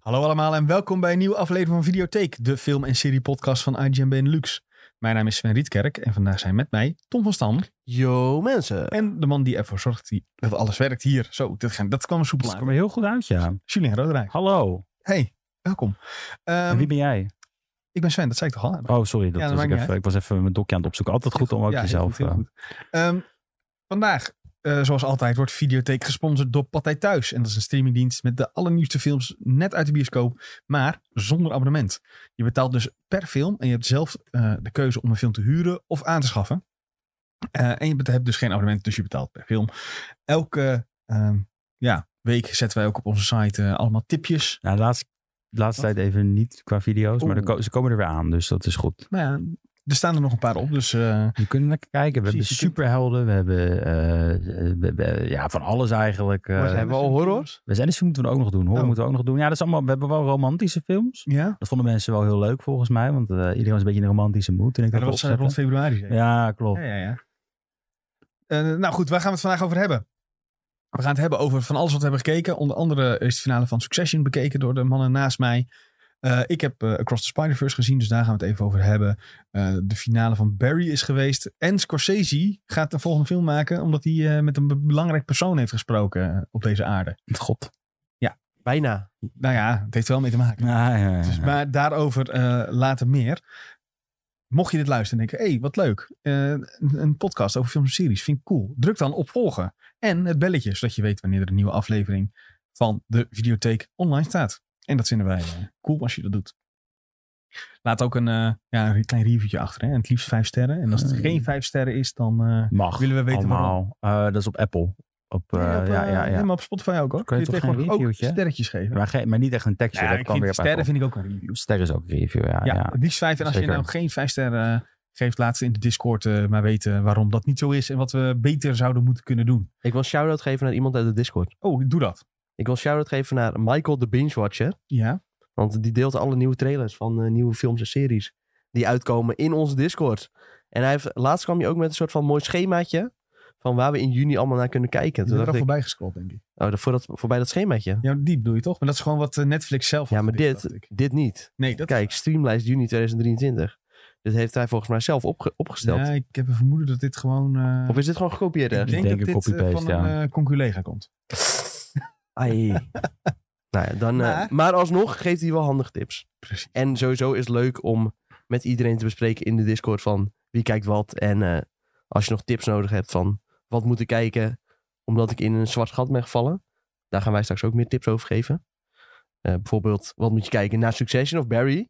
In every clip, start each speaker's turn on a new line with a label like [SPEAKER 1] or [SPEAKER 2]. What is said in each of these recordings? [SPEAKER 1] Hallo allemaal en welkom bij een nieuwe aflevering van Videotheek, de film- en serie-podcast van IGN Benelux. Mijn naam is Sven Rietkerk en vandaag zijn met mij Tom van Stam
[SPEAKER 2] Yo mensen.
[SPEAKER 1] en de man die ervoor zorgt die- dat alles werkt hier. Zo, dat, gaan- dat kwam soepel
[SPEAKER 3] Dat kwam
[SPEAKER 1] aan.
[SPEAKER 3] er heel goed uit, ja.
[SPEAKER 1] Julien Roderijk.
[SPEAKER 3] Hallo,
[SPEAKER 1] Hey, welkom. Ehm,
[SPEAKER 3] en wie ben jij?
[SPEAKER 1] Ik ben Sven, dat zei ik toch al?
[SPEAKER 3] Oh, sorry, dat
[SPEAKER 1] Ja, dat
[SPEAKER 3] was
[SPEAKER 1] maakt
[SPEAKER 3] ik,
[SPEAKER 1] niet
[SPEAKER 3] even, ik was even mijn dokje aan het opzoeken. Altijd goed om ook
[SPEAKER 1] Ja, heel
[SPEAKER 3] jezelf...
[SPEAKER 1] goed, heel
[SPEAKER 3] eh,
[SPEAKER 1] goed. Ehm, vandaag, eh, zoals altijd, wordt Videotheek gesponsord door Partij Thuis. En dat is een streamingdienst met de allernieuwste films net uit de bioscoop, maar zonder abonnement. Je betaalt dus per film en je hebt zelf eh, de keuze om een film te huren of aan te schaffen. Eh, en je bet- hebt dus geen abonnement, dus je betaalt per film. Elke ehm, ja, week zetten wij ook op onze site eh, allemaal tipjes.
[SPEAKER 3] nou, de laatste, de laatste tijd even niet qua video's, maar er
[SPEAKER 1] Oeh.
[SPEAKER 3] ko- ze komen er weer aan, dus dat is goed.
[SPEAKER 1] Maar Nou ja, er staan er nog een paar op, dus... eh,
[SPEAKER 3] We kunnen lekker kijken. We
[SPEAKER 1] Precies, je
[SPEAKER 3] hebben superhelden, we hebben eh, eh, we- we- ja, van alles eigenlijk. eh.
[SPEAKER 2] Waar zijn we al horrors?
[SPEAKER 3] we zijn dus moeten we ook nog doen, hoor.
[SPEAKER 1] Oh.
[SPEAKER 3] Moeten we ook nog doen. Ja, dat is allemaal, we hebben wel romantische films.
[SPEAKER 1] Ja,
[SPEAKER 3] Dat vonden mensen wel heel leuk volgens mij, want eh, iedereen was een beetje in een romantische mood. En ik
[SPEAKER 1] dat
[SPEAKER 3] dat
[SPEAKER 1] was eh, rond
[SPEAKER 3] opzetten.
[SPEAKER 1] februari. zeker?
[SPEAKER 3] Ja, klopt.
[SPEAKER 1] Ja, ja, ja. Eh, nou goed, waar gaan we het vandaag over hebben? We gaan het hebben over van alles wat we hebben gekeken. Onder andere is de finale van Succession bekeken door de mannen naast mij. Eh, ik heb eh, Across the Spider-Verse gezien, dus daar gaan we het even over hebben. Eh, de finale van Barry is geweest. En Scorsese gaat een volgende film maken, omdat hij eh, met een be- belangrijk persoon heeft gesproken eh, op deze aarde.
[SPEAKER 3] God.
[SPEAKER 2] Bijna.
[SPEAKER 1] Nou ja, het heeft wel mee te maken.
[SPEAKER 3] Ja, ja, ja.
[SPEAKER 1] Dus, maar daarover eh, later meer. Mocht je dit luisteren en denken, hé, hey, wat leuk. Eh, een, een podcast over films en series, vind ik cool. Druk dan op volgen. En het belletje, zodat je weet wanneer er een nieuwe aflevering van de videotheek online staat. En dat vinden wij eh, cool als je dat doet. Laat ook een, eh, ja, een klein reviewtje achter. Hè? En het liefst vijf sterren. En als het
[SPEAKER 3] Eh.
[SPEAKER 1] geen vijf sterren is, dan... eh,
[SPEAKER 3] Mag.
[SPEAKER 1] Willen we weten
[SPEAKER 3] allemaal. Eh, dat is op Apple. Op, eh,
[SPEAKER 1] op,
[SPEAKER 3] ja,
[SPEAKER 1] eh,
[SPEAKER 3] ja, ja.
[SPEAKER 1] nee, maar op Spotify ook hoor.
[SPEAKER 3] Kun je toch geen
[SPEAKER 1] tegenwoordig ook
[SPEAKER 3] reviewtje?
[SPEAKER 1] sterretjes geven.
[SPEAKER 3] Maar, geen- maar niet echt een tekstje.
[SPEAKER 1] Ja,
[SPEAKER 3] dat
[SPEAKER 1] ik
[SPEAKER 3] kan
[SPEAKER 1] vind-
[SPEAKER 3] weer op
[SPEAKER 1] sterren
[SPEAKER 3] Apple.
[SPEAKER 1] vind ik ook een review.
[SPEAKER 3] Ster is ook een review, ja.
[SPEAKER 1] Ja,
[SPEAKER 3] Ah, ja,
[SPEAKER 1] het liefst vijf. En als je
[SPEAKER 3] Zeker.
[SPEAKER 1] nou geen vijf sterren eh, geeft, laat ze in de Discord eh, maar weten waarom dat niet zo is. En wat we beter zouden moeten kunnen doen.
[SPEAKER 2] Ik wil een shout-out geven naar iemand uit de Discord.
[SPEAKER 1] Oh, doe dat.
[SPEAKER 2] Ik wil een shout-out geven naar Michael de Binge Watcher.
[SPEAKER 1] Ja.
[SPEAKER 2] Want die deelt alle nieuwe trailers van eh, nieuwe films en series. Die uitkomen in onze Discord. En hij heeft, laatst kwam je ook met een soort van mooi schemaatje. Van waar we in juni allemaal naar kunnen
[SPEAKER 1] Dat
[SPEAKER 2] kijken. Toen
[SPEAKER 1] is er al
[SPEAKER 2] dacht ik,
[SPEAKER 1] voorbij gescrollt, denk ik.
[SPEAKER 2] oh, dat- voor dat, voorbij dat schemaatje.
[SPEAKER 1] Ja, die bedoel je toch? Maar dat is gewoon wat eh, Netflix zelf
[SPEAKER 2] Ja,
[SPEAKER 1] had
[SPEAKER 2] maar
[SPEAKER 1] gedicht, dacht ik.
[SPEAKER 2] Dit niet.
[SPEAKER 1] Nee, dat...
[SPEAKER 2] Kijk, streamlijst juni 2023. Dit heeft hij volgens mij zelf opge- opgesteld.
[SPEAKER 1] Ja, ik heb een vermoeden dat dit gewoon... eh,
[SPEAKER 2] Of is dit gewoon gekopieerd
[SPEAKER 1] ik
[SPEAKER 2] ergens?
[SPEAKER 1] denk,
[SPEAKER 3] Ik denk
[SPEAKER 1] dat
[SPEAKER 3] een
[SPEAKER 1] dit eh, van
[SPEAKER 3] copy-paste,
[SPEAKER 1] een
[SPEAKER 3] ja.
[SPEAKER 1] eh, conculega komt.
[SPEAKER 2] Ai. nou ja, dan, eh,
[SPEAKER 1] Maar-
[SPEAKER 2] maar... alsnog geeft hij wel handige tips.
[SPEAKER 1] Precies.
[SPEAKER 2] En sowieso is het leuk om met iedereen te bespreken in de Discord van wie kijkt wat. En eh, als je nog tips nodig hebt van wat moet ik kijken omdat ik in een zwart gat ben gevallen. Daar gaan wij straks ook meer tips over geven. Eh, bijvoorbeeld, wat moet je kijken naar Succession of Barry?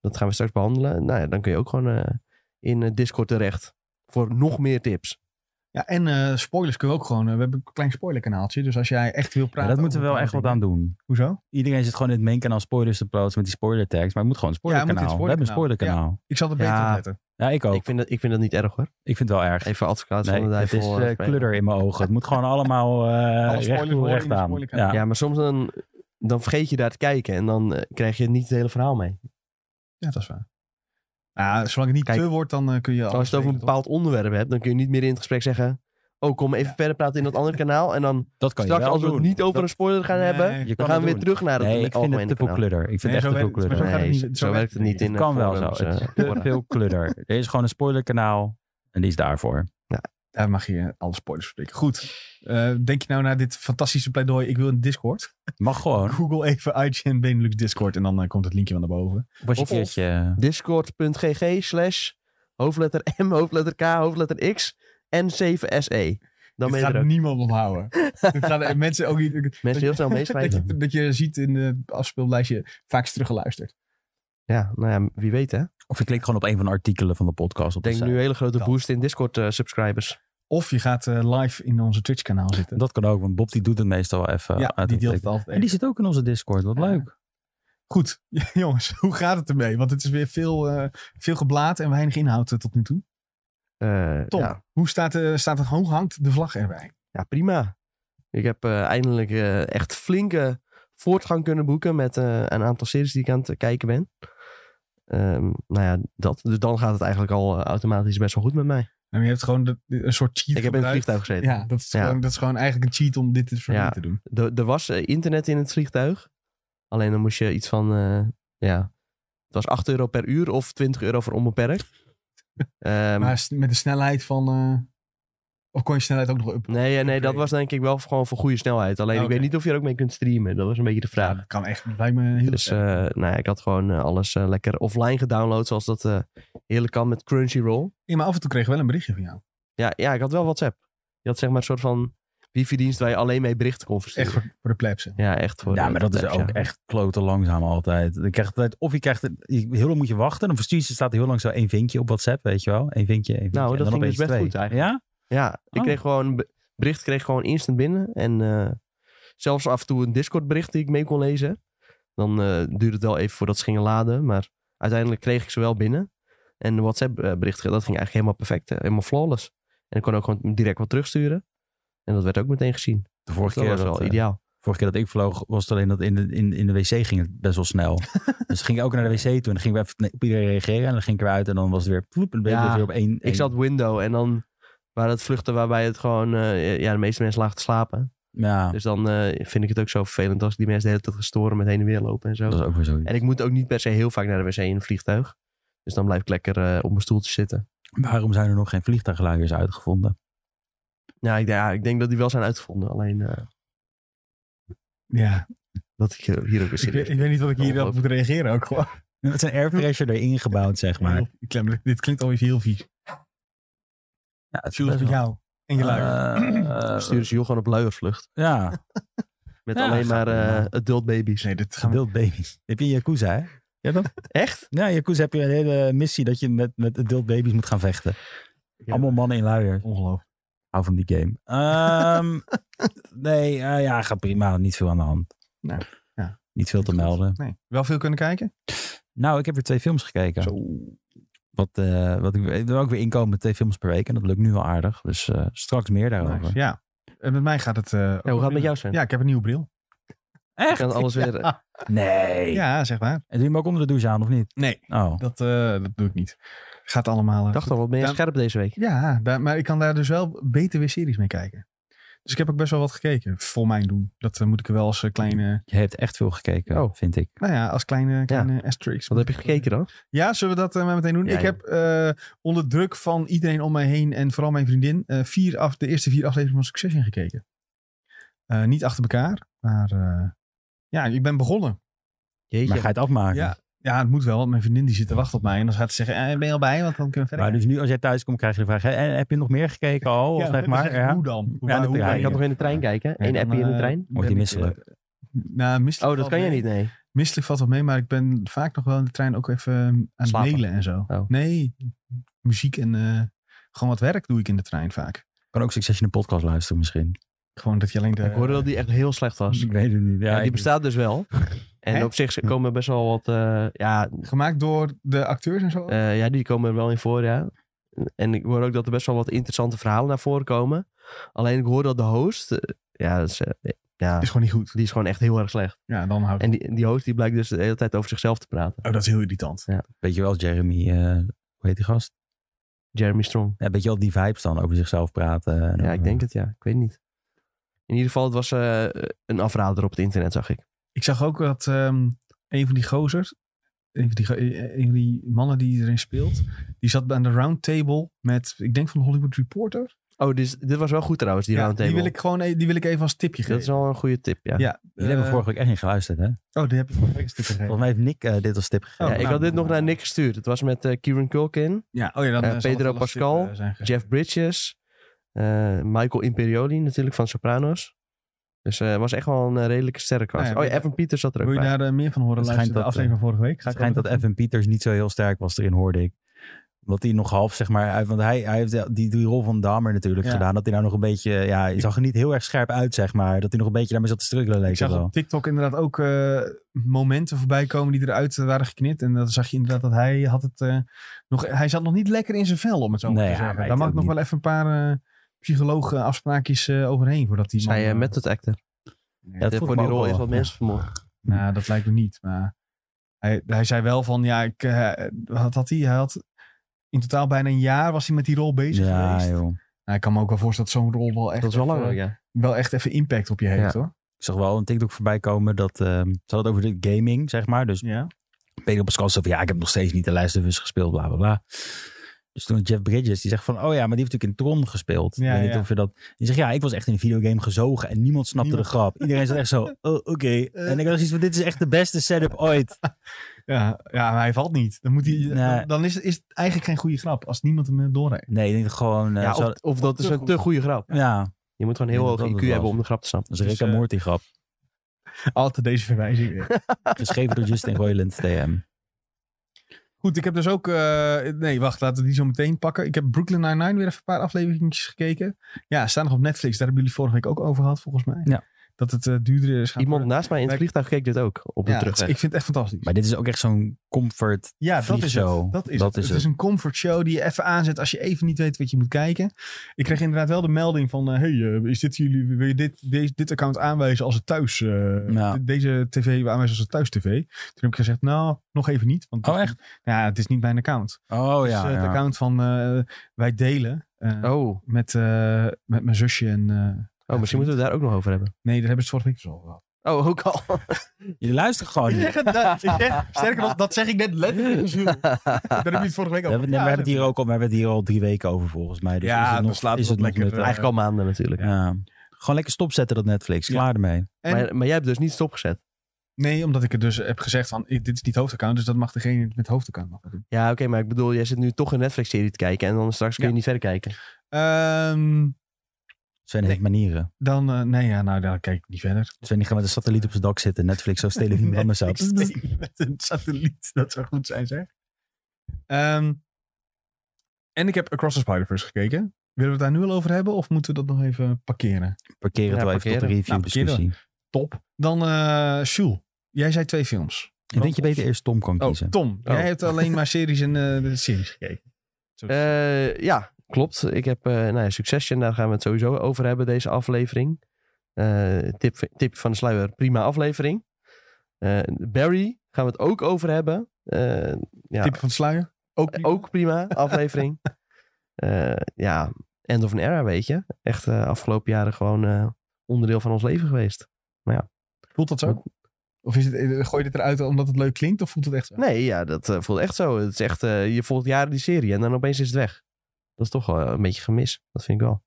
[SPEAKER 2] Dat gaan we straks behandelen. Nou ja, dan kun je ook gewoon eh, in eh, Discord terecht voor nog meer tips.
[SPEAKER 1] Ja, en eh, spoilers kunnen we ook gewoon... eh, we hebben een klein spoilerkanaaltje. Dus als jij echt wil
[SPEAKER 3] Ja,
[SPEAKER 1] praten...
[SPEAKER 3] dat moeten we
[SPEAKER 1] over
[SPEAKER 3] wel echt wat
[SPEAKER 1] bepaalde
[SPEAKER 3] aan doen.
[SPEAKER 1] dingen- Hoezo?
[SPEAKER 3] Iedereen zit gewoon in het mainkanaal spoilers te plaatsen met die spoiler tags. Maar het moet gewoon een
[SPEAKER 1] Ja, het moet in
[SPEAKER 3] spoilerkanaal.
[SPEAKER 1] het
[SPEAKER 3] we hebben een
[SPEAKER 1] spoilerkanaal.
[SPEAKER 3] spoilerkanaal.
[SPEAKER 1] Ik zal er beter
[SPEAKER 2] Ja.
[SPEAKER 1] op letten.
[SPEAKER 3] Ja, ik ook.
[SPEAKER 2] Ik
[SPEAKER 3] Ik vind,
[SPEAKER 2] vind, dat, ik vind dat niet erg hoor.
[SPEAKER 3] het wel erg.
[SPEAKER 2] Even advocaat
[SPEAKER 3] Nee,
[SPEAKER 2] van de
[SPEAKER 3] het
[SPEAKER 2] duivel.
[SPEAKER 3] is
[SPEAKER 2] eh,
[SPEAKER 3] eh,
[SPEAKER 2] spelen.
[SPEAKER 3] kleur in mijn ogen. Het moet gewoon allemaal eh
[SPEAKER 1] spoilers
[SPEAKER 3] recht toe,
[SPEAKER 1] horen in
[SPEAKER 3] recht
[SPEAKER 1] het
[SPEAKER 3] aan.
[SPEAKER 1] spoilerkanaal.
[SPEAKER 3] Ja.
[SPEAKER 2] Ja, maar soms dan, dan vergeet je daar te kijken en dan eh, krijg je niet het hele verhaal mee.
[SPEAKER 1] Ja, dat is waar. Nou, zolang het niet
[SPEAKER 2] Kijk,
[SPEAKER 1] te wordt, dan eh, kun je...
[SPEAKER 2] Als je het over een bepaald onderwerp hebt, dan kun je niet meer in het gesprek zeggen... Oh, kom even verder praten in dat andere kanaal. En dan
[SPEAKER 3] Dat kan
[SPEAKER 2] straks,
[SPEAKER 3] je wel
[SPEAKER 2] als we het
[SPEAKER 3] doen.
[SPEAKER 2] niet over
[SPEAKER 3] Dat-
[SPEAKER 2] een spoiler gaan hebben,
[SPEAKER 1] Nee,
[SPEAKER 3] je
[SPEAKER 2] dan
[SPEAKER 3] kan
[SPEAKER 2] gaan
[SPEAKER 3] het
[SPEAKER 2] we weer
[SPEAKER 3] doen.
[SPEAKER 2] terug naar het
[SPEAKER 3] Nee, ik vind het
[SPEAKER 2] algemene
[SPEAKER 3] te veel
[SPEAKER 2] kanaal.
[SPEAKER 3] kleur. Ik vind
[SPEAKER 1] Nee,
[SPEAKER 3] het
[SPEAKER 1] zo
[SPEAKER 3] echt te veel
[SPEAKER 1] werkt- maar
[SPEAKER 3] kleur.
[SPEAKER 1] zo gaat het
[SPEAKER 2] Nee,
[SPEAKER 1] niet-
[SPEAKER 2] zo,
[SPEAKER 1] zo werkt
[SPEAKER 2] werkt het niet in
[SPEAKER 3] Het
[SPEAKER 2] eh,
[SPEAKER 3] kan wel zo.
[SPEAKER 2] forums,
[SPEAKER 3] Het
[SPEAKER 2] eh,
[SPEAKER 3] is te veel kludder. Er is gewoon een spoilerkanaal. En die is daarvoor.
[SPEAKER 1] Daar mag je alle spoilers spreken. Goed. Eh, denk je nou naar dit fantastische pleidooi, ik wil een Discord?
[SPEAKER 3] Mag gewoon.
[SPEAKER 1] Google even IGN Benelux Discord en dan eh, komt het linkje van naar boven.
[SPEAKER 3] Was je
[SPEAKER 1] Of-
[SPEAKER 3] eh, een keertje...
[SPEAKER 2] Discord.gg slash hoofdletter M, hoofdletter K, hoofdletter X en 7SE. Dan
[SPEAKER 1] Dit
[SPEAKER 2] ben je
[SPEAKER 1] gaat
[SPEAKER 2] er ook.
[SPEAKER 1] niemand onthouden. Dit gaan eh, mensen ook niet...
[SPEAKER 2] Mensen heel snel
[SPEAKER 1] dat,
[SPEAKER 2] meeschrijven.
[SPEAKER 1] je, dat je ziet in het afspeellijstje vaak is teruggeluisterd.
[SPEAKER 2] Ja, nou ja, wie weet hè.
[SPEAKER 3] Of je klikt gewoon op een van de artikelen van de podcast. Op de
[SPEAKER 2] Denk
[SPEAKER 3] site.
[SPEAKER 2] nu een hele grote
[SPEAKER 1] Kan.
[SPEAKER 2] boost in eh, Discord-subscribers.
[SPEAKER 1] Of je gaat eh, live in onze Twitch kanaal zitten.
[SPEAKER 3] Dat Ah, kan ook, want Bob die doet het meestal wel even.
[SPEAKER 1] ja,
[SPEAKER 3] uit
[SPEAKER 1] die
[SPEAKER 3] een
[SPEAKER 1] deelt
[SPEAKER 3] blik.
[SPEAKER 1] het altijd.
[SPEAKER 3] En die zit ook in onze Discord, wat
[SPEAKER 1] Ja.
[SPEAKER 3] leuk.
[SPEAKER 1] Goed, jongens, hoe gaat het ermee? Want het is weer veel, eh, veel geblaat en weinig inhoud eh, tot nu toe.
[SPEAKER 2] Eh,
[SPEAKER 1] Tom,
[SPEAKER 2] Ja,
[SPEAKER 1] hoe, staat, eh, staat, het- hoe hangt de vlag erbij?
[SPEAKER 2] ja, prima. Ik heb eh, eindelijk eh, echt flinke voortgang kunnen boeken met eh, een aantal series die ik aan het kijken ben. Ehm, nou ja, dat, dus dan gaat het eigenlijk al eh, automatisch best wel goed met mij.
[SPEAKER 1] Nou, je hebt gewoon de- de- een soort cheat
[SPEAKER 2] Ik heb in het
[SPEAKER 1] gebruikt.
[SPEAKER 2] vliegtuig gezeten.
[SPEAKER 1] Ja, dat is,
[SPEAKER 2] Ja.
[SPEAKER 1] Gewoon, dat is gewoon eigenlijk een cheat om dit soort
[SPEAKER 2] Ja.
[SPEAKER 1] dingen te doen.
[SPEAKER 2] Er- Er was eh, internet in het vliegtuig. Alleen dan moest je iets van, eh, ja, het was 8 euro per uur of 20 euro voor onbeperkt. Ehm,
[SPEAKER 1] maar s- met de snelheid van... eh, of kon je snelheid ook nog up?
[SPEAKER 2] nee, ja, nee, dat
[SPEAKER 1] Oké.
[SPEAKER 2] was denk ik wel gewoon voor goede snelheid. Alleen ik
[SPEAKER 1] Oké.
[SPEAKER 2] weet niet of je er ook mee kunt streamen. Dat was een beetje de vraag.
[SPEAKER 1] dat kan echt. Dat lijkt me heel
[SPEAKER 2] Dus
[SPEAKER 1] sterk.
[SPEAKER 2] eh, nou ja, ik had gewoon eh, alles eh, lekker offline gedownload, zoals dat eh heerlijk kan met Crunchyroll.
[SPEAKER 1] Ja, maar af en toe kreeg ik wel een berichtje van jou.
[SPEAKER 2] Ja, ja, ik had wel WhatsApp. Je had zeg maar een soort van wifi-dienst waar je alleen mee berichten kon versturen.
[SPEAKER 1] Echt voor, voor de plebs.
[SPEAKER 2] Ja, echt voor
[SPEAKER 3] Ja,
[SPEAKER 2] eh,
[SPEAKER 3] maar dat is
[SPEAKER 2] WhatsApp,
[SPEAKER 3] ook
[SPEAKER 2] ja.
[SPEAKER 3] echt klote langzaam altijd. Je krijgt altijd of je krijgt, het- je- heel lang moet je wachten. Dan verstuur je, staat er heel lang zo één vinkje op WhatsApp, weet je wel. Eén vinkje, één vinkje.
[SPEAKER 2] Nou,
[SPEAKER 3] en
[SPEAKER 2] dat
[SPEAKER 3] dan
[SPEAKER 2] ging dus
[SPEAKER 3] opeens
[SPEAKER 2] best
[SPEAKER 3] twee.
[SPEAKER 2] goed eigenlijk.
[SPEAKER 3] Ja?
[SPEAKER 2] Ja, ik
[SPEAKER 3] Oh.
[SPEAKER 2] kreeg gewoon een be- bericht kreeg gewoon instant binnen. En eh, zelfs af en toe een Discord bericht die ik mee kon lezen. Dan eh, duurde het wel even voordat ze gingen laden. Maar uiteindelijk kreeg ik ze wel binnen. En de WhatsApp eh, bericht, dat ging eigenlijk helemaal perfect. eh, Helemaal flawless. En ik kon ook gewoon direct wat terugsturen. En dat werd ook meteen gezien.
[SPEAKER 3] De
[SPEAKER 2] Dus
[SPEAKER 3] vorige
[SPEAKER 2] dat
[SPEAKER 3] keer
[SPEAKER 2] was
[SPEAKER 3] dat,
[SPEAKER 2] wel
[SPEAKER 3] eh,
[SPEAKER 2] ideaal.
[SPEAKER 3] Vorige keer dat ik vloog, was het alleen dat in de, in, in de wc ging het best wel snel. dus ging ik ook naar de wc toe en dan gingen we even nee, op iedereen reageren. En dan ging ik weer uit en dan was het weer ploep. En dan ben je
[SPEAKER 2] Ja,
[SPEAKER 3] weer op één.
[SPEAKER 2] Ik zat window en dan waren het vluchten waarbij het gewoon... eh, ja, de meeste mensen lagen te slapen.
[SPEAKER 3] Ja,
[SPEAKER 2] Dus dan eh, vind ik het ook zo vervelend als ik die mensen de hele tijd gestoren met heen en weer lopen en zo.
[SPEAKER 3] dat is ook weer zo.
[SPEAKER 2] En ik moet ook niet per se heel vaak naar de wc in een vliegtuig. Dus dan blijf ik lekker eh, op mijn stoeltje zitten.
[SPEAKER 3] Waarom zijn er nog geen vliegtuigluiers uitgevonden?
[SPEAKER 2] Nou, ik, ja, ik denk dat die wel zijn uitgevonden. Alleen eh,
[SPEAKER 1] Ja,
[SPEAKER 2] dat ik eh, hier ook weer
[SPEAKER 1] ik
[SPEAKER 2] zin
[SPEAKER 1] weet,
[SPEAKER 2] in.
[SPEAKER 1] ik weet niet wat ik hierop moet reageren ook gewoon.
[SPEAKER 3] Het zijn air pressure erin gebouwd, zeg maar.
[SPEAKER 1] Heel- ik klem- dit klinkt alweer heel vies.
[SPEAKER 3] Ja, het
[SPEAKER 1] Jules, met jou en je luier.
[SPEAKER 3] Eh, eh,
[SPEAKER 2] Sturen ze joh dus gewoon op luiervlucht.
[SPEAKER 3] Ja,
[SPEAKER 2] Met
[SPEAKER 3] Ja,
[SPEAKER 2] alleen
[SPEAKER 3] gaat
[SPEAKER 2] maar eh,
[SPEAKER 3] prima.
[SPEAKER 2] adult baby's.
[SPEAKER 1] Nee, dit gaan we...
[SPEAKER 3] adult baby's. Heb je een Yakuza, hè? Ja, dat?
[SPEAKER 2] Echt?
[SPEAKER 3] Ja, in Yakuza heb je een hele missie dat je met, met adult baby's moet gaan vechten. Allemaal mannen in luier.
[SPEAKER 1] Ongelooflijk.
[SPEAKER 3] Hou van die game. Ehm, nee, eh, ja, gaat prima. Niet veel aan de hand.
[SPEAKER 1] Nou, ja.
[SPEAKER 3] Niet veel te
[SPEAKER 1] Goed.
[SPEAKER 3] melden.
[SPEAKER 1] Nee. Wel veel kunnen kijken?
[SPEAKER 3] Nou, ik heb weer twee films gekeken.
[SPEAKER 1] Zo.
[SPEAKER 3] Wat, eh, wat ik, ik wil ook weer inkomen met twee films per week. En dat lukt nu al aardig. Dus eh, straks meer daarover.
[SPEAKER 1] Nice. Ja. En met mij gaat het... eh, ook
[SPEAKER 2] Ja, hoe gaat het met
[SPEAKER 1] prima.
[SPEAKER 2] jou zijn?
[SPEAKER 1] Ja, ik heb een nieuwe bril.
[SPEAKER 2] Echt? Kan alles weer...
[SPEAKER 1] Ja,
[SPEAKER 3] Nee.
[SPEAKER 1] ja, zeg maar.
[SPEAKER 3] En doe je hem ook onder de douche aan, of niet?
[SPEAKER 1] Nee,
[SPEAKER 3] Oh.
[SPEAKER 1] dat, eh, dat doe ik niet. Gaat allemaal... eh,
[SPEAKER 2] Ik dacht al, wat ben je
[SPEAKER 1] Dan-
[SPEAKER 2] scherp deze week?
[SPEAKER 1] Ja, daar- maar ik kan daar dus wel beter weer series mee kijken. Dus ik heb ook best wel wat gekeken, voor mijn doen. Dat eh, moet ik er wel als eh, kleine,
[SPEAKER 3] Je hebt echt veel gekeken,
[SPEAKER 2] Oh.
[SPEAKER 3] vind ik.
[SPEAKER 1] nou ja, als kleine, kleine asterisk.
[SPEAKER 2] Wat heb je gekeken dan?
[SPEAKER 1] Ja, zullen we dat eh, maar meteen doen?
[SPEAKER 2] Ja,
[SPEAKER 1] ik
[SPEAKER 2] joh.
[SPEAKER 1] heb eh, onder druk van iedereen om mij heen en vooral mijn vriendin eh, vier af, de eerste vier afleveringen van Succession gekeken. Eh, niet achter elkaar, maar eh, ja, ik ben begonnen.
[SPEAKER 2] Jeetje.
[SPEAKER 3] Maar ga je het afmaken?
[SPEAKER 1] Ja. Ja, het moet wel, want mijn vriendin die zit te wachten op mij. En dan gaat ze zeggen, eh, ben je al bij? Want dan kunnen we
[SPEAKER 3] Maar
[SPEAKER 1] verder.
[SPEAKER 3] dus nu als jij thuis komt, krijg je de vraag... hè, en heb je nog meer gekeken al? of
[SPEAKER 1] Ja,
[SPEAKER 3] zeg maar,
[SPEAKER 1] dan zeg ik,
[SPEAKER 3] ja.
[SPEAKER 1] Hoe dan? Hoe,
[SPEAKER 3] Ja, dat-
[SPEAKER 1] hoe ben
[SPEAKER 3] ja,
[SPEAKER 2] Ja, ik
[SPEAKER 1] je?
[SPEAKER 2] kan toch in de trein kijken?
[SPEAKER 1] Nee,
[SPEAKER 2] Eén
[SPEAKER 1] dan,
[SPEAKER 2] appje in de
[SPEAKER 1] eh,
[SPEAKER 2] trein?
[SPEAKER 1] ben
[SPEAKER 3] Wordt die
[SPEAKER 1] ik,
[SPEAKER 3] misselijk?
[SPEAKER 1] eh, nou, misselijk
[SPEAKER 2] Oh,
[SPEAKER 1] valt
[SPEAKER 2] dat kan jij
[SPEAKER 1] mee.
[SPEAKER 2] niet, nee.
[SPEAKER 1] Misselijk valt wel mee, maar ik ben vaak nog wel in de trein ook even ehm, aan het
[SPEAKER 2] Slapen.
[SPEAKER 1] mailen en zo.
[SPEAKER 2] Oh.
[SPEAKER 1] Nee, muziek en eh, gewoon wat werk doe ik in de trein vaak.
[SPEAKER 3] Kan ook succes in een podcast luisteren misschien.
[SPEAKER 1] Gewoon dat je alleen de...
[SPEAKER 2] Ik hoorde dat die echt heel slecht was.
[SPEAKER 3] Ik weet het niet. Ja,
[SPEAKER 2] Ja, die
[SPEAKER 3] ik-
[SPEAKER 2] bestaat dus wel. En
[SPEAKER 1] Hè?
[SPEAKER 2] op zich komen best wel wat... eh, ja,
[SPEAKER 1] Gemaakt door de acteurs en zo?
[SPEAKER 2] Eh, ja, die komen er wel in voor, ja. En ik hoor ook dat er best wel wat interessante verhalen naar voren komen. Alleen ik hoor dat de host... eh, ja, dat is, eh, ja,
[SPEAKER 1] is gewoon niet goed.
[SPEAKER 2] die is gewoon echt heel erg slecht.
[SPEAKER 1] Ja, dan houdt
[SPEAKER 2] En die, die host die blijkt dus de hele tijd over zichzelf te praten.
[SPEAKER 1] Oh, dat is heel irritant.
[SPEAKER 3] Weet je wel, Jeremy, eh, hoe heet die gast?
[SPEAKER 2] Jeremy Strong.
[SPEAKER 3] Ja, weet je wel, die vibes dan over zichzelf praten. eh, en
[SPEAKER 2] Ja,
[SPEAKER 3] over-
[SPEAKER 2] ik denk het, ja. Ik weet niet. In ieder geval, het was eh, een afrader op het internet, zag ik.
[SPEAKER 1] Ik zag ook dat ehm, een van die gozers, een van die, go- eh, een van die mannen die erin speelt, die zat aan de roundtable met, ik denk van de Hollywood Reporter.
[SPEAKER 2] Oh, dus, dit was wel goed trouwens, die
[SPEAKER 1] Ja,
[SPEAKER 2] roundtable.
[SPEAKER 1] Die wil ik gewoon, e- die wil ik even als tipje
[SPEAKER 2] Dat
[SPEAKER 1] geven.
[SPEAKER 2] is wel een goede tip, ja.
[SPEAKER 1] Ja,
[SPEAKER 3] Die hebben we
[SPEAKER 1] Eh,
[SPEAKER 3] vorige week echt niet geluisterd, hè?
[SPEAKER 1] Oh, die heb je vorige week als tipje gegeven.
[SPEAKER 3] Volgens mij heeft Nick eh, dit als tip gegeven.
[SPEAKER 2] Ja,
[SPEAKER 1] Oh,
[SPEAKER 2] ik
[SPEAKER 1] nou.
[SPEAKER 2] had dit nog naar Nick gestuurd. Het was met eh, Kieran Culkin,
[SPEAKER 1] Ja, oh ja, dan
[SPEAKER 2] Eh,
[SPEAKER 1] eh, zal het
[SPEAKER 2] Pedro
[SPEAKER 1] wel als tip,
[SPEAKER 2] Pascal,
[SPEAKER 1] eh, zijn gegeven.
[SPEAKER 2] Jeff Bridges, eh, Michael Imperioli natuurlijk van Sopranos. Dus eh was echt wel een eh, redelijke sterke
[SPEAKER 1] Nou
[SPEAKER 2] cast.
[SPEAKER 1] ja,
[SPEAKER 2] oh
[SPEAKER 1] weet
[SPEAKER 2] ja, Evan Peters zat er ook
[SPEAKER 1] Wil je
[SPEAKER 2] bij.
[SPEAKER 1] daar eh, meer van horen?
[SPEAKER 3] Het
[SPEAKER 1] Luister
[SPEAKER 3] schijnt
[SPEAKER 1] de
[SPEAKER 3] dat,
[SPEAKER 1] aflevering van vorige week. Ga
[SPEAKER 3] Het
[SPEAKER 1] ik
[SPEAKER 3] schijnt
[SPEAKER 1] ook
[SPEAKER 3] dat
[SPEAKER 1] even-
[SPEAKER 3] Evan Peters niet zo heel sterk was erin, hoorde ik. Want hij nog half, zeg maar, uit- want hij, hij heeft die, die rol van Dahmer natuurlijk
[SPEAKER 1] Ja.
[SPEAKER 3] gedaan. Dat hij nou nog een beetje, ja, je zag er niet heel erg scherp uit, zeg maar. Dat hij nog een beetje daarmee zat te struggelen, leek
[SPEAKER 1] Ik
[SPEAKER 3] het
[SPEAKER 1] zag
[SPEAKER 3] wel.
[SPEAKER 1] op TikTok inderdaad ook eh, momenten voorbij komen die eruit eh, waren geknipt. En dan zag je inderdaad dat hij had het eh, nog... Hij zat nog niet lekker in zijn vel, om het zo maar
[SPEAKER 3] Nee,
[SPEAKER 1] te
[SPEAKER 3] hij
[SPEAKER 1] zeggen.
[SPEAKER 3] weet
[SPEAKER 1] Daar mag
[SPEAKER 3] ook
[SPEAKER 1] nog
[SPEAKER 3] niet.
[SPEAKER 1] wel even een paar eh psychologen afspraakjes eh, overheen. Voordat die man,
[SPEAKER 2] Zij
[SPEAKER 1] eh,
[SPEAKER 2] met het actor.
[SPEAKER 1] nee,
[SPEAKER 3] Ja,
[SPEAKER 1] dat,
[SPEAKER 3] dat vroeg
[SPEAKER 2] voor
[SPEAKER 3] me
[SPEAKER 2] die
[SPEAKER 3] ook
[SPEAKER 2] rol
[SPEAKER 3] wel
[SPEAKER 2] is
[SPEAKER 3] af.
[SPEAKER 2] wat mensen vermoord.
[SPEAKER 1] nou, dat lijkt me niet. Maar hij, hij zei wel van, ja, ik, eh, wat had hij? Hij had in totaal bijna een jaar was hij met die rol bezig
[SPEAKER 3] Ja,
[SPEAKER 1] geweest.
[SPEAKER 3] joh.
[SPEAKER 1] Nou, ik kan me ook wel voorstellen dat zo'n rol wel echt,
[SPEAKER 2] Dat is wel
[SPEAKER 1] even-
[SPEAKER 2] lang, ook, ja.
[SPEAKER 1] wel echt even impact op je heeft,
[SPEAKER 2] Ja.
[SPEAKER 1] hoor.
[SPEAKER 3] Ik zag wel een TikTok voorbij komen dat... ehm ze hadden het over de gaming, zeg maar. Dus
[SPEAKER 1] Ja.
[SPEAKER 3] Pedro Pascal zei van ja, ik heb nog steeds niet de lijstdubbers gespeeld, bla bla bla. Dus toen Jeff Bridges, die zegt van oh ja, maar die heeft natuurlijk in Tron gespeeld.
[SPEAKER 1] Ja,
[SPEAKER 3] ik weet niet
[SPEAKER 1] ja.
[SPEAKER 3] of je dat... Die zegt ja, ik was echt in een videogame gezogen en niemand snapte
[SPEAKER 1] Niemand. Eh.
[SPEAKER 3] de grap. Iedereen zat echt zo, oh oké. En ik had zoiets van dit is echt de beste setup ooit.
[SPEAKER 1] Ja, ja, maar hij valt niet. Dan, moet hij,
[SPEAKER 3] Nee.
[SPEAKER 1] dan is, is het eigenlijk geen goede grap als niemand hem eh, doorheeft.
[SPEAKER 3] Nee, ik denk dat gewoon... eh,
[SPEAKER 2] Ja,
[SPEAKER 3] zo- ja,
[SPEAKER 2] of, of dat is
[SPEAKER 1] te
[SPEAKER 2] een te
[SPEAKER 1] goed.
[SPEAKER 2] goede grap.
[SPEAKER 3] dat
[SPEAKER 2] Je moet gewoon
[SPEAKER 3] Ik
[SPEAKER 2] heel
[SPEAKER 3] denk dat
[SPEAKER 2] hoog
[SPEAKER 3] dat
[SPEAKER 2] IQ
[SPEAKER 3] het
[SPEAKER 2] hebben
[SPEAKER 3] was.
[SPEAKER 2] om de grap te snappen.
[SPEAKER 3] is een
[SPEAKER 1] Dus,
[SPEAKER 3] Rick en
[SPEAKER 1] eh,
[SPEAKER 3] Morty grap.
[SPEAKER 1] Altijd deze verwijzing weer.
[SPEAKER 3] Geschreven door Justin Roiland, TM.
[SPEAKER 1] Goed, ik heb dus ook... eh, nee, wacht, laten we die zo meteen pakken. Ik heb Brooklyn Nine-Nine weer even een paar afleveringetjes gekeken. Ja, staan nog op Netflix. Daar hebben jullie vorige week ook over gehad, volgens mij.
[SPEAKER 3] Ja.
[SPEAKER 1] Dat het eh, duurder is gaan
[SPEAKER 2] Iemand
[SPEAKER 1] worden.
[SPEAKER 2] naast mij in het
[SPEAKER 1] Wij-
[SPEAKER 2] vliegtuig keek dit ook op de
[SPEAKER 1] Ja, het-
[SPEAKER 2] terugweg.
[SPEAKER 1] ik vind het echt fantastisch.
[SPEAKER 3] Maar dit is ook echt zo'n comfort...
[SPEAKER 1] Ja, dat is, het.
[SPEAKER 3] vliegshow.
[SPEAKER 1] dat is
[SPEAKER 3] Dat
[SPEAKER 1] het.
[SPEAKER 3] is
[SPEAKER 1] het
[SPEAKER 3] het.
[SPEAKER 1] is een comfort show die je even aanzet als je even niet weet wat je moet kijken. Ik kreeg inderdaad wel de melding van... eh, hey, eh, is dit jullie, wil je dit, deze, dit account aanwijzen als het thuis... eh,
[SPEAKER 3] Ja.
[SPEAKER 1] de- Deze tv aanwijzen als het thuis tv. Toen heb ik gezegd, nou, nog even niet. Want
[SPEAKER 3] Oh, echt?
[SPEAKER 1] Ja, het is niet mijn account.
[SPEAKER 3] Oh
[SPEAKER 1] Het is,
[SPEAKER 3] ja,
[SPEAKER 1] eh, het
[SPEAKER 3] ja.
[SPEAKER 1] account van eh, wij delen eh,
[SPEAKER 2] Oh,
[SPEAKER 1] met, eh, met mijn zusje en... eh,
[SPEAKER 2] oh, misschien moeten we het daar ook nog over hebben.
[SPEAKER 1] nee, daar hebben ze het vorige week dus al over gehad.
[SPEAKER 2] Oh, ook al.
[SPEAKER 3] Je luistert gewoon niet.
[SPEAKER 1] Ik zeg het, dat- ik zeg- Sterker nog, dat zeg ik net letterlijk. in Zoom. Daar heb je het vorige week
[SPEAKER 3] We
[SPEAKER 1] al
[SPEAKER 3] hebben, nee, we hebben het hier ook al, we hebben het hier al drie weken over volgens mij. Dus
[SPEAKER 1] Ja,
[SPEAKER 3] is het
[SPEAKER 1] dan
[SPEAKER 3] nog,
[SPEAKER 1] slaat het
[SPEAKER 3] is het
[SPEAKER 1] op
[SPEAKER 3] nog
[SPEAKER 1] lekker,
[SPEAKER 3] nuttig.
[SPEAKER 1] eh,
[SPEAKER 2] Eigenlijk al maanden natuurlijk.
[SPEAKER 3] Ja. Ehm, Gewoon lekker stopzetten dat Netflix.
[SPEAKER 1] Ja.
[SPEAKER 3] Klaar ermee.
[SPEAKER 1] En-
[SPEAKER 2] Maar, maar jij hebt dus niet stopgezet.
[SPEAKER 1] Nee, omdat ik het dus heb gezegd van, ik- dit is niet hoofdaccount, dus dat mag degene met hoofdaccount mag dat doen.
[SPEAKER 2] Ja, oké, maar ik bedoel, jij zit nu toch een Netflix-serie te kijken en dan straks kun je
[SPEAKER 1] Ja.
[SPEAKER 2] niet verder kijken.
[SPEAKER 1] Ehm,
[SPEAKER 3] Sven heeft manieren.
[SPEAKER 1] dan, eh, nee, ja, nou, daar kijk ik niet verder.
[SPEAKER 3] Sven die gaat met een satelliet op zijn dak zitten. Netflix of televisie van
[SPEAKER 1] Netflix
[SPEAKER 3] mezelf.
[SPEAKER 1] steekt met een satelliet, dat zou goed zijn, zeg. Ehm, en ik heb Across the Spider-Verse gekeken. Willen we het daar nu al over hebben, of moeten we dat nog even parkeren?
[SPEAKER 3] Parkeer het
[SPEAKER 2] Ja,
[SPEAKER 3] wel even tot de
[SPEAKER 2] parkeren.
[SPEAKER 3] review
[SPEAKER 1] Nou, parkeren
[SPEAKER 3] discussie.
[SPEAKER 1] Top. Dan, eh Sjoel, jij zei twee films.
[SPEAKER 3] Ik denk je beter eerst Tom kan
[SPEAKER 1] Oh,
[SPEAKER 3] kiezen.
[SPEAKER 1] Tom,
[SPEAKER 2] Oh.
[SPEAKER 1] jij hebt alleen maar series en eh, de series gekeken. Zo.
[SPEAKER 2] Eh, ja, klopt. Ik heb eh nou ja, Succession, daar gaan we het sowieso over hebben, deze aflevering. Eh, tip, tip van de sluier, prima aflevering. Eh, Barry gaan we het ook over hebben. Eh, ja,
[SPEAKER 1] Tip van het sluier? Ook,
[SPEAKER 2] eh,
[SPEAKER 1] niet?
[SPEAKER 2] ook prima aflevering. Eh, ja, end of an era, weet je. Echt eh, afgelopen jaren gewoon eh, onderdeel van ons leven geweest.
[SPEAKER 1] Voelt dat zo? Of is het, eh, gooi je dit eruit omdat het leuk klinkt, of voelt het echt zo?
[SPEAKER 2] Nee, ja, dat eh, voelt echt zo. Het is echt, eh, je volgt jaren die serie en dan opeens is het weg. Dat is toch wel een beetje gemis. Dat vind ik wel.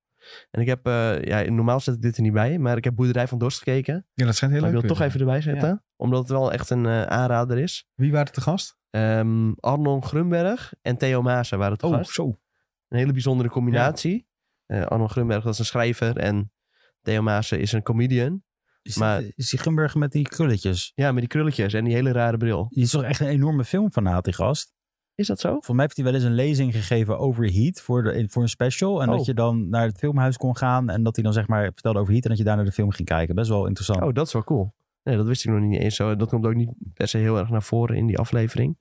[SPEAKER 2] En ik heb, eh, ja, normaal zet ik dit er niet bij, maar ik heb Boerderij van Dorst gekeken.
[SPEAKER 1] Ja, dat schijnt heel
[SPEAKER 2] maar ik
[SPEAKER 1] leuk
[SPEAKER 2] wil het
[SPEAKER 1] te
[SPEAKER 2] toch
[SPEAKER 1] zijn.
[SPEAKER 2] even erbij zetten, omdat het wel echt een eh, aanrader is.
[SPEAKER 1] Wie waren te gast?
[SPEAKER 2] Ehm, Arnon Grunberg en Theo Maassen waren het gast.
[SPEAKER 1] Oh, zo.
[SPEAKER 2] Een hele bijzondere combinatie. Eh, Arnon Grunberg, dat is een schrijver en Theo Maassen is een comedian.
[SPEAKER 3] Is,
[SPEAKER 2] maar-
[SPEAKER 3] dit- is die Gumburg met die krulletjes?
[SPEAKER 2] Ja, met die krulletjes en die hele rare bril.
[SPEAKER 3] Die is toch echt een enorme filmfanaat, die gast.
[SPEAKER 2] Is dat zo?
[SPEAKER 3] Voor mij heeft hij wel eens een lezing gegeven over Heat voor, de, voor een special. En
[SPEAKER 2] Oh.
[SPEAKER 3] dat je dan naar het filmhuis kon gaan. En dat hij dan zeg maar vertelde over Heat. En dat je daar naar de film ging kijken. Best wel interessant.
[SPEAKER 2] Oh, dat is wel cool. Nee, dat wist ik nog niet eens zo. Dat komt ook niet per se heel erg naar voren in die aflevering.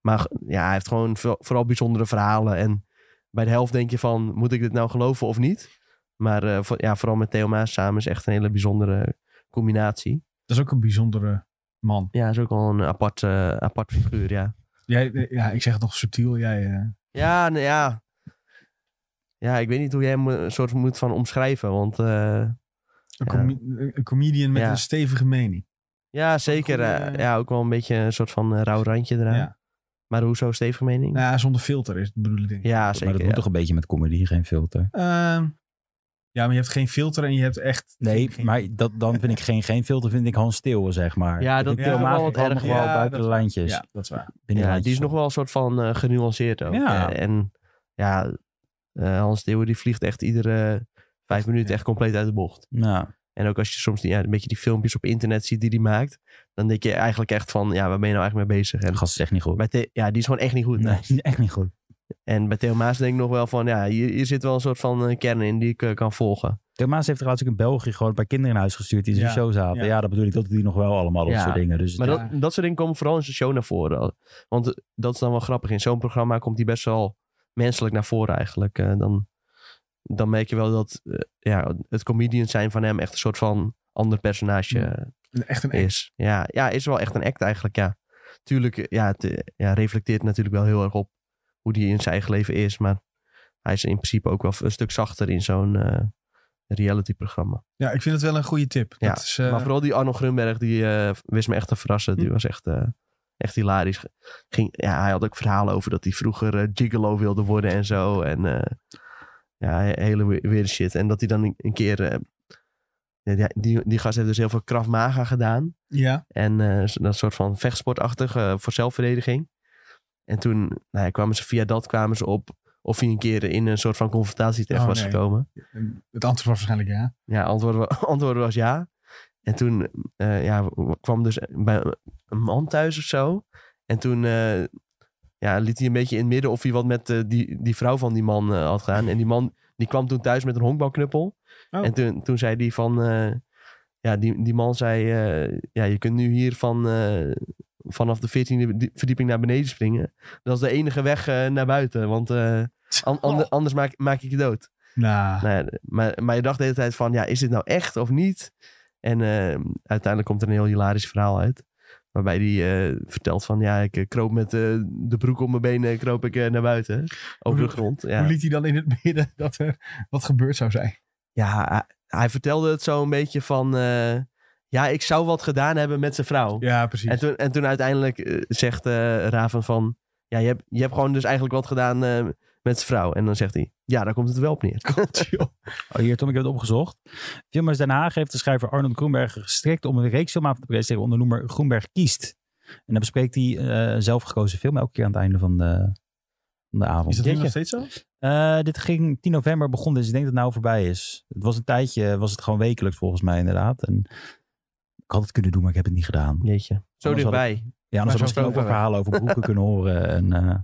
[SPEAKER 2] Maar ja, hij heeft gewoon vo- vooral bijzondere verhalen. En bij de helft denk je van, moet ik dit nou geloven of niet? Maar eh, vo- ja, vooral met Theo Maas samen is echt een hele bijzondere combinatie.
[SPEAKER 1] Dat is ook een bijzondere man.
[SPEAKER 2] Ja, is ook wel een apart, eh, apart figuur, ja.
[SPEAKER 1] Jij, eh, ja, ik zeg het nog subtiel. Jij, eh,
[SPEAKER 2] Ja, nou ja. Ja, ik weet niet hoe jij hem eh, een soort moet van omschrijven. Want eh,
[SPEAKER 1] een,
[SPEAKER 2] Ja.
[SPEAKER 1] comi- eh, een comedian met
[SPEAKER 2] Ja.
[SPEAKER 1] een stevige mening.
[SPEAKER 2] ja, zeker.
[SPEAKER 1] goede,
[SPEAKER 2] eh,
[SPEAKER 1] eh,
[SPEAKER 2] ja, ook wel een beetje een soort van eh, rauw randje eraan.
[SPEAKER 1] Ja.
[SPEAKER 2] Maar hoezo stevig mening?
[SPEAKER 1] Nou ja, zonder filter is het bedoel ik. denk ik.
[SPEAKER 2] Ja,
[SPEAKER 3] maar
[SPEAKER 2] zeker.
[SPEAKER 3] dat
[SPEAKER 2] ja.
[SPEAKER 3] moet toch een beetje met comedy, geen filter.
[SPEAKER 1] Ehm, ja, maar je hebt geen filter en je hebt echt...
[SPEAKER 3] Nee,
[SPEAKER 1] geen-
[SPEAKER 3] maar dat, dan vind ik geen, geen filter, vind ik Hans Steeuwen, zeg maar.
[SPEAKER 2] Ja,
[SPEAKER 3] Ik
[SPEAKER 2] dat
[SPEAKER 3] vind
[SPEAKER 1] is
[SPEAKER 3] Theo
[SPEAKER 1] nog wel
[SPEAKER 3] Maas
[SPEAKER 2] wat
[SPEAKER 3] valt
[SPEAKER 2] erg.
[SPEAKER 3] nog wel
[SPEAKER 1] Ja,
[SPEAKER 3] buiten
[SPEAKER 1] dat-
[SPEAKER 3] de lijntjes.
[SPEAKER 2] dus.
[SPEAKER 1] Ja, dat is waar.
[SPEAKER 3] Binnen de
[SPEAKER 2] Ja, die
[SPEAKER 3] lijntjes.
[SPEAKER 2] is nog wel een soort van eh, genuanceerd ook.
[SPEAKER 3] Ja.
[SPEAKER 2] Eh, en ja, eh, Hans Theeuwen die vliegt echt iedere vijf minuten echt compleet uit de bocht.
[SPEAKER 3] Nou,
[SPEAKER 2] En ook als je soms die, ja, een beetje die filmpjes op internet ziet die hij maakt, dan denk je eigenlijk echt van, ja, waar ben je nou eigenlijk mee bezig?
[SPEAKER 3] de
[SPEAKER 2] En
[SPEAKER 3] gast is echt niet goed.
[SPEAKER 2] bij The- ja, die is gewoon echt niet goed.
[SPEAKER 3] Nee, die is echt niet goed.
[SPEAKER 2] En bij Theo Maas denk ik nog wel van, ja, hier, hier zit wel een soort van eh, kern in die ik eh, kan volgen.
[SPEAKER 3] Theo Maas heeft trouwens ook in België gewoon een paar kinderen in huis gestuurd die in zijn
[SPEAKER 1] Ja,
[SPEAKER 3] show zaten.
[SPEAKER 1] ja.
[SPEAKER 3] Ja. dat bedoel ik, dat die nog wel allemaal, dat
[SPEAKER 2] Ja.
[SPEAKER 3] soort dingen. Dus
[SPEAKER 2] Maar
[SPEAKER 1] Ja.
[SPEAKER 2] dat, dat soort dingen komen vooral in zijn show naar voren. Want eh, dat is dan wel grappig. In zo'n programma komt hij best wel menselijk naar voren eigenlijk. Eh, dan, dan merk je wel dat eh, ja, het comedian zijn van hem echt een soort van ander personage
[SPEAKER 1] Een- Echt een
[SPEAKER 2] eh, is. Ja, ja, is wel echt een act eigenlijk, ja. Tuurlijk, eh, ja, het eh, ja, reflecteert natuurlijk wel heel erg op hoe hij in zijn eigen leven is. Maar hij is in principe ook wel een stuk zachter in zo'n eh, reality-programma.
[SPEAKER 1] Ja, ik vind het wel een goede tip.
[SPEAKER 2] Ja,
[SPEAKER 1] dat is, eh,
[SPEAKER 2] maar vooral die Arno Grunberg, die eh, wist me echt te verrassen. Die
[SPEAKER 1] Hm.
[SPEAKER 2] was echt, eh, echt hilarisch. Ging, ja, hij had ook verhalen over dat hij vroeger eh, gigolo wilde worden en zo. En eh, ja, he- hele we- weird shit. En dat hij dan een, een keer... eh, ja, die, die, die gast heeft dus heel veel Krav Maga gedaan.
[SPEAKER 1] ja.
[SPEAKER 2] En eh, zo- dat soort van vechtsportachtig eh, voor zelfverdediging. En toen nou ja, kwamen ze via dat kwamen ze op of hij een keer in een soort van confrontatie terecht
[SPEAKER 1] Oh,
[SPEAKER 2] was
[SPEAKER 1] nee.
[SPEAKER 2] gekomen.
[SPEAKER 1] Het antwoord was waarschijnlijk ja.
[SPEAKER 2] Ja, antwoord, wa- antwoord was ja. En toen eh, ja, w- kwam dus bij een man thuis of zo. En toen eh, ja, liet hij een beetje in het midden of hij wat met eh, die, die vrouw van die man eh, had gedaan. En die man die kwam toen thuis met een honkbalknuppel.
[SPEAKER 1] Oh.
[SPEAKER 2] En toen, toen zei die van... eh, ja, die, die man zei... eh, ja, je kunt nu hier van, eh, vanaf de 14e die- verdieping naar beneden springen. Dat is de enige weg eh, naar buiten. Want eh, an- ander- anders maak, maak ik je dood.
[SPEAKER 1] Nou,
[SPEAKER 2] Nou ja, maar, maar je dacht de hele tijd van, ja, is dit nou echt of niet? En eh, uiteindelijk komt er een heel hilarisch verhaal uit. Waarbij die eh, vertelt van, ja, ik eh, kroop met eh, de broek om mijn benen kroop ik eh, naar buiten. Over de
[SPEAKER 1] Hoe-
[SPEAKER 2] grond. Ja,
[SPEAKER 1] hoe liet hij dan in het midden dat er wat gebeurd zou zijn?
[SPEAKER 2] ja hij, hij vertelde het zo een beetje van, eh, ja, ik zou wat gedaan hebben met zijn vrouw.
[SPEAKER 1] Ja, precies.
[SPEAKER 2] En toen, en toen uiteindelijk eh, zegt eh, Raven van... Ja, je hebt, je hebt gewoon dus eigenlijk wat gedaan eh, met zijn vrouw. En dan zegt hij, ja, daar komt het wel op neer.
[SPEAKER 1] Joh.
[SPEAKER 3] Oh, hier, Tom, ik heb het opgezocht. Filmers Den Haag heeft de schrijver Arnold Groenberg gestrikt om een reeks filmavond te presenteren onder de noemer Groenberg kiest. En dan bespreekt hij eh zelfgekozen film elke keer aan het einde van de, van de avond.
[SPEAKER 1] Is dat nu
[SPEAKER 2] Jeetje.
[SPEAKER 1] nog steeds zo?
[SPEAKER 3] Eh, dit ging 10 november begon dus ik denk dat het nou voorbij is. Het was een tijdje, was het gewoon wekelijks volgens mij inderdaad. En ik had het kunnen doen, maar ik heb het niet gedaan.
[SPEAKER 2] Jeetje. Zo
[SPEAKER 3] had ik-
[SPEAKER 2] dichtbij.
[SPEAKER 3] Ja, anders had ik
[SPEAKER 2] Maar zo
[SPEAKER 3] misschien ook wel
[SPEAKER 2] ver weg.
[SPEAKER 3] verhalen over broeken kunnen horen en eh,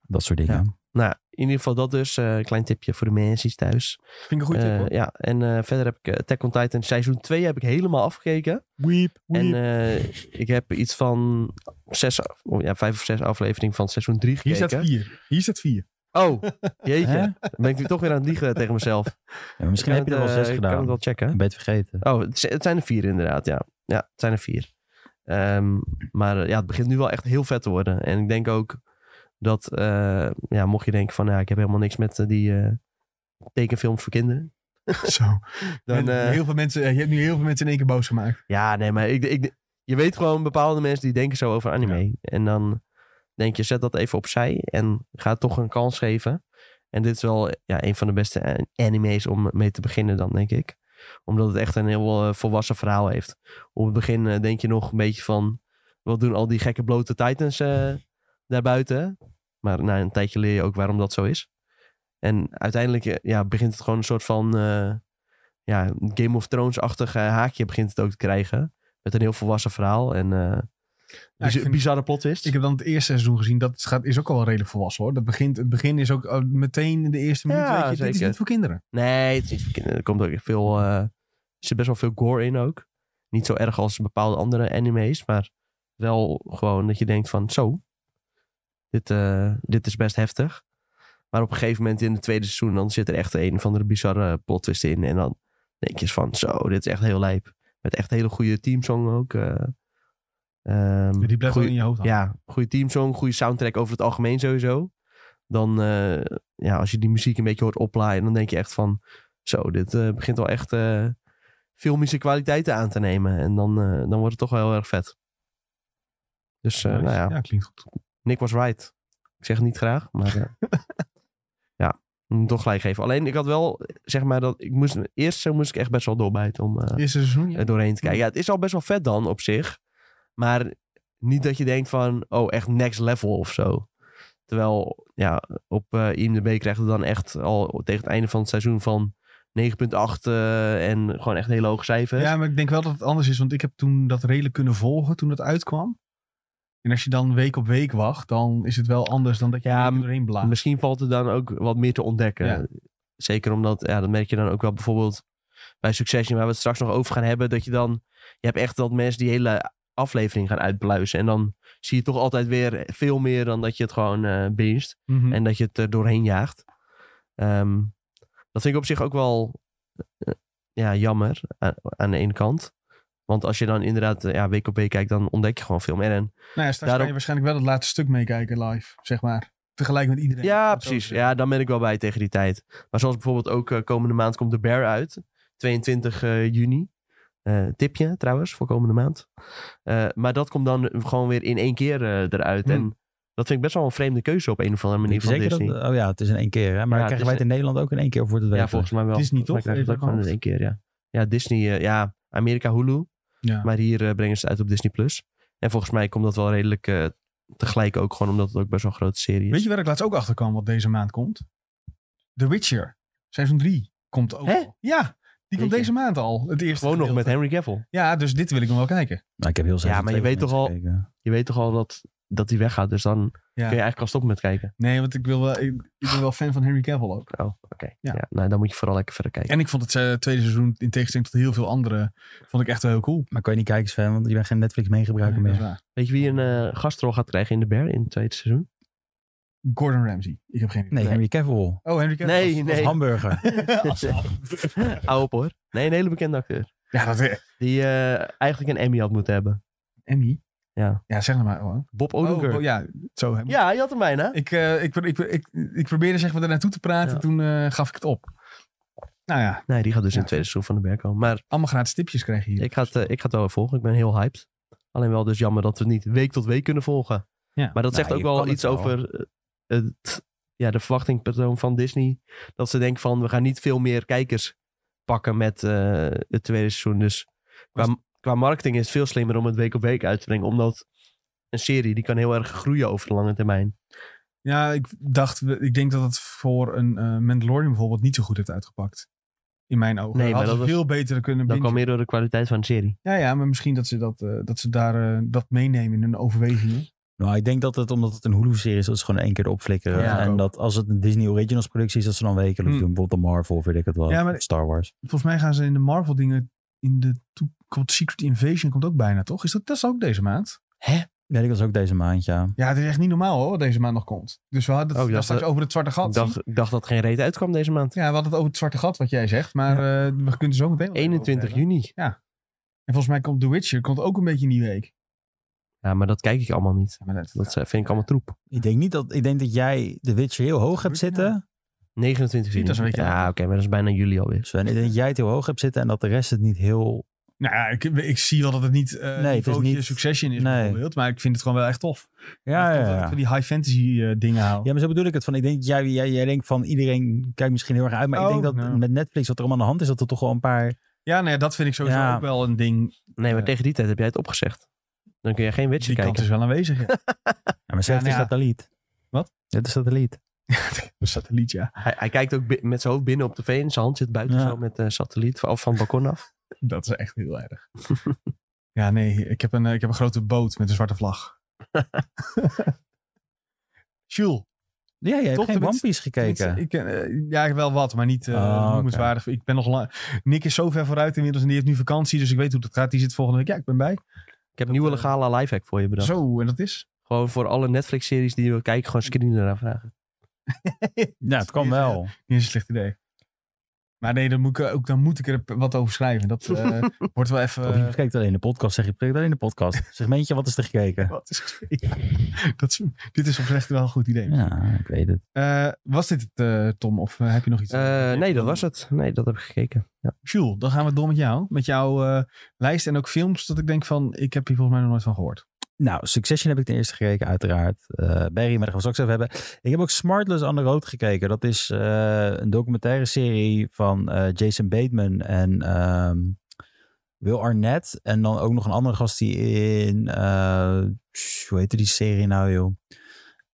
[SPEAKER 3] dat soort dingen.
[SPEAKER 2] Nou, in ieder geval dat dus. eh, Een klein tipje voor de mensen thuis.
[SPEAKER 1] Vind ik een goede
[SPEAKER 2] Eh,
[SPEAKER 1] tip hoor.
[SPEAKER 2] ja, en eh, verder heb ik eh, Attack on Titan seizoen 2 heb ik helemaal afgekeken.
[SPEAKER 3] Weep,
[SPEAKER 2] En eh, ik heb iets van zes, af- oh, ja, vijf of zes afleveringen van seizoen 3
[SPEAKER 1] Hier
[SPEAKER 2] gekeken.
[SPEAKER 1] staat vier. Hier staat vier.
[SPEAKER 2] Oh, jeetje.
[SPEAKER 3] Hè?
[SPEAKER 2] Dan ben ik nu toch weer aan het liegen tegen mezelf. Ik
[SPEAKER 3] Ja, misschien
[SPEAKER 2] kan
[SPEAKER 3] heb je er
[SPEAKER 2] het,
[SPEAKER 3] wel
[SPEAKER 2] eh,
[SPEAKER 3] zes
[SPEAKER 2] Ik kan
[SPEAKER 3] gedaan.
[SPEAKER 2] het wel checken.
[SPEAKER 3] Ik ben het vergeten.
[SPEAKER 2] Oh, het zi- het zijn er vier inderdaad, ja. Ja, het zijn er vier. Ehm, maar eh, ja, het begint nu wel echt heel vet te worden. En ik denk ook dat, eh, ja, mocht je denken van, ja, ik heb helemaal niks met eh, die eh, tekenfilms voor kinderen.
[SPEAKER 1] Zo.
[SPEAKER 2] Dan,
[SPEAKER 1] En
[SPEAKER 2] eh,
[SPEAKER 1] heel veel mensen, je hebt nu heel veel mensen in één keer boos gemaakt.
[SPEAKER 2] ja, nee, maar ik, ik, je weet gewoon bepaalde mensen die denken zo over anime. En dan denk je, zet dat even opzij en ga het toch een kans geven. En dit is wel ja, een van de beste a- anime's om mee te beginnen dan, denk ik. Omdat het echt een heel eh, volwassen verhaal heeft. Op het begin eh, denk je nog een beetje van... Wat doen al die gekke blote titans eh, daarbuiten? Maar na een tijdje leer je ook waarom dat zo is. En uiteindelijk eh, ja, begint het gewoon een soort van... eh, ja, Game of Thrones-achtig eh, haakje begint het ook te krijgen. Met een heel volwassen verhaal en eh,
[SPEAKER 1] Ja, ik
[SPEAKER 2] biz-
[SPEAKER 1] vind-
[SPEAKER 2] bizarre plot twist.
[SPEAKER 1] Ik heb dan het eerste seizoen gezien. Dat gaat, is ook al wel redelijk volwassen hoor. Dat begint, het begin is ook eh, meteen in de eerste minuut.
[SPEAKER 2] Ja,
[SPEAKER 1] weet je, dit is
[SPEAKER 2] zeker.
[SPEAKER 1] niet voor kinderen.
[SPEAKER 2] Nee, het is niet voor kinderen. Er komt ook echt veel. eh, er zit best wel veel gore in ook. Niet zo erg als bepaalde andere anime's, maar wel gewoon dat je denkt van zo. Dit, eh, dit is best heftig. Maar op een gegeven moment in het tweede seizoen, dan zit er echt een van de bizarre plot twist in. En dan denk je eens van zo, dit is echt heel lijp. Met echt hele goede teamsong ook. eh. Ehm,
[SPEAKER 1] Die blijft
[SPEAKER 2] goeie-
[SPEAKER 1] wel in je hoofd hangen.
[SPEAKER 2] ja, goede teamsong, goede soundtrack over het algemeen sowieso. Dan, eh, ja, als je die muziek een beetje hoort oplaaien, dan denk je echt van... Zo, dit eh, begint wel echt eh, filmische kwaliteiten aan te nemen. En dan, eh, dan wordt het toch wel heel erg vet. Dus, eh,
[SPEAKER 1] Nice.
[SPEAKER 2] nou ja,
[SPEAKER 1] ja, klinkt goed.
[SPEAKER 2] Nick was right. Ik zeg het niet graag, maar... eh, ja, moet hem toch gelijk geven. Alleen, ik had wel, zeg maar, dat ik moest... Eerst zo moest ik echt best wel doorbijten om... eh,
[SPEAKER 1] Eerste seizoen, ja.
[SPEAKER 2] er doorheen te kijken. Ja, het is al best wel vet dan op zich. Maar niet dat je denkt van, oh, echt next level of zo. Terwijl, ja, op eh, IMDb krijgt het dan echt al tegen het einde van het seizoen van 9,8 eh, en gewoon echt hele hoge cijfers.
[SPEAKER 1] Ja, maar ik denk wel dat het anders is. Want ik heb toen dat redelijk kunnen volgen toen het uitkwam. En als je dan week op week wacht, dan is het wel anders dan dat je
[SPEAKER 2] Ja,
[SPEAKER 1] er doorheen blaast.
[SPEAKER 2] Misschien valt er dan ook wat meer te ontdekken.
[SPEAKER 1] Ja.
[SPEAKER 2] Zeker omdat, ja, dat merk je dan ook wel bijvoorbeeld bij Succession, waar we het straks nog over gaan hebben, dat je dan, je hebt echt dat mensen die hele aflevering gaan uitbluizen. En dan zie je toch altijd weer veel meer dan dat je het gewoon eh binget.
[SPEAKER 1] Mhm.
[SPEAKER 2] En dat je het er doorheen jaagt. Ehm, dat vind ik op zich ook wel eh, ja, jammer aan, aan de ene kant. Want als je dan inderdaad eh, ja, week op week kijkt, dan ontdek je gewoon veel meer. En
[SPEAKER 1] nou ja, straks kan
[SPEAKER 2] daarom-
[SPEAKER 1] je waarschijnlijk wel het laatste stuk meekijken live, zeg maar. vergelijken met iedereen.
[SPEAKER 2] Ja,
[SPEAKER 1] Om het zo
[SPEAKER 2] precies.
[SPEAKER 1] te zeggen.
[SPEAKER 2] Ja, dan ben ik wel bij tegen die tijd. Maar zoals bijvoorbeeld ook eh, komende maand komt de Bear uit. 22 eh, juni. Eh, tipje trouwens, voor komende maand. Eh, maar dat komt dan gewoon weer in één keer eh, eruit.
[SPEAKER 1] Hmm.
[SPEAKER 2] En dat vind ik best wel een vreemde keuze op een of andere manier van
[SPEAKER 3] Zeker
[SPEAKER 2] Disney.
[SPEAKER 3] dat- oh ja, het is in één keer. Hè? Maar
[SPEAKER 2] Ja,
[SPEAKER 3] krijgen
[SPEAKER 2] het is
[SPEAKER 3] wij het in Nederland ook in één keer voor het
[SPEAKER 2] ja,
[SPEAKER 3] weten?
[SPEAKER 2] volgens mij wel.
[SPEAKER 1] Disney toch?
[SPEAKER 2] Volgens mij krijgen we
[SPEAKER 1] Even
[SPEAKER 2] het ook gewoon in één keer, ja. Ja, Disney, eh, ja, Amerika Hulu.
[SPEAKER 1] Ja.
[SPEAKER 2] Maar hier eh, brengen ze het uit op Disney+. Plus. En volgens mij komt dat wel redelijk eh, tegelijk ook. Gewoon omdat het ook best wel een grote serie is.
[SPEAKER 1] Weet je waar ik laatst ook achter kwam wat deze maand komt? The Witcher, seizoen 3, komt ook.
[SPEAKER 2] Hè?
[SPEAKER 1] al. Ja, die komt
[SPEAKER 2] je.
[SPEAKER 1] deze maand al. Het eerste
[SPEAKER 2] gewoon nog met
[SPEAKER 1] gedeelte.
[SPEAKER 2] Henry Cavill.
[SPEAKER 1] Ja, dus dit wil ik nog wel kijken.
[SPEAKER 3] Nou, ik heb heel seizoen
[SPEAKER 2] maar je
[SPEAKER 3] twee
[SPEAKER 2] weet
[SPEAKER 3] van
[SPEAKER 2] toch al-
[SPEAKER 3] mensen gekeken.
[SPEAKER 2] je weet toch al dat, dat die weggaat. Dus dan kun je eigenlijk al stoppen met kijken.
[SPEAKER 1] Nee, want ik, wil wel, ik, ik ben wel fan van Henry Cavill ook.
[SPEAKER 2] Oh, oké.
[SPEAKER 1] Ja.
[SPEAKER 2] Ja. nou, dan moet je vooral lekker verder kijken.
[SPEAKER 1] En ik vond het eh, tweede seizoen, in tegenstelling tot heel veel andere, vond ik echt wel heel cool.
[SPEAKER 3] Maar kan je niet kijken, Sven, want je bent geen Netflix meegebruiker
[SPEAKER 1] Nee, dat
[SPEAKER 3] meer.
[SPEAKER 1] is waar.
[SPEAKER 2] Weet je wie een eh, gastrol gaat krijgen in de Bear in het tweede seizoen?
[SPEAKER 1] Gordon Ramsay. Ik heb geen idee.
[SPEAKER 3] Nee, Henry Cavill.
[SPEAKER 1] Oh, Henry Cavill.
[SPEAKER 2] Nee,
[SPEAKER 1] Als-
[SPEAKER 3] Als
[SPEAKER 2] nee.
[SPEAKER 3] hamburger.
[SPEAKER 1] als-
[SPEAKER 2] Hou op hoor. Nee, een hele bekende acteur.
[SPEAKER 1] ja, dat is...
[SPEAKER 2] Die eh, eigenlijk een Emmy had moeten hebben.
[SPEAKER 1] Emmy?
[SPEAKER 2] Ja.
[SPEAKER 1] Ja, zeg nou maar. hoor.
[SPEAKER 2] Bob
[SPEAKER 1] Oh,
[SPEAKER 2] Odenkirk.
[SPEAKER 1] oh,
[SPEAKER 2] ja.
[SPEAKER 1] ja, zo. hè.
[SPEAKER 2] je had hem bijna.
[SPEAKER 1] Ik, eh, ik, ik, ik, ik probeerde zeg maar er naartoe te praten.
[SPEAKER 2] Ja.
[SPEAKER 1] Toen eh, gaf ik het op. Nou ja,
[SPEAKER 2] Nee, die gaat dus
[SPEAKER 1] Ja.
[SPEAKER 2] in het tweede seizoen van de Bear komen. Maar
[SPEAKER 1] allemaal gratis tipjes krijg je hier.
[SPEAKER 2] ik ga, het, eh, ik ga het wel weer volgen. Ik ben heel hyped. Alleen wel dus jammer dat we het niet week tot week kunnen volgen.
[SPEAKER 1] Ja.
[SPEAKER 2] Maar dat
[SPEAKER 3] Nou,
[SPEAKER 2] zegt ook
[SPEAKER 3] je
[SPEAKER 2] wel
[SPEAKER 3] kan
[SPEAKER 2] iets
[SPEAKER 3] het wel.
[SPEAKER 2] over eh, het, ja, de verwachtingpatroon van Disney. Dat ze denken van, we gaan niet veel meer kijkers pakken met eh, het tweede seizoen. Dus qua, qua marketing is het veel slimmer om het week op week uit te brengen. Omdat een serie, die kan heel erg groeien over de lange termijn.
[SPEAKER 1] Ja, ik dacht, ik denk dat het voor een eh, Mandalorian bijvoorbeeld niet zo goed heeft uitgepakt. In mijn ogen.
[SPEAKER 2] Nee,
[SPEAKER 1] Nee,
[SPEAKER 2] maar
[SPEAKER 1] maar dat
[SPEAKER 2] dat was-
[SPEAKER 1] veel beter kunnen
[SPEAKER 2] Dat
[SPEAKER 1] bingen.
[SPEAKER 2] kwam meer door de kwaliteit van de serie.
[SPEAKER 1] Ja, ja, maar misschien dat ze, dat, eh, dat ze daar eh, dat meenemen in hun overwegingen.
[SPEAKER 3] Nou, ik denk dat het, omdat het een Hulu-serie is, dat ze gewoon één keer opflikkeren.
[SPEAKER 2] Ja,
[SPEAKER 3] en
[SPEAKER 1] ook.
[SPEAKER 3] dat als het een Disney Originals productie is, dat ze dan wekelijks
[SPEAKER 1] Hmm.
[SPEAKER 3] doen. Bijvoorbeeld de Marvel, of weet ik het wel.
[SPEAKER 1] Ja, maar-
[SPEAKER 3] Star Wars.
[SPEAKER 1] Volgens mij gaan ze in de Marvel dingen in de toe- komt Secret Invasion komt ook bijna, toch? Is dat, dat is ook deze maand?
[SPEAKER 3] Nee, dat was ook deze maand, ja.
[SPEAKER 1] Ja, het is echt niet normaal hoor, wat deze maand nog komt. Dus we hadden het
[SPEAKER 2] Oh, ik
[SPEAKER 1] daar
[SPEAKER 2] dacht
[SPEAKER 1] straks over het zwarte gat.
[SPEAKER 2] Ik dacht, ik dacht dat geen reet uitkwam deze maand.
[SPEAKER 3] Oh,
[SPEAKER 1] Ja, we hadden het over het zwarte gat, wat jij zegt. Maar eh, we kunnen zo meteen... wel even over
[SPEAKER 2] 21
[SPEAKER 1] hebben.
[SPEAKER 2] juni.
[SPEAKER 1] En volgens mij komt The Witcher komt ook een beetje in die week.
[SPEAKER 2] Ja, maar dat kijk ik allemaal niet.
[SPEAKER 1] Ja, maar dat,
[SPEAKER 2] Dat eh, vind ik allemaal troep.
[SPEAKER 3] Ik denk niet dat, ik denk dat jij de Witcher heel hoog hebt
[SPEAKER 1] nou?
[SPEAKER 3] zitten.
[SPEAKER 1] Zie,
[SPEAKER 2] 29 juni.
[SPEAKER 1] dat is een beetje
[SPEAKER 2] ja,
[SPEAKER 1] later.
[SPEAKER 2] oké, maar dat is bijna juli alweer.
[SPEAKER 3] Sven, ik denk dat jij het heel hoog hebt zitten en dat de rest het niet heel...
[SPEAKER 1] Nou ja, ik, ik zie wel dat het niet eh
[SPEAKER 3] het is
[SPEAKER 1] niveautje
[SPEAKER 3] niet-
[SPEAKER 1] Succession is
[SPEAKER 3] nee.
[SPEAKER 1] bijvoorbeeld. Maar ik vind het gewoon wel echt tof.
[SPEAKER 3] Ja,
[SPEAKER 1] Ik
[SPEAKER 3] ja,
[SPEAKER 1] vind dat ik
[SPEAKER 3] ja.
[SPEAKER 1] van die high fantasy eh, dingen hou.
[SPEAKER 3] Ja, maar zo bedoel ik het. Van, ik denk, dat jij, jij, jij denkt van iedereen kijkt misschien heel erg uit. Maar ik
[SPEAKER 1] Oh,
[SPEAKER 3] denk dat
[SPEAKER 1] nou.
[SPEAKER 3] met Netflix wat er allemaal aan de hand is, dat er toch wel een paar...
[SPEAKER 1] Ja, nee, dat vind ik sowieso
[SPEAKER 3] Ja.
[SPEAKER 1] ook wel een ding.
[SPEAKER 2] Nee, maar
[SPEAKER 1] Ja.
[SPEAKER 2] tegen die tijd heb jij het opgezegd. Dan kun je geen Witcher
[SPEAKER 1] Die kant
[SPEAKER 2] kijken.
[SPEAKER 1] is wel aanwezig. Ja.
[SPEAKER 3] Ja, maar ze
[SPEAKER 1] Ja,
[SPEAKER 3] heeft
[SPEAKER 1] nou ja.
[SPEAKER 3] een satelliet.
[SPEAKER 1] Wat?
[SPEAKER 3] Het is satelliet.
[SPEAKER 1] Een satelliet, ja.
[SPEAKER 2] Hij, hij kijkt ook bi- met zijn hoofd binnen op tv en zijn hand zit buiten
[SPEAKER 3] Ja.
[SPEAKER 2] zo met de satelliet van, of van het balkon af.
[SPEAKER 1] Dat is echt heel erg. ja, nee, ik heb, een, eh, ik heb een grote boot met een zwarte vlag. Jules.
[SPEAKER 3] Ja, jij hebt
[SPEAKER 1] Toch,
[SPEAKER 3] geen One
[SPEAKER 1] tenminste-
[SPEAKER 3] Piece gekeken.
[SPEAKER 1] tenminste, Ik, eh, ja, wel wat, maar niet eh
[SPEAKER 3] Oh, oké.
[SPEAKER 1] noemenswaardig. Ik ben nog lang... Nick is zo ver vooruit inmiddels en die heeft nu vakantie. Dus ik weet hoe dat gaat. Die zit volgende week. Ja, ik ben bij.
[SPEAKER 2] Ik heb een nieuwe
[SPEAKER 1] eh,
[SPEAKER 2] legale lifehack voor je bedacht.
[SPEAKER 1] Zo, en dat is...
[SPEAKER 2] Gewoon voor alle Netflix-series die je wil kijken, gewoon screener aanvragen.
[SPEAKER 3] Ja, het kan
[SPEAKER 1] Ja.
[SPEAKER 3] wel.
[SPEAKER 1] Niet eens een slecht idee. Maar nee, dan moet ik, eh, ook, dan moet ik er wat over schrijven. Dat eh, wordt wel even... eh,
[SPEAKER 3] Of je kijkt alleen de podcast, zeg je kijkt alleen de podcast. Segmentje, wat is er gekeken?
[SPEAKER 1] Wat is dat is, Dit is oprecht wel een goed idee.
[SPEAKER 3] Ja, ik weet het.
[SPEAKER 1] Eh, was dit het, eh, Tom? Of eh, heb je nog iets?
[SPEAKER 2] Eh, nee, dat was het. Nee, dat heb ik gekeken. Ja.
[SPEAKER 1] Jules, dan gaan we door met jou. Met jouw eh, lijst en ook films. Dat ik denk van, ik heb hier volgens mij nog nooit van gehoord.
[SPEAKER 3] Nou, Succession heb ik ten eerste gekeken, uiteraard. Eh Barry, maar daar gaan we straks over hebben. Ik heb ook Smartless on the Road gekeken. Dat is eh, een documentaire serie van eh, Jason Bateman en ehm, Will Arnett. En dan ook nog een andere gast die in... eh, hoe heette die serie nou, joh?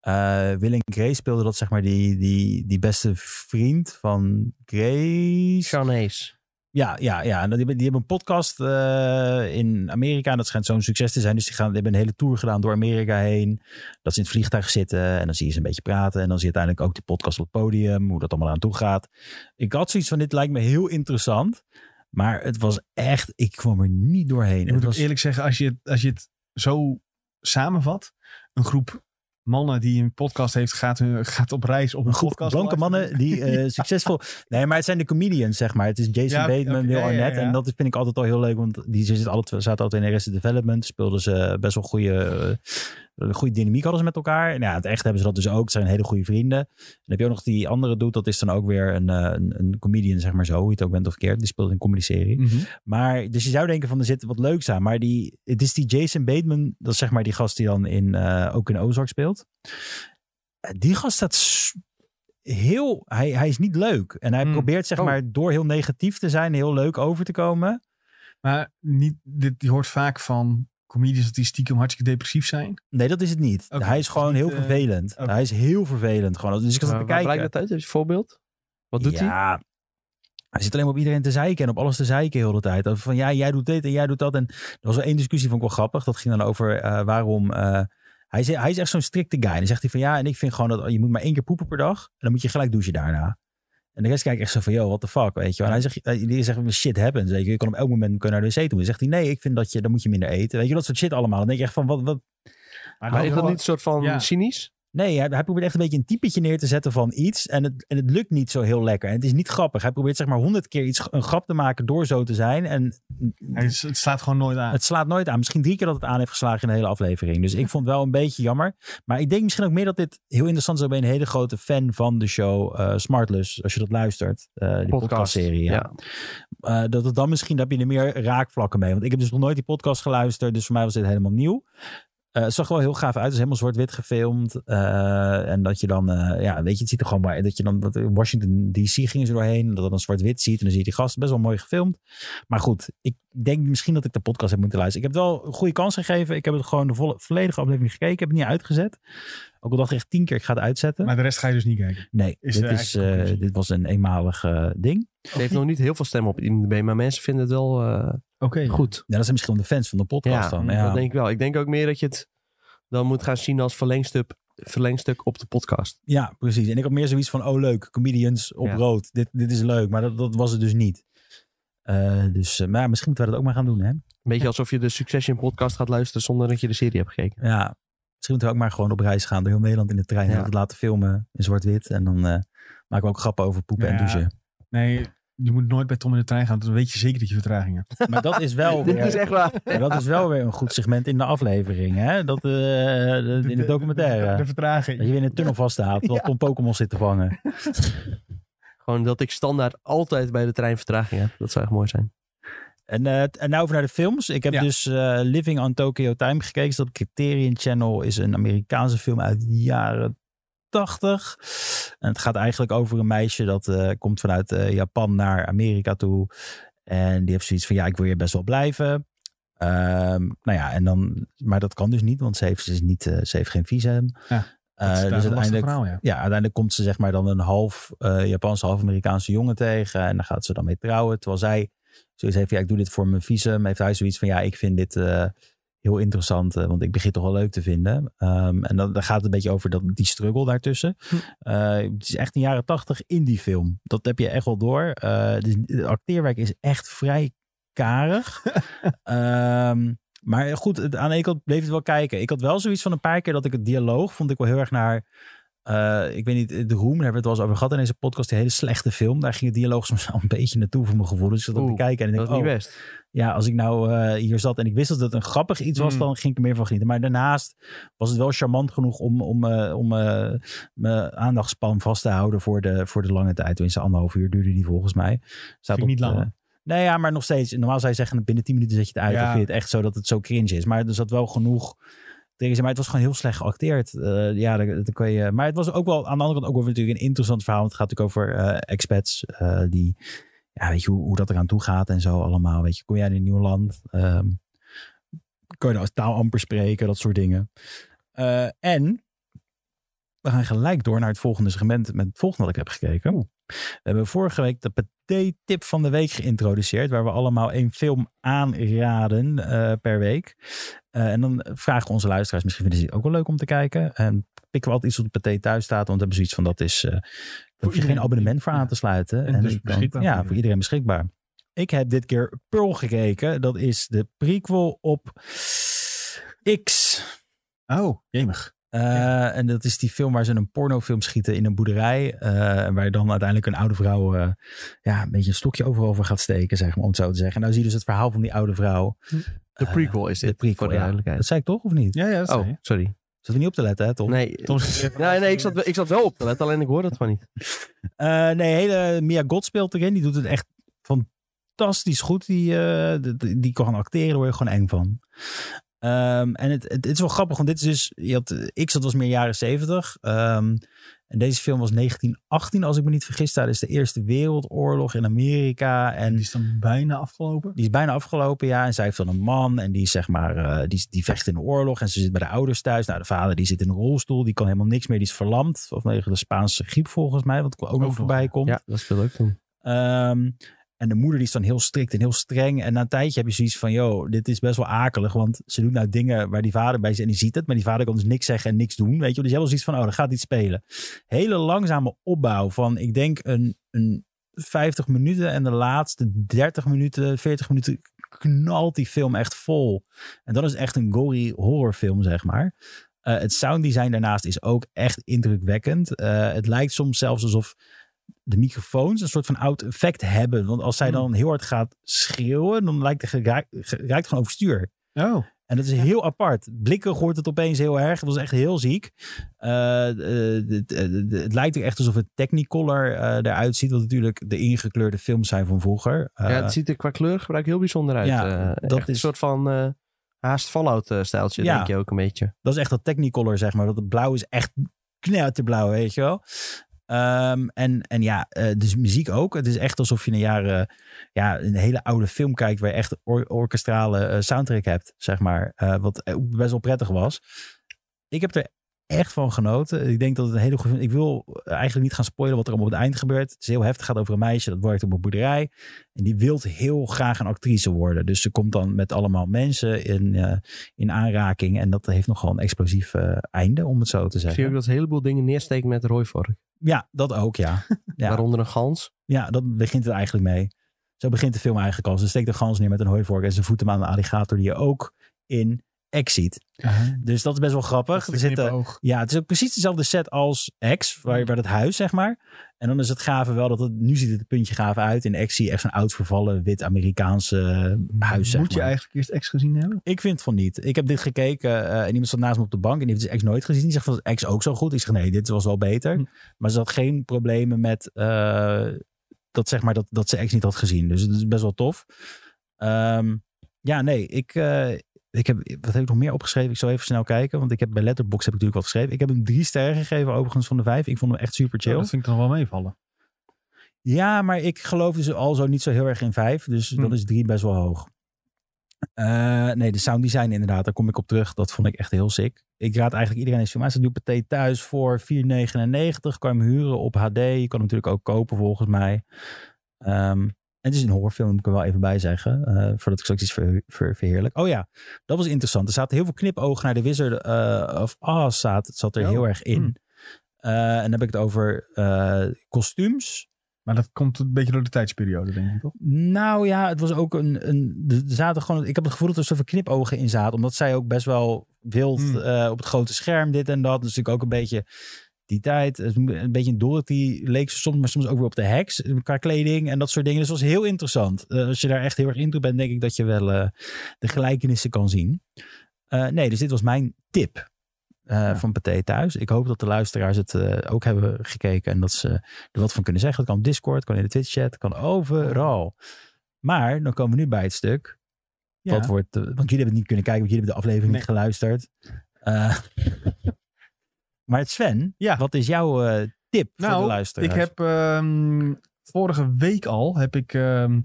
[SPEAKER 3] Eh Will en Grace speelde dat, zeg maar, die, die, die beste vriend van Grace.
[SPEAKER 2] Sean Hayes.
[SPEAKER 3] Ja, ja, ja. En die, hebben- die hebben een podcast eh, in Amerika. En dat schijnt zo'n succes te zijn. Dus die, gaan, die hebben een hele tour gedaan door Amerika heen. Dat ze in het vliegtuig zitten. En dan zie je ze een beetje praten. En dan zie je uiteindelijk ook die podcast op het podium. Hoe dat allemaal aan toe gaat. Ik had zoiets van, dit lijkt me heel interessant. Maar het was echt, ik kwam er niet doorheen.
[SPEAKER 1] Ik moet
[SPEAKER 3] Het
[SPEAKER 1] ook
[SPEAKER 3] was,
[SPEAKER 1] eerlijk zeggen, als je, het- als je het zo samenvat. Een groep mannen die een podcast heeft, gaat, hun- gaat op reis op een,
[SPEAKER 3] een groep
[SPEAKER 1] podcast.
[SPEAKER 3] blanke mannen die eh, succesvol... Nee, maar het zijn de comedians, zeg maar. Het is Jason
[SPEAKER 1] Ja,
[SPEAKER 3] Bateman,
[SPEAKER 1] oké,
[SPEAKER 3] Will
[SPEAKER 1] ja, ja,
[SPEAKER 3] Arnett.
[SPEAKER 1] ja.
[SPEAKER 3] En dat vind ik altijd al heel leuk, want die zitten alle, twee- zaten altijd in Arrested Development. Speelden ze best wel goede eh, Een goede dynamiek hadden ze met elkaar. En ja, in het echt hebben ze dat dus ook. Het zijn hele goede vrienden. En dan heb je ook nog die andere doet. Dat is dan ook weer een, eh, een, een comedian, zeg maar zo. Hoe je het ook bent of keert. Die speelt in een comedy-serie.
[SPEAKER 1] Mhm.
[SPEAKER 3] Maar, dus je zou denken van er zit wat leuks aan. Maar die, het is die Jason Bateman, dat is zeg maar die gast die dan in, eh, ook in Ozark speelt. Eh, Die gast staat s- heel, hij, hij is niet leuk. En hij
[SPEAKER 1] Hmm.
[SPEAKER 3] probeert zeg
[SPEAKER 2] Oh.
[SPEAKER 3] maar door heel negatief te zijn, heel leuk over te komen.
[SPEAKER 1] Maar niet, dit, je hoort vaak van comedians dat die stiekem hartstikke depressief zijn.
[SPEAKER 3] Nee, dat is het niet.
[SPEAKER 1] Oké,
[SPEAKER 3] hij
[SPEAKER 1] het
[SPEAKER 3] is
[SPEAKER 1] is
[SPEAKER 3] gewoon
[SPEAKER 1] niet,
[SPEAKER 3] heel
[SPEAKER 1] eh,
[SPEAKER 3] vervelend.
[SPEAKER 1] oké.
[SPEAKER 3] Hij is heel vervelend gewoon. Dus ik zat
[SPEAKER 2] Maar
[SPEAKER 3] te
[SPEAKER 2] waar blijkt
[SPEAKER 3] kijken.
[SPEAKER 2] dat uit? Heb je een voorbeeld? Wat doet hij?
[SPEAKER 3] ja. nou, Hij zit alleen maar op iedereen te zeiken en op alles te zeiken heel de tijd. Over Van ja, jij doet dit en jij doet dat. En er was wel één discussie, vond ik wel grappig. Dat ging dan over eh, waarom... eh, hij, is, hij is echt zo'n strikte guy. En dan zegt hij van ja, en ik vind gewoon dat je moet maar één keer poepen per dag. En dan moet je gelijk douchen daarna. En de rest kijkt echt zo van, yo, what the fuck, weet je wel. En hij zegt, eh, die zegt, shit happens, weet je. Je kan op elk moment kun je naar de wc toe. En dan zegt hij, nee, ik vind dat je, dan moet je minder eten. Weet je, dat soort shit allemaal. Dan denk je echt van, wat, wat,
[SPEAKER 1] Maar,
[SPEAKER 2] Maar
[SPEAKER 1] dan
[SPEAKER 2] is dat
[SPEAKER 1] wel-
[SPEAKER 2] niet een soort van
[SPEAKER 1] Ja.
[SPEAKER 2] cynisch?
[SPEAKER 3] Nee, hij, hij probeert echt een beetje een typetje neer te zetten van iets. En het, en het lukt niet zo heel lekker. En het is niet grappig. Hij probeert zeg maar honderd keer iets, een grap te maken door zo te zijn. En
[SPEAKER 1] Hij is- het slaat gewoon nooit aan.
[SPEAKER 3] het slaat nooit aan. Misschien drie keer dat het aan heeft geslagen in de hele aflevering. Dus ik vond het wel een beetje jammer. Maar ik denk misschien ook meer dat dit heel interessant is. Ik ben een hele grote fan van de show eh, Smartless. Als je dat luistert. eh die podcastserie. ja. Eh, dat het dan misschien, daar heb je er meer raakvlakken mee. Want ik heb dus nog nooit die podcast geluisterd, dus voor mij was dit helemaal nieuw. Eh, het zag er wel heel gaaf uit. Het is helemaal zwart-wit gefilmd. Eh, en dat je dan, eh, ja, weet je, het ziet er gewoon maar. Dat je dan, dat in Washington DC gingen ze doorheen. En dat het dan zwart-wit ziet. En dan zie je die gast best wel mooi gefilmd. Maar goed, ik denk misschien dat ik de podcast heb moeten luisteren. Ik heb het wel een goede kans gegeven. Ik heb het gewoon de volle, volledige aflevering gekeken. Ik heb het niet uitgezet. Ook al dacht ik echt tien keer, ik ga het uitzetten.
[SPEAKER 1] Maar de rest ga je dus niet kijken.
[SPEAKER 3] nee,
[SPEAKER 1] is
[SPEAKER 3] dit,
[SPEAKER 1] de
[SPEAKER 3] is,
[SPEAKER 1] eigen
[SPEAKER 3] eh,
[SPEAKER 1] conclusie.
[SPEAKER 3] dit was een eenmalig eh, ding.
[SPEAKER 2] Het heeft nog niet heel veel stemmen op IMDb, maar mensen vinden het wel eh,
[SPEAKER 1] Oké.
[SPEAKER 2] goed.
[SPEAKER 3] Ja, dat zijn misschien wel de fans van de podcast
[SPEAKER 2] Ja,
[SPEAKER 3] dan.
[SPEAKER 1] Mm.
[SPEAKER 3] Ja.
[SPEAKER 2] Dat denk ik wel. Ik denk ook meer dat je het dan moet gaan zien als verlengstuk, verlengstuk op de podcast.
[SPEAKER 3] Ja, precies. En ik had meer zoiets van, oh leuk, comedians op
[SPEAKER 2] Ja.
[SPEAKER 3] rood. Dit, dit is leuk, maar dat, dat was het dus niet. Eh, dus, eh, maar ja, misschien moeten we dat ook maar gaan doen, hè?
[SPEAKER 2] Een beetje alsof je de Succession podcast gaat luisteren zonder dat je de serie hebt gekeken.
[SPEAKER 3] Ja, misschien moeten we ook maar gewoon op reis gaan door heel Nederland in de trein.
[SPEAKER 2] Ja.
[SPEAKER 3] En dat laten filmen in zwart-wit. En dan eh, maken we ook grappen over poepen en
[SPEAKER 1] Ja.
[SPEAKER 3] douchen.
[SPEAKER 1] Nee, je moet nooit bij Tom in de trein gaan. want Dan weet je zeker dat je vertraging hebt.
[SPEAKER 3] Maar dat is wel
[SPEAKER 2] Dit
[SPEAKER 3] weer,
[SPEAKER 2] is echt waar.
[SPEAKER 3] maar dat is wel weer een goed segment in de aflevering, hè? Dat, eh, de- in de
[SPEAKER 1] De,
[SPEAKER 3] documentaire.
[SPEAKER 1] vertraging.
[SPEAKER 3] Dat je weer in een tunnel vasthoudt, terwijl Tom Pokémon zit te vangen.
[SPEAKER 2] Gewoon dat ik standaard altijd bij de trein vertraging heb. Dat zou echt mooi zijn.
[SPEAKER 3] En, eh, t- en nou over naar de films. Ik heb
[SPEAKER 1] Ja.
[SPEAKER 3] dus eh, Living on Tokyo Time gekeken. Dus dat Criterion Channel is een Amerikaanse film uit de jaren 80. En het gaat eigenlijk over een meisje dat eh, komt vanuit eh, Japan naar Amerika toe. En die heeft zoiets van, ja, ik wil hier best wel blijven. Ehm, nou ja, en dan, maar dat kan dus niet, want ze heeft, ze is niet, eh, ze heeft geen visum.
[SPEAKER 1] Ja,
[SPEAKER 3] Eh,
[SPEAKER 1] dat is daar
[SPEAKER 3] dus
[SPEAKER 1] een lastig
[SPEAKER 3] uiteindelijk
[SPEAKER 1] verhaal, ja.
[SPEAKER 3] ja, uiteindelijk komt ze zeg maar dan een half eh, Japanse, half Amerikaanse jongen tegen. En daar gaat ze dan mee trouwen. Terwijl zij zoiets heeft, van, ja, ik doe dit voor mijn visum. Heeft hij zoiets van, ja, ik vind dit eh, heel interessant. eh, want ik begin toch wel leuk te vinden. Ehm, en dan, dan gaat het een beetje over dat, die struggle daartussen.
[SPEAKER 2] Hm.
[SPEAKER 3] Eh, het is echt een jaren tachtig indie film. Dat heb je echt wel door. Eh, dus het acteerwerk is echt vrij karig. Ehm, maar goed, het- aan de ene kant bleef het wel kijken. Ik had wel zoiets van een paar keer dat ik het dialoog vond ik wel heel erg naar... eh, ik weet niet, de Room, daar hebben we het wel eens over gehad in deze podcast. Die hele slechte film. Daar ging het dialoog soms wel een beetje naartoe voor mijn gevoel. Dus ik zat op te
[SPEAKER 2] Oeh,
[SPEAKER 3] kijken en ik
[SPEAKER 2] Dat is
[SPEAKER 3] denk, oh,
[SPEAKER 2] niet best.
[SPEAKER 3] ja, als ik nou eh, hier zat en ik wist dat het een grappig iets was,
[SPEAKER 1] Mm.
[SPEAKER 3] dan ging ik er meer van genieten. Maar daarnaast was het wel charmant genoeg om, om, eh, om eh, mijn aandachtspan vast te houden voor de, voor de lange tijd. Tenminste, anderhalf uur duurde die volgens mij. Staat
[SPEAKER 1] ik niet lang,
[SPEAKER 3] eh,
[SPEAKER 1] hoor.
[SPEAKER 3] nee, ja, maar nog steeds. Normaal zou je zeggen, binnen 10 minuten zet je het uit.
[SPEAKER 1] Ja.
[SPEAKER 3] Of vind je het echt zo dat het zo cringe is. Maar er zat wel genoeg tegen ze. Maar het was gewoon heel slecht geacteerd. Eh, ja, dan, dan kan je, maar het was ook wel aan de andere kant ook wel weer natuurlijk een interessant verhaal. Want het gaat natuurlijk over eh, expats eh, die ja, weet je hoe, hoe dat eraan toe gaat en zo allemaal. Weet je, kom jij in een nieuw land? Ehm kan je de taal amper spreken? Dat soort dingen. Eh, en we gaan gelijk door naar het volgende segment met het volgende wat ik heb gekeken. We hebben vorige week de paté-tip van de week geïntroduceerd, waar we allemaal één film aanraden eh, per week. Eh, en dan vragen onze luisteraars, misschien vinden ze het ook wel leuk om te kijken. En pikken we altijd iets op de paté thuis staat, want we hebben zoiets van dat is... eh daar hoef je
[SPEAKER 1] iedereen.
[SPEAKER 3] geen abonnement voor aan te sluiten.
[SPEAKER 1] En dus
[SPEAKER 3] ik denk,
[SPEAKER 1] beschikbaar voor
[SPEAKER 3] Ja, voor
[SPEAKER 1] iedereen.
[SPEAKER 3] iedereen beschikbaar. Ik heb dit keer Pearl gekeken. Dat is de prequel op X.
[SPEAKER 1] Oh, jemig.
[SPEAKER 3] Eh, En dat is die film waar ze een pornofilm schieten in een boerderij. eh, en waar dan uiteindelijk een oude vrouw eh, ja, een beetje een stokje overal over gaat steken, zeg maar, om het zo te zeggen. En nou zie je dus het verhaal van die oude vrouw.
[SPEAKER 2] De prequel is dit.
[SPEAKER 3] Eh, de prequel,
[SPEAKER 2] voor de
[SPEAKER 3] ja.
[SPEAKER 2] duidelijkheid.
[SPEAKER 3] Dat zei ik toch, of niet?
[SPEAKER 1] Ja, ja, dat zei
[SPEAKER 2] Oh,
[SPEAKER 1] je.
[SPEAKER 2] sorry.
[SPEAKER 3] Zat er niet op te letten, hè, Tom?
[SPEAKER 2] Nee,
[SPEAKER 1] Tom zit weer van-
[SPEAKER 2] nee, nee ik, zat, wel- ik zat wel op te letten, alleen ik hoorde het gewoon niet.
[SPEAKER 3] Eh, nee, hele Mia God speelt erin. Die doet het echt fantastisch goed. Die, eh, d- d- die kan gaan acteren, daar word je gewoon eng van. Ehm, en het, het, het is wel grappig, want dit is dus... Je had, eh, X, dat was meer jaren 70. Ehm, en deze film was 1918, als ik me niet vergis. Daar is de Eerste Wereldoorlog in Amerika. En
[SPEAKER 1] Die is dan bijna afgelopen.
[SPEAKER 3] die is bijna afgelopen, ja. En zij heeft dan een man en die, is zeg maar, eh, die, die vecht in de oorlog. En ze zit bij de ouders thuis. Nou, de vader die zit in een rolstoel. Die kan helemaal niks meer. Die is verlamd. Of vanwege de Spaanse griep volgens mij. Wat ook,
[SPEAKER 1] Ook
[SPEAKER 3] nog
[SPEAKER 1] nog,
[SPEAKER 3] voorbij
[SPEAKER 1] ja.
[SPEAKER 3] komt.
[SPEAKER 2] Ja, dat speelde ook toen.
[SPEAKER 3] Ehm, en de moeder die is dan heel strikt en heel streng. En na een tijdje heb je zoiets van, yo, dit is best wel akelig. Want ze doet nou dingen waar die vader bij is en die ziet het. Maar die vader kan dus niks zeggen en niks doen. Weet je, wel. dus je hebt wel zoiets van, oh, er gaat iets spelen. Hele langzame opbouw van, ik denk een, een 50 minuten. En de laatste 30 minuten, 40 minuten knalt die film echt vol. En dat is echt een gory horrorfilm, zeg maar. Eh, het sounddesign daarnaast is ook echt indrukwekkend. Eh, het lijkt soms zelfs alsof de microfoons een soort van oud effect hebben. Want als zij
[SPEAKER 1] Hmm.
[SPEAKER 3] dan heel hard gaat schreeuwen, dan lijkt het geraakt, geraakt gewoon overstuur.
[SPEAKER 1] Oh.
[SPEAKER 3] En dat is heel apart. Blikken hoort het opeens heel erg. Dat was echt heel ziek. Eh, eh, de- de- de- het lijkt ook echt alsof het Technicolor eh eruit ziet. Wat natuurlijk de ingekleurde films zijn van vroeger. Eh,
[SPEAKER 2] ja, het ziet er qua kleurgebruik heel bijzonder uit.
[SPEAKER 3] ja,
[SPEAKER 2] eh,
[SPEAKER 3] dat
[SPEAKER 2] echt een
[SPEAKER 3] is-
[SPEAKER 2] soort van eh, haast Fallout-stijltje,
[SPEAKER 3] Ja.
[SPEAKER 2] denk je ook een beetje.
[SPEAKER 3] Dat is echt dat Technicolor, zeg maar. Dat het blauw is echt knetterblauw, weet je wel. Ehm, en, en ja, eh, dus muziek ook. Het is echt alsof je een jaren, ja, een hele oude film kijkt waar je echt or- orkestrale eh, soundtrack hebt, zeg maar. Eh, wat ook best wel prettig was. Ik heb er echt van genoten. Ik denk dat het een hele goede... Ik wil eigenlijk niet gaan spoilen wat er allemaal op het eind gebeurt. Het is heel heftig. Het gaat over een meisje dat werkt op een boerderij. En die wil heel graag een actrice worden. Dus ze komt dan met allemaal mensen in, eh, in aanraking. En dat heeft nogal een explosief eh, einde, om het zo te
[SPEAKER 2] Ik zie ook
[SPEAKER 3] zeggen.
[SPEAKER 2] dat ze een heleboel dingen neersteken met rooivork.
[SPEAKER 3] Ja, dat ook, ja. Ja.
[SPEAKER 2] Waaronder een gans.
[SPEAKER 3] Ja, dat begint het eigenlijk mee. Zo begint de film eigenlijk al. Ze steekt de gans neer met een hooivork en ze voedt hem aan een alligator die je ook in X ziet. Dus dat is best wel grappig. Er zitten,
[SPEAKER 1] oog.
[SPEAKER 3] ja, het is ook precies dezelfde set als X, waar, waar het huis, zeg maar. En dan is het gave wel dat het, nu ziet het een puntje gaaf uit. In X zie je echt zo'n oud vervallen wit Amerikaanse eh, huis, zeg
[SPEAKER 1] Moet je
[SPEAKER 3] maar.
[SPEAKER 1] eigenlijk eerst ex gezien hebben?
[SPEAKER 3] Ik vind van niet. Ik heb dit gekeken eh, en iemand zat naast me op de bank en die heeft dus X nooit gezien. Die zegt van X ook zo goed. Ik zeg nee, dit was wel beter.
[SPEAKER 1] Hm.
[SPEAKER 3] Maar ze had geen problemen met eh, dat, zeg maar, dat, dat ze X niet had gezien. Dus het is best wel tof. Ehm, ja, nee, ik, eh, ik heb, wat heb ik nog meer opgeschreven? Ik zal even snel kijken, want ik heb bij Letterboxd heb ik natuurlijk wat geschreven. Ik heb hem drie sterren gegeven overigens van de vijf. Ik vond hem echt super chill.
[SPEAKER 1] Oh, dat vind ik dan wel meevallen.
[SPEAKER 3] Ja, maar ik geloof dus al zo niet zo heel erg in vijf. Dus dan
[SPEAKER 1] Hmm.
[SPEAKER 3] is drie best wel hoog. Eh, nee, de sounddesign inderdaad, daar kom ik op terug. Dat vond ik echt heel sick. Ik raad eigenlijk iedereen eens film aan. Ze doet Pathé thuis voor 4,99. Kan je hem huren op HD. Je kan hem natuurlijk ook kopen volgens mij. Ehm, en het is een horrorfilm, moet ik er wel even bij zeggen. eh, voordat ik straks iets ver, ver- verheerlijk. Oh ja, dat was interessant. Er zaten heel veel knipogen naar de Wizard eh, of Oz. Zat, het zat er
[SPEAKER 1] Oh,
[SPEAKER 3] heel erg in.
[SPEAKER 1] hmm.
[SPEAKER 3] Eh, en dan heb ik het over eh, kostuums.
[SPEAKER 1] Maar dat komt een beetje door de tijdsperiode, denk ik toch?
[SPEAKER 3] Nou ja, het was ook een. een er zaten gewoon, ik heb het gevoel dat er zoveel knipogen in zaten. Omdat zij ook best wel wild
[SPEAKER 1] Hmm.
[SPEAKER 3] eh, op het grote scherm, dit en dat. Dus natuurlijk ook een beetje die tijd. Het is Een beetje een Dorothy leek ze soms, maar soms ook weer op de heks. Qua kleding en dat soort dingen. Dus het was heel interessant. Eh, als je daar echt heel erg in toe bent, denk ik dat je wel eh, de gelijkenissen kan zien. Eh, nee, dus dit was mijn tip. eh, Van Pathé thuis. Ik hoop dat de luisteraars het eh, ook hebben gekeken en dat ze er wat van kunnen zeggen. Dat kan op Discord, kan in de Twitch-chat, kan overal. Maar dan komen we nu bij het stuk.
[SPEAKER 1] Ja.
[SPEAKER 3] Wat wordt, eh, want jullie hebben het niet kunnen kijken, want jullie hebben de aflevering
[SPEAKER 1] Nee.
[SPEAKER 3] niet geluisterd. Eh, maar Sven,
[SPEAKER 1] Ja.
[SPEAKER 3] wat is jouw eh, tip voor de
[SPEAKER 1] Nou,
[SPEAKER 3] luisteraars?
[SPEAKER 1] ik heb ehm, vorige week al heb ik ehm,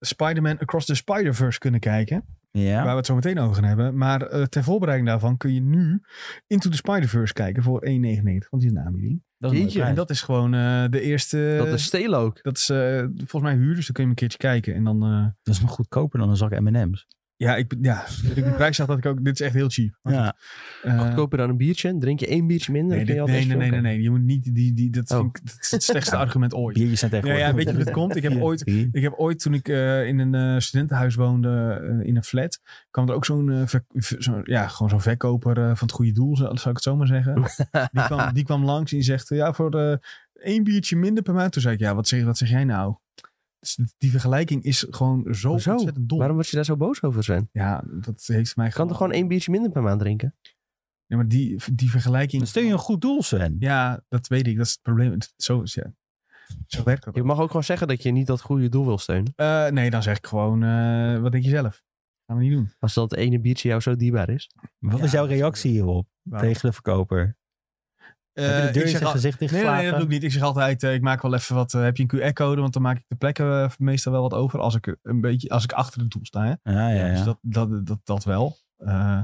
[SPEAKER 1] Spider-Man Across the Spider-Verse kunnen kijken.
[SPEAKER 3] ja?
[SPEAKER 1] Waar we het zo meteen over gaan hebben. Maar eh, ter voorbereiding daarvan kun je nu Into the Spider-Verse kijken voor 1,99. Want die is een aanbieding.
[SPEAKER 3] dat is een
[SPEAKER 2] Jeetje,
[SPEAKER 1] En
[SPEAKER 3] mooie prijs.
[SPEAKER 1] dat is gewoon eh, de eerste...
[SPEAKER 2] dat is stelen ook.
[SPEAKER 1] dat is, eh, volgens mij huur, dus dan kun je hem een keertje kijken. En dan... eh,
[SPEAKER 3] Dat is nog goedkoper dan een zak M&M's.
[SPEAKER 1] ja, ik, ja, toen ik de prijs zag dat ik ook... Dit is echt heel cheap. Maar
[SPEAKER 3] Ja.
[SPEAKER 1] goed, eh,
[SPEAKER 2] Goedkoper dan een biertje. Drink je één biertje minder.
[SPEAKER 1] Nee,
[SPEAKER 2] dan kun
[SPEAKER 1] dit-
[SPEAKER 2] je
[SPEAKER 1] nee,
[SPEAKER 2] al
[SPEAKER 1] nee,
[SPEAKER 2] deze
[SPEAKER 1] nee, nee,
[SPEAKER 2] film
[SPEAKER 1] nee. Je moet niet... Die, die, dat,
[SPEAKER 2] Oh.
[SPEAKER 1] vind ik, dat is het slechtste argument ooit.
[SPEAKER 3] Biertjes zijn
[SPEAKER 1] Ja,
[SPEAKER 3] tegenwoordig.
[SPEAKER 1] ja, weet je hoe dat komt? Ik heb
[SPEAKER 3] Vier,
[SPEAKER 1] ooit
[SPEAKER 3] drie.
[SPEAKER 1] Ik heb ooit, toen ik eh, in een eh, studentenhuis woonde, eh, in een flat, kwam er ook zo'n eh, ver- ver- zo'n- ja, gewoon zo'n verkoper eh, van het goede doel, zou zou ik het zo maar zeggen. Die kwam, die kwam langs en die zegt, eh, ja, voor eh, één biertje minder per maand. Toen zei ik, ja, wat zeg, wat zeg jij nou? Dus die vergelijking is gewoon zo
[SPEAKER 2] Hoezo?
[SPEAKER 1] ontzettend dom.
[SPEAKER 2] Waarom word je daar zo boos over, Sven?
[SPEAKER 1] Ja, dat heeft mij
[SPEAKER 2] Je kan toch gewoon één biertje minder per maand drinken?
[SPEAKER 1] Ja, maar die, die vergelijking.
[SPEAKER 3] Dan steun je een goed doel, Sven.
[SPEAKER 1] Ja, dat weet ik. Dat is het probleem. Zo, is- ja. Zo werkt dat.
[SPEAKER 2] Je mag ook gewoon zeggen dat je niet dat goede doel wil steunen.
[SPEAKER 1] Eh, nee, dan zeg ik gewoon, eh, wat denk je zelf? Gaan we niet doen.
[SPEAKER 2] Als dat ene biertje jou zo dierbaar is.
[SPEAKER 3] Wat
[SPEAKER 1] Ja,
[SPEAKER 3] is jouw
[SPEAKER 1] dat is
[SPEAKER 3] reactie hierop
[SPEAKER 1] Waarom?
[SPEAKER 3] tegen de verkoper?
[SPEAKER 1] Eh,
[SPEAKER 3] Heb je de deur
[SPEAKER 1] ik
[SPEAKER 3] in
[SPEAKER 1] zeg
[SPEAKER 3] zijn
[SPEAKER 1] al-
[SPEAKER 3] gezicht
[SPEAKER 1] nee, nee, nee, dat
[SPEAKER 3] dichtgeslagen?
[SPEAKER 1] doe ik niet. Ik zeg altijd, eh, ik maak wel even wat. eh, heb je een QR-code? Want dan maak ik de plekken eh, meestal wel wat over. Als ik, een beetje, als ik achter het doel sta. Hè?
[SPEAKER 3] Ah, ja,
[SPEAKER 1] Dus
[SPEAKER 3] ja.
[SPEAKER 1] dat, dat, dat, dat wel. Eh,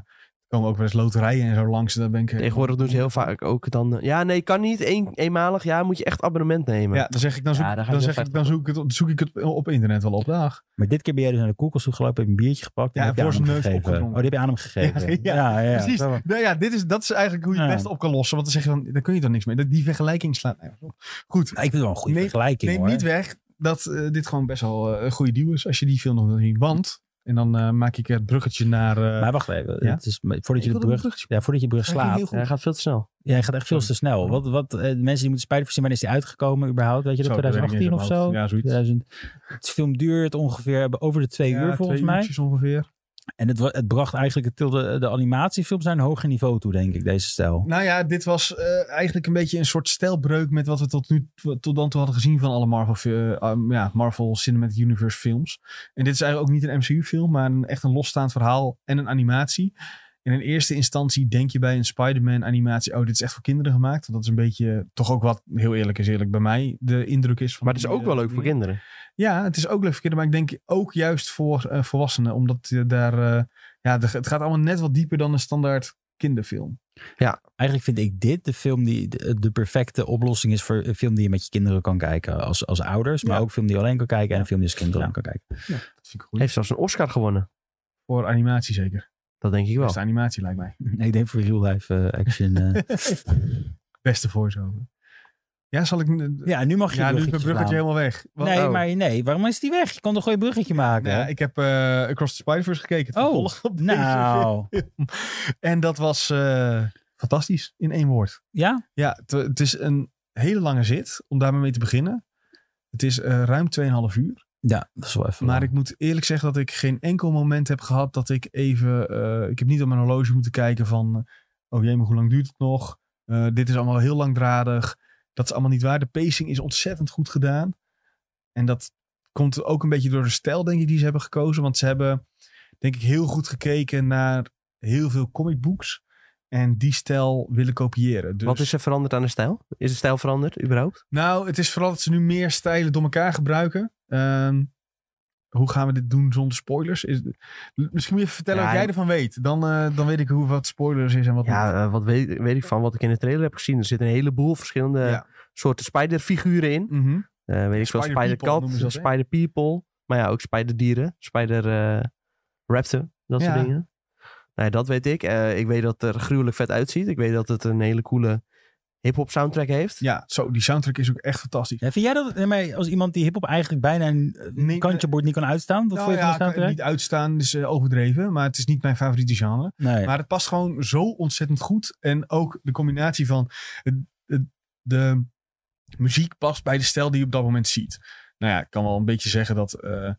[SPEAKER 1] er komen ook wel eens loterijen en zo langs. en Dan ben ik, eh,
[SPEAKER 2] Tegenwoordig doen ze heel vaak ook dan... eh, Ja, nee, kan niet. Eén, eenmalig. Ja, moet je echt abonnement nemen.
[SPEAKER 1] Ja, dan zeg ik, dan zoek,
[SPEAKER 2] Ja, daar ga
[SPEAKER 1] dan
[SPEAKER 2] je
[SPEAKER 1] zeg
[SPEAKER 2] heel
[SPEAKER 1] ik, dan zoek ik het, op- zoek ik het op internet wel op. Dag.
[SPEAKER 3] Maar dit keer ben jij dus naar de koelkast toe gelopen, heb je een biertje gepakt en
[SPEAKER 1] Ja,
[SPEAKER 3] heb je
[SPEAKER 1] voor
[SPEAKER 3] aan hem
[SPEAKER 1] zijn neus
[SPEAKER 3] gegeven.
[SPEAKER 1] opgedronken.
[SPEAKER 3] Oh, die heb je aan hem gegeven.
[SPEAKER 1] Ja,
[SPEAKER 3] ja, ja, ja.
[SPEAKER 1] Precies.
[SPEAKER 3] Zo.
[SPEAKER 1] Nou ja, dit is, dat is eigenlijk hoe je het
[SPEAKER 3] Ja.
[SPEAKER 1] best op kan lossen. Want dan zeg je dan, daar kun je dan niks mee. Dat- Die vergelijking slaat nergens op. Goed,
[SPEAKER 3] Nou, ik vind het wel een goede
[SPEAKER 1] Neem-
[SPEAKER 3] vergelijking
[SPEAKER 1] neem
[SPEAKER 3] hoor.
[SPEAKER 1] niet weg dat eh, dit gewoon best wel eh, een goede deal is. Als je die film nog wil zien. Want, en dan eh, maak ik het bruggetje naar... eh,
[SPEAKER 3] Maar wacht even,
[SPEAKER 1] Ja?
[SPEAKER 3] het is, voordat, je
[SPEAKER 1] Ik
[SPEAKER 3] de
[SPEAKER 1] wilde
[SPEAKER 3] brug,
[SPEAKER 1] een bruggetje-
[SPEAKER 3] ja, voordat je de brug
[SPEAKER 1] Dat ging
[SPEAKER 3] slaat,
[SPEAKER 1] heel goed.
[SPEAKER 2] Ja, gaat veel te snel.
[SPEAKER 3] jij gaat echt veel te
[SPEAKER 1] Sorry.
[SPEAKER 3] snel. Wat, wat, eh, mensen die moeten spijt voor zijn, wanneer is die uitgekomen überhaupt? Weet je dat,
[SPEAKER 1] Zo, dat weet ik
[SPEAKER 3] 2018
[SPEAKER 1] niet
[SPEAKER 3] of
[SPEAKER 1] uit mijn
[SPEAKER 3] zo?
[SPEAKER 1] hoofd. Ja, zoiets.
[SPEAKER 3] 2000. Het film duurt ongeveer over de twee
[SPEAKER 1] Ja,
[SPEAKER 3] uur volgens
[SPEAKER 1] twee
[SPEAKER 3] mij.
[SPEAKER 1] uurtjes ongeveer.
[SPEAKER 3] En het, wa- het bracht eigenlijk het tilde, de animatiefilms naar een hoger niveau toe, denk ik, deze stijl.
[SPEAKER 1] Nou ja, dit was eh, eigenlijk een beetje een soort stijlbreuk met wat we tot, nu, tot dan toe hadden gezien van alle Marvel, eh, um, ja, Marvel Cinematic Universe films. En dit is eigenlijk ook niet een MCU film, maar een, echt een losstaand verhaal en een animatie. En in eerste instantie denk je bij een Spider-Man animatie, oh dit is echt voor kinderen gemaakt. Want dat is een beetje, toch ook wat, heel eerlijk is eerlijk, bij mij de indruk is. Van
[SPEAKER 2] Maar het is
[SPEAKER 1] die,
[SPEAKER 2] ook
[SPEAKER 1] eh,
[SPEAKER 2] wel leuk voor
[SPEAKER 1] dingen.
[SPEAKER 2] kinderen.
[SPEAKER 1] Ja, het is ook leuk voor kinderen, maar ik denk ook juist voor eh, volwassenen. Omdat eh, daar, eh, ja, de- het gaat allemaal net wat dieper dan een standaard kinderfilm.
[SPEAKER 3] Eigenlijk vind ik dit de film die de, de perfecte oplossing is voor een film die je met je kinderen kan kijken als, als ouders. Maar
[SPEAKER 1] Ja.
[SPEAKER 3] ook een film die je alleen kan kijken en een film die je als kinderen
[SPEAKER 1] Ja.
[SPEAKER 3] kan kijken.
[SPEAKER 1] Dat vind ik goed.
[SPEAKER 2] Heeft zelfs een Oscar gewonnen.
[SPEAKER 1] Voor animatie zeker.
[SPEAKER 2] Dat denk ik wel.
[SPEAKER 1] Beste animatie lijkt mij.
[SPEAKER 3] Hm, Ik denk voor real life eh, action. eh.
[SPEAKER 1] Beste voice-over. Ja, zal ik... Ja,
[SPEAKER 3] ja, nu mag je
[SPEAKER 1] ja
[SPEAKER 3] het
[SPEAKER 1] nu is mijn
[SPEAKER 3] bruggetje
[SPEAKER 1] bruggetje
[SPEAKER 3] gaan.
[SPEAKER 1] helemaal weg. Wat-
[SPEAKER 3] Nee,
[SPEAKER 2] oh.
[SPEAKER 3] maar nee. Waarom is die weg? Je kon toch gewoon een bruggetje maken?
[SPEAKER 1] Nou, ik heb eh, Across the Spider-Verse gekeken. het
[SPEAKER 3] oh,
[SPEAKER 1] vervolg op deze film.
[SPEAKER 3] nou.
[SPEAKER 1] En dat was eh, fantastisch, in één woord.
[SPEAKER 3] Ja?
[SPEAKER 1] Ja, het- het is een hele lange zit, om daarmee mee te beginnen. Het is eh, ruim 2,5 uur.
[SPEAKER 3] Ja, dat is wel even
[SPEAKER 1] Maar
[SPEAKER 3] lang.
[SPEAKER 1] ik moet eerlijk zeggen dat ik geen enkel moment heb gehad dat ik even. eh, ik heb niet op mijn horloge moeten kijken van. eh, Oh jee, maar hoe lang duurt het nog? Eh, dit is allemaal heel langdradig. Dat is allemaal niet waar. De pacing is ontzettend goed gedaan. En dat komt ook een beetje door de stijl, denk ik, die ze hebben gekozen. Want ze hebben, denk ik, heel goed gekeken naar heel veel comic books. En die stijl willen kopiëren. Dus...
[SPEAKER 2] Wat is er veranderd aan de stijl? Is de stijl veranderd überhaupt?
[SPEAKER 1] Nou, het is vooral dat ze nu meer stijlen door elkaar gebruiken. Ehm, hoe gaan we dit doen zonder spoilers? Is, misschien moet je even vertellen
[SPEAKER 2] Ja,
[SPEAKER 1] wat jij
[SPEAKER 2] ik-
[SPEAKER 1] ervan weet. Dan, eh, dan weet ik hoe, wat spoilers is en wat
[SPEAKER 2] Ja,
[SPEAKER 1] niet.
[SPEAKER 2] eh, wat weet, weet ik van wat ik in de trailer heb gezien. Er zitten een heleboel verschillende
[SPEAKER 1] Ja.
[SPEAKER 2] soorten spiderfiguren in.
[SPEAKER 1] Mhm.
[SPEAKER 2] Eh, weet ik veel,
[SPEAKER 1] Spider-people
[SPEAKER 2] spider-kat,
[SPEAKER 1] noemen ze dat, hè?
[SPEAKER 2] spider-people. Maar ja, ook spider-dieren, spider-raptor, eh, dat
[SPEAKER 1] Ja.
[SPEAKER 2] soort dingen. Nou ja, dat weet ik. Eh, ik weet dat het er gruwelijk vet uitziet. Ik weet dat het een hele coole hip-hop soundtrack heeft.
[SPEAKER 1] ja, zo, die soundtrack is ook echt fantastisch.
[SPEAKER 3] Ja, vind jij dat nee, maar als iemand die hip-hop eigenlijk bijna een eh,
[SPEAKER 1] Nee,
[SPEAKER 3] kantje bord niet kan uitstaan? Wat vond je van de
[SPEAKER 1] Nou ja, kan
[SPEAKER 3] soundtrack?
[SPEAKER 1] niet uitstaan is eh, overdreven, maar het is niet mijn favoriete genre.
[SPEAKER 3] Nee.
[SPEAKER 1] Maar het past gewoon zo ontzettend goed. En ook de combinatie van het- het- de muziek past bij de stijl die je op dat moment ziet. Nou ja, ik kan wel een beetje zeggen dat eh,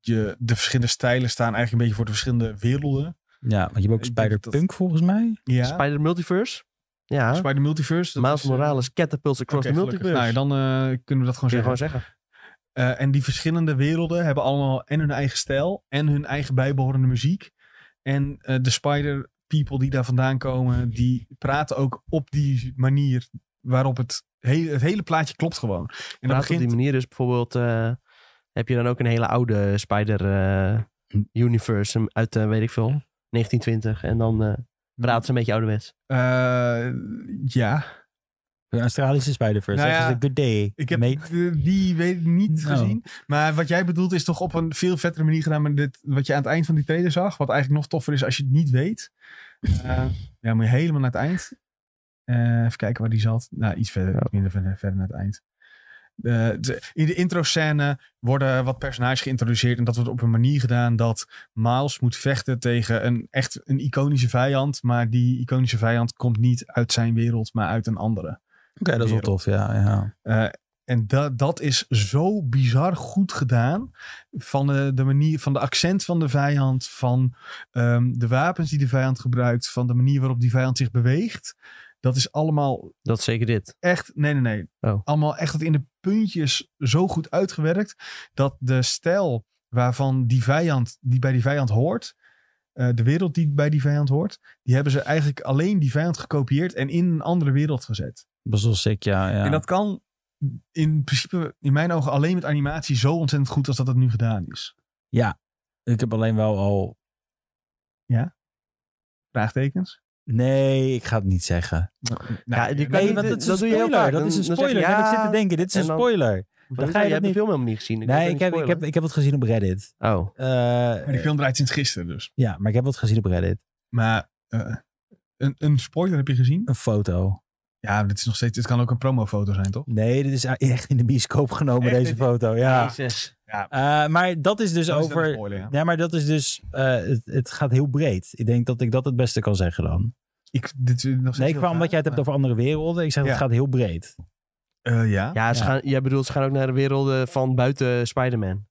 [SPEAKER 1] je, de verschillende stijlen staan eigenlijk een beetje voor de verschillende werelden.
[SPEAKER 3] ja, want je hebt ook
[SPEAKER 1] Ik denk dat-
[SPEAKER 3] Spider-Punk volgens mij.
[SPEAKER 1] Ja, Spider,
[SPEAKER 2] Spider-multiverse. Ja,
[SPEAKER 1] Multiverse. dat
[SPEAKER 2] Miles
[SPEAKER 1] is, eh,
[SPEAKER 2] Morales, Catapult Across
[SPEAKER 1] oké,
[SPEAKER 2] the
[SPEAKER 1] gelukkig.
[SPEAKER 2] Multiverse.
[SPEAKER 1] Nou ja, dan eh, kunnen we dat gewoon
[SPEAKER 2] Kun je
[SPEAKER 1] zeggen.
[SPEAKER 2] gewoon zeggen.
[SPEAKER 1] Eh, en die verschillende werelden hebben allemaal en hun eigen stijl en hun eigen bijbehorende muziek. En eh, de spider people die daar vandaan komen, die praten ook op die manier waarop het, hele het hele plaatje klopt gewoon. En dat
[SPEAKER 2] Praat op die
[SPEAKER 1] begint...
[SPEAKER 2] manier is bijvoorbeeld... eh, heb je dan ook een hele oude Spider-universe uit, eh, weet ik veel, 1920. En dan eh praten ze een beetje ouderwets.
[SPEAKER 1] Eh, ja,
[SPEAKER 3] Een Australische Spider-Verse.
[SPEAKER 1] Nou
[SPEAKER 3] dat
[SPEAKER 1] ja,
[SPEAKER 3] is een good day.
[SPEAKER 1] ik heb
[SPEAKER 3] mate.
[SPEAKER 1] eh, die weet ik niet
[SPEAKER 3] Nou.
[SPEAKER 1] gezien. Maar wat jij bedoelt is toch op een veel vettere manier gedaan met dit, wat je aan het eind van die trailer zag. Wat eigenlijk nog toffer is als je het niet weet. Eh, ja, moet je helemaal naar het eind. Eh, even kijken waar die zat. Nou, iets verder, iets minder verder, verder naar het eind. Eh, de- in de intro-scène worden wat personages geïntroduceerd. En dat wordt op een manier gedaan dat Miles moet vechten tegen een echt een iconische vijand. Maar die iconische vijand komt niet uit zijn wereld, maar uit een andere.
[SPEAKER 3] Oké, dat is wel
[SPEAKER 1] wereld.
[SPEAKER 3] tof, ja. ja.
[SPEAKER 1] Eh, En da dat is zo bizar goed gedaan. Van eh, de, de manier, van de accent van de vijand, van ehm, de wapens die de vijand gebruikt, van de manier waarop die vijand zich beweegt. Dat is allemaal
[SPEAKER 2] Dat is zeker dit.
[SPEAKER 1] echt, nee, nee, nee.
[SPEAKER 2] Oh.
[SPEAKER 1] Allemaal echt tot in de puntjes zo goed uitgewerkt. Dat de stijl waarvan die vijand, die bij die vijand hoort. eh, de wereld die bij die vijand hoort. Die hebben ze eigenlijk alleen die vijand gekopieerd en in een andere wereld gezet.
[SPEAKER 3] Dat is wel sick, ja. ja.
[SPEAKER 1] En dat kan in principe, in mijn ogen, alleen met animatie zo ontzettend goed als dat het nu gedaan is.
[SPEAKER 3] Ik heb alleen wel al...
[SPEAKER 1] Vraagtekens?
[SPEAKER 3] Nee, ik ga het niet zeggen.
[SPEAKER 1] Nou,
[SPEAKER 2] ja, die kan
[SPEAKER 3] Nee,
[SPEAKER 2] niet-
[SPEAKER 3] want dat is een
[SPEAKER 2] dat doe je heel
[SPEAKER 3] spoiler.
[SPEAKER 2] vaak.
[SPEAKER 3] Dat
[SPEAKER 2] Dan-
[SPEAKER 3] is een
[SPEAKER 2] dan zeg je,
[SPEAKER 3] spoiler. En
[SPEAKER 2] ja,
[SPEAKER 3] ik zit te denken, dit is
[SPEAKER 2] en
[SPEAKER 3] een
[SPEAKER 2] dan-
[SPEAKER 3] spoiler.
[SPEAKER 2] Dan
[SPEAKER 3] ga
[SPEAKER 2] ga
[SPEAKER 3] je
[SPEAKER 2] je hebt
[SPEAKER 3] dat
[SPEAKER 2] de film helemaal niet gezien.
[SPEAKER 3] Nee, ik heb, ik, heb, ik heb het gezien op Reddit.
[SPEAKER 2] Oh,
[SPEAKER 3] Eh,
[SPEAKER 1] maar die film draait sinds gisteren dus.
[SPEAKER 3] ja, maar ik heb het gezien op Reddit.
[SPEAKER 1] Maar eh, een, een spoiler heb je gezien?
[SPEAKER 3] Een foto.
[SPEAKER 1] Ja, dit is nog steeds, dit kan ook een promofoto zijn, toch?
[SPEAKER 3] Nee, dit is echt in de bioscoop genomen,
[SPEAKER 1] Echt?
[SPEAKER 3] deze foto. Ja.
[SPEAKER 2] Jezus.
[SPEAKER 3] Eh, maar dat is dus
[SPEAKER 1] Dan is dat
[SPEAKER 3] over.
[SPEAKER 1] een spoiler, ja.
[SPEAKER 3] Nee, maar dat is dus. eh, het, het gaat heel breed. Ik denk dat ik dat het beste kan zeggen dan.
[SPEAKER 1] Ik, dit, is nog steeds
[SPEAKER 3] Nee, ik
[SPEAKER 1] heel
[SPEAKER 3] kwam omdat
[SPEAKER 1] vaag,
[SPEAKER 3] jij het hebt
[SPEAKER 1] maar-
[SPEAKER 3] over andere werelden. Ik zeg,
[SPEAKER 1] Ja.
[SPEAKER 3] het gaat heel breed.
[SPEAKER 1] Eh, ja.
[SPEAKER 2] Ja, ze
[SPEAKER 3] Ja.
[SPEAKER 2] Gaan, jij bedoelt, ze gaan ook naar de werelden van buiten Spider-Man. Oké,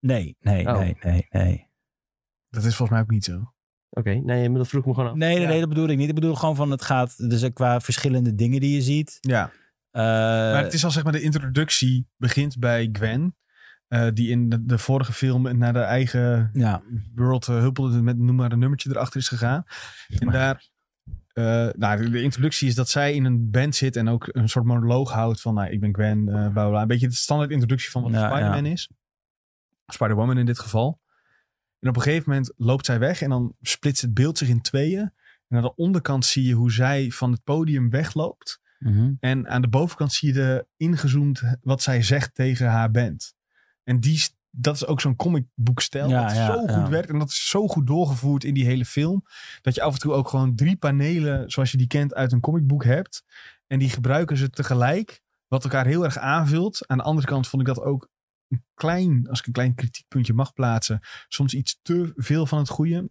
[SPEAKER 3] Nee, nee,
[SPEAKER 2] Oh.
[SPEAKER 3] nee, nee, nee.
[SPEAKER 1] Dat is volgens mij ook niet zo.
[SPEAKER 2] nee, maar dat vroeg ik me gewoon af.
[SPEAKER 3] Nee, nee,
[SPEAKER 1] Ja.
[SPEAKER 3] nee, dat bedoel ik niet. Ik bedoel gewoon van het gaat. Dus qua verschillende dingen die je ziet.
[SPEAKER 1] Ja.
[SPEAKER 3] Eh,
[SPEAKER 1] maar het is al zeg maar de introductie begint bij Gwen. eh, die in de, de vorige film naar haar eigen
[SPEAKER 3] ja.
[SPEAKER 1] world eh, huppelde met noem maar een nummertje erachter is gegaan. En
[SPEAKER 3] Maar-
[SPEAKER 1] daar, eh, nou, de, de introductie is dat zij in een band zit en ook een soort monoloog houdt van, nou, ik ben Gwen, eh, bla bla, bla. Een beetje de standaard introductie van wat
[SPEAKER 3] Ja,
[SPEAKER 1] Spider-Man is. Spider-Woman in dit geval. En op een gegeven moment loopt zij weg en dan splitst het beeld zich in tweeën. En aan de onderkant zie je hoe zij van het podium wegloopt.
[SPEAKER 3] Mhm.
[SPEAKER 1] En aan de bovenkant zie je de ingezoomd wat zij zegt tegen haar band. En die, s- dat is ook zo'n comicboekstijl.
[SPEAKER 3] Ja,
[SPEAKER 1] dat
[SPEAKER 3] ja,
[SPEAKER 1] zo
[SPEAKER 3] ja.
[SPEAKER 1] goed werkt en dat is zo goed doorgevoerd in die hele film. Dat je af en toe ook gewoon drie panelen zoals je die kent uit een comicboek hebt. En die gebruiken ze tegelijk. Wat elkaar heel erg aanvult. Aan de andere kant vond ik dat ook een klein, als ik een klein kritiekpuntje mag plaatsen. Soms iets te veel van het goede.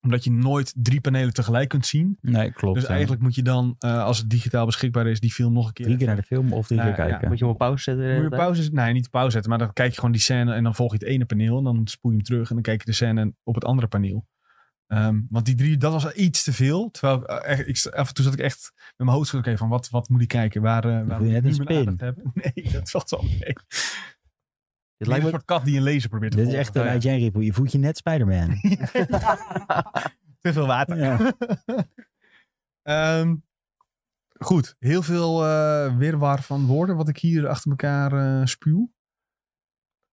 [SPEAKER 1] Omdat je nooit drie panelen tegelijk kunt zien.
[SPEAKER 3] Nee, klopt.
[SPEAKER 1] Dus
[SPEAKER 3] ja.
[SPEAKER 1] eigenlijk moet je dan, eh, als het digitaal beschikbaar is, die film nog een keer.
[SPEAKER 3] Drie keer naar de film of drie
[SPEAKER 1] Ja,
[SPEAKER 3] keer
[SPEAKER 1] ja.
[SPEAKER 3] kijken.
[SPEAKER 2] Moet je hem op pauze zetten? de
[SPEAKER 1] Moet je
[SPEAKER 2] hele tijd?
[SPEAKER 1] pauze Nee, niet pauze zetten, maar dan kijk je gewoon die scène en dan volg je het ene paneel. En dan spoel je hem terug en dan kijk je de scène op het andere paneel. Ehm, want die drie, dat was iets te veel. Terwijl ik, eh, echt- ik, af en toe zat ik echt met mijn hoofd schudden, oké, van wat, wat moet ik kijken? Waar, eh, waar
[SPEAKER 3] je
[SPEAKER 1] moet ik
[SPEAKER 3] net
[SPEAKER 1] nu mijn
[SPEAKER 3] een spin.
[SPEAKER 1] aandacht hebben? Nee, dat valt wel mee.
[SPEAKER 2] Dit
[SPEAKER 1] lijkt een
[SPEAKER 2] lijkt me...
[SPEAKER 1] soort kat die een laser probeert te
[SPEAKER 3] Dit is
[SPEAKER 1] volgen.
[SPEAKER 3] echt een uit Jan Ripple. Je voelt je net Spider-Man.
[SPEAKER 1] Te veel water.
[SPEAKER 3] ja.
[SPEAKER 1] Ehm, goed, heel veel eh wirwar van woorden wat ik hier achter elkaar eh, spuw.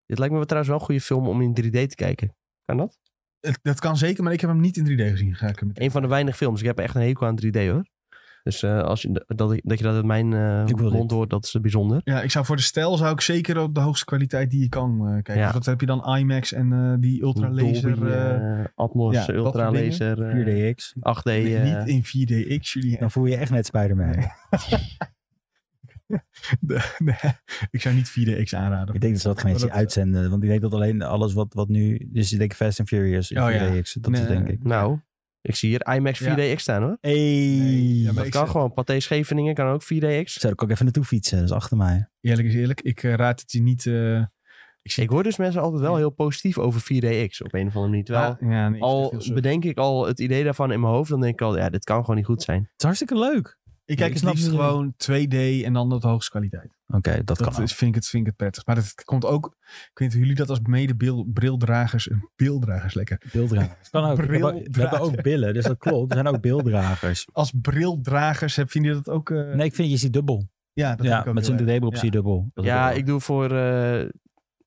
[SPEAKER 2] Dit lijkt me wel trouwens wel een goede film om in 3D te kijken. Kan dat?
[SPEAKER 1] Het- Dat kan zeker, maar ik heb hem niet in 3D gezien. Ga ik hem
[SPEAKER 2] Een van de weinig films. Ik heb echt een hekel aan 3D hoor. Dus eh, als je, dat, ik- dat je dat uit mijn eh,
[SPEAKER 3] Ik wil
[SPEAKER 2] mond
[SPEAKER 3] dit.
[SPEAKER 2] hoort, dat is bijzonder.
[SPEAKER 1] Ja, ik zou voor de stijl zou ik zeker op de hoogste kwaliteit die je kan eh, kijken.
[SPEAKER 2] Ja.
[SPEAKER 1] Dus dat heb je dan IMAX en eh, die ultra laser.
[SPEAKER 2] Dolby, eh, Atmos,
[SPEAKER 1] ja, dat soort
[SPEAKER 2] Ultra Laser, eh,
[SPEAKER 3] 4DX.
[SPEAKER 2] 8D. eh,
[SPEAKER 1] niet in 4DX, jullie.
[SPEAKER 3] Dan voel je je echt net Spider-Man.
[SPEAKER 1] De- nee, ik zou niet 4DX aanraden.
[SPEAKER 3] Ik denk dat ze dat geen eens
[SPEAKER 1] Maar dat-
[SPEAKER 3] uitzenden. Want ik denk dat alleen alles wat, wat nu... Dus ik denk Fast and Furious.
[SPEAKER 1] Oh
[SPEAKER 3] Oh,
[SPEAKER 1] ja.
[SPEAKER 3] ja. Dat
[SPEAKER 1] Nee.
[SPEAKER 3] is denk ik.
[SPEAKER 2] nou, ik zie hier IMAX
[SPEAKER 1] Ja.
[SPEAKER 2] 4DX staan hoor.
[SPEAKER 3] Hey.
[SPEAKER 1] Nee, ja, maar
[SPEAKER 2] Dat
[SPEAKER 1] ik
[SPEAKER 2] kan
[SPEAKER 1] zeg-
[SPEAKER 2] gewoon. Pathé Scheveningen kan ook 4DX.
[SPEAKER 3] Zo, dan kan ik even naartoe fietsen. Dat is achter mij.
[SPEAKER 1] Eerlijk is eerlijk, ik eh, raad het je niet. eh,
[SPEAKER 2] Ik hoor dus mensen altijd wel heel positief over 4DX op een of andere manier. Terwijl,
[SPEAKER 1] ah, ja, nee, ik
[SPEAKER 2] al
[SPEAKER 1] vind het veel zo.
[SPEAKER 2] bedenk ik al het idee daarvan in mijn hoofd, dan denk ik al, ja, dit kan gewoon niet goed zijn.
[SPEAKER 3] Het is hartstikke leuk.
[SPEAKER 1] ik kijk
[SPEAKER 3] ik
[SPEAKER 1] het
[SPEAKER 3] snap
[SPEAKER 1] liefst
[SPEAKER 3] het niet.
[SPEAKER 1] gewoon 2D en dan op de hoogste kwaliteit.
[SPEAKER 3] Oké, dat,
[SPEAKER 1] Dat
[SPEAKER 3] kan
[SPEAKER 1] is, vind, ik het, vind ik het prettig. Maar dat komt ook. Ik weet niet of jullie dat als mede-brildragers. Beelddragers lekker.
[SPEAKER 3] ook. Beelddragers. Kan ook. We hebben- We hebben
[SPEAKER 1] Brildrager.
[SPEAKER 3] ook billen, dus dat klopt. Er zijn ook beelddragers.
[SPEAKER 1] Als brildragers heb- vinden jullie dat ook. eh,
[SPEAKER 3] Nee, ik vind je ziet dubbel.
[SPEAKER 1] Ja, dat
[SPEAKER 3] ja,
[SPEAKER 1] vind ik ook
[SPEAKER 3] met
[SPEAKER 1] heel
[SPEAKER 3] zo'n
[SPEAKER 1] erg.
[SPEAKER 3] dubbel op zie je dubbel. Dat is
[SPEAKER 2] ja,
[SPEAKER 3] wel-
[SPEAKER 2] ik doe voor eh,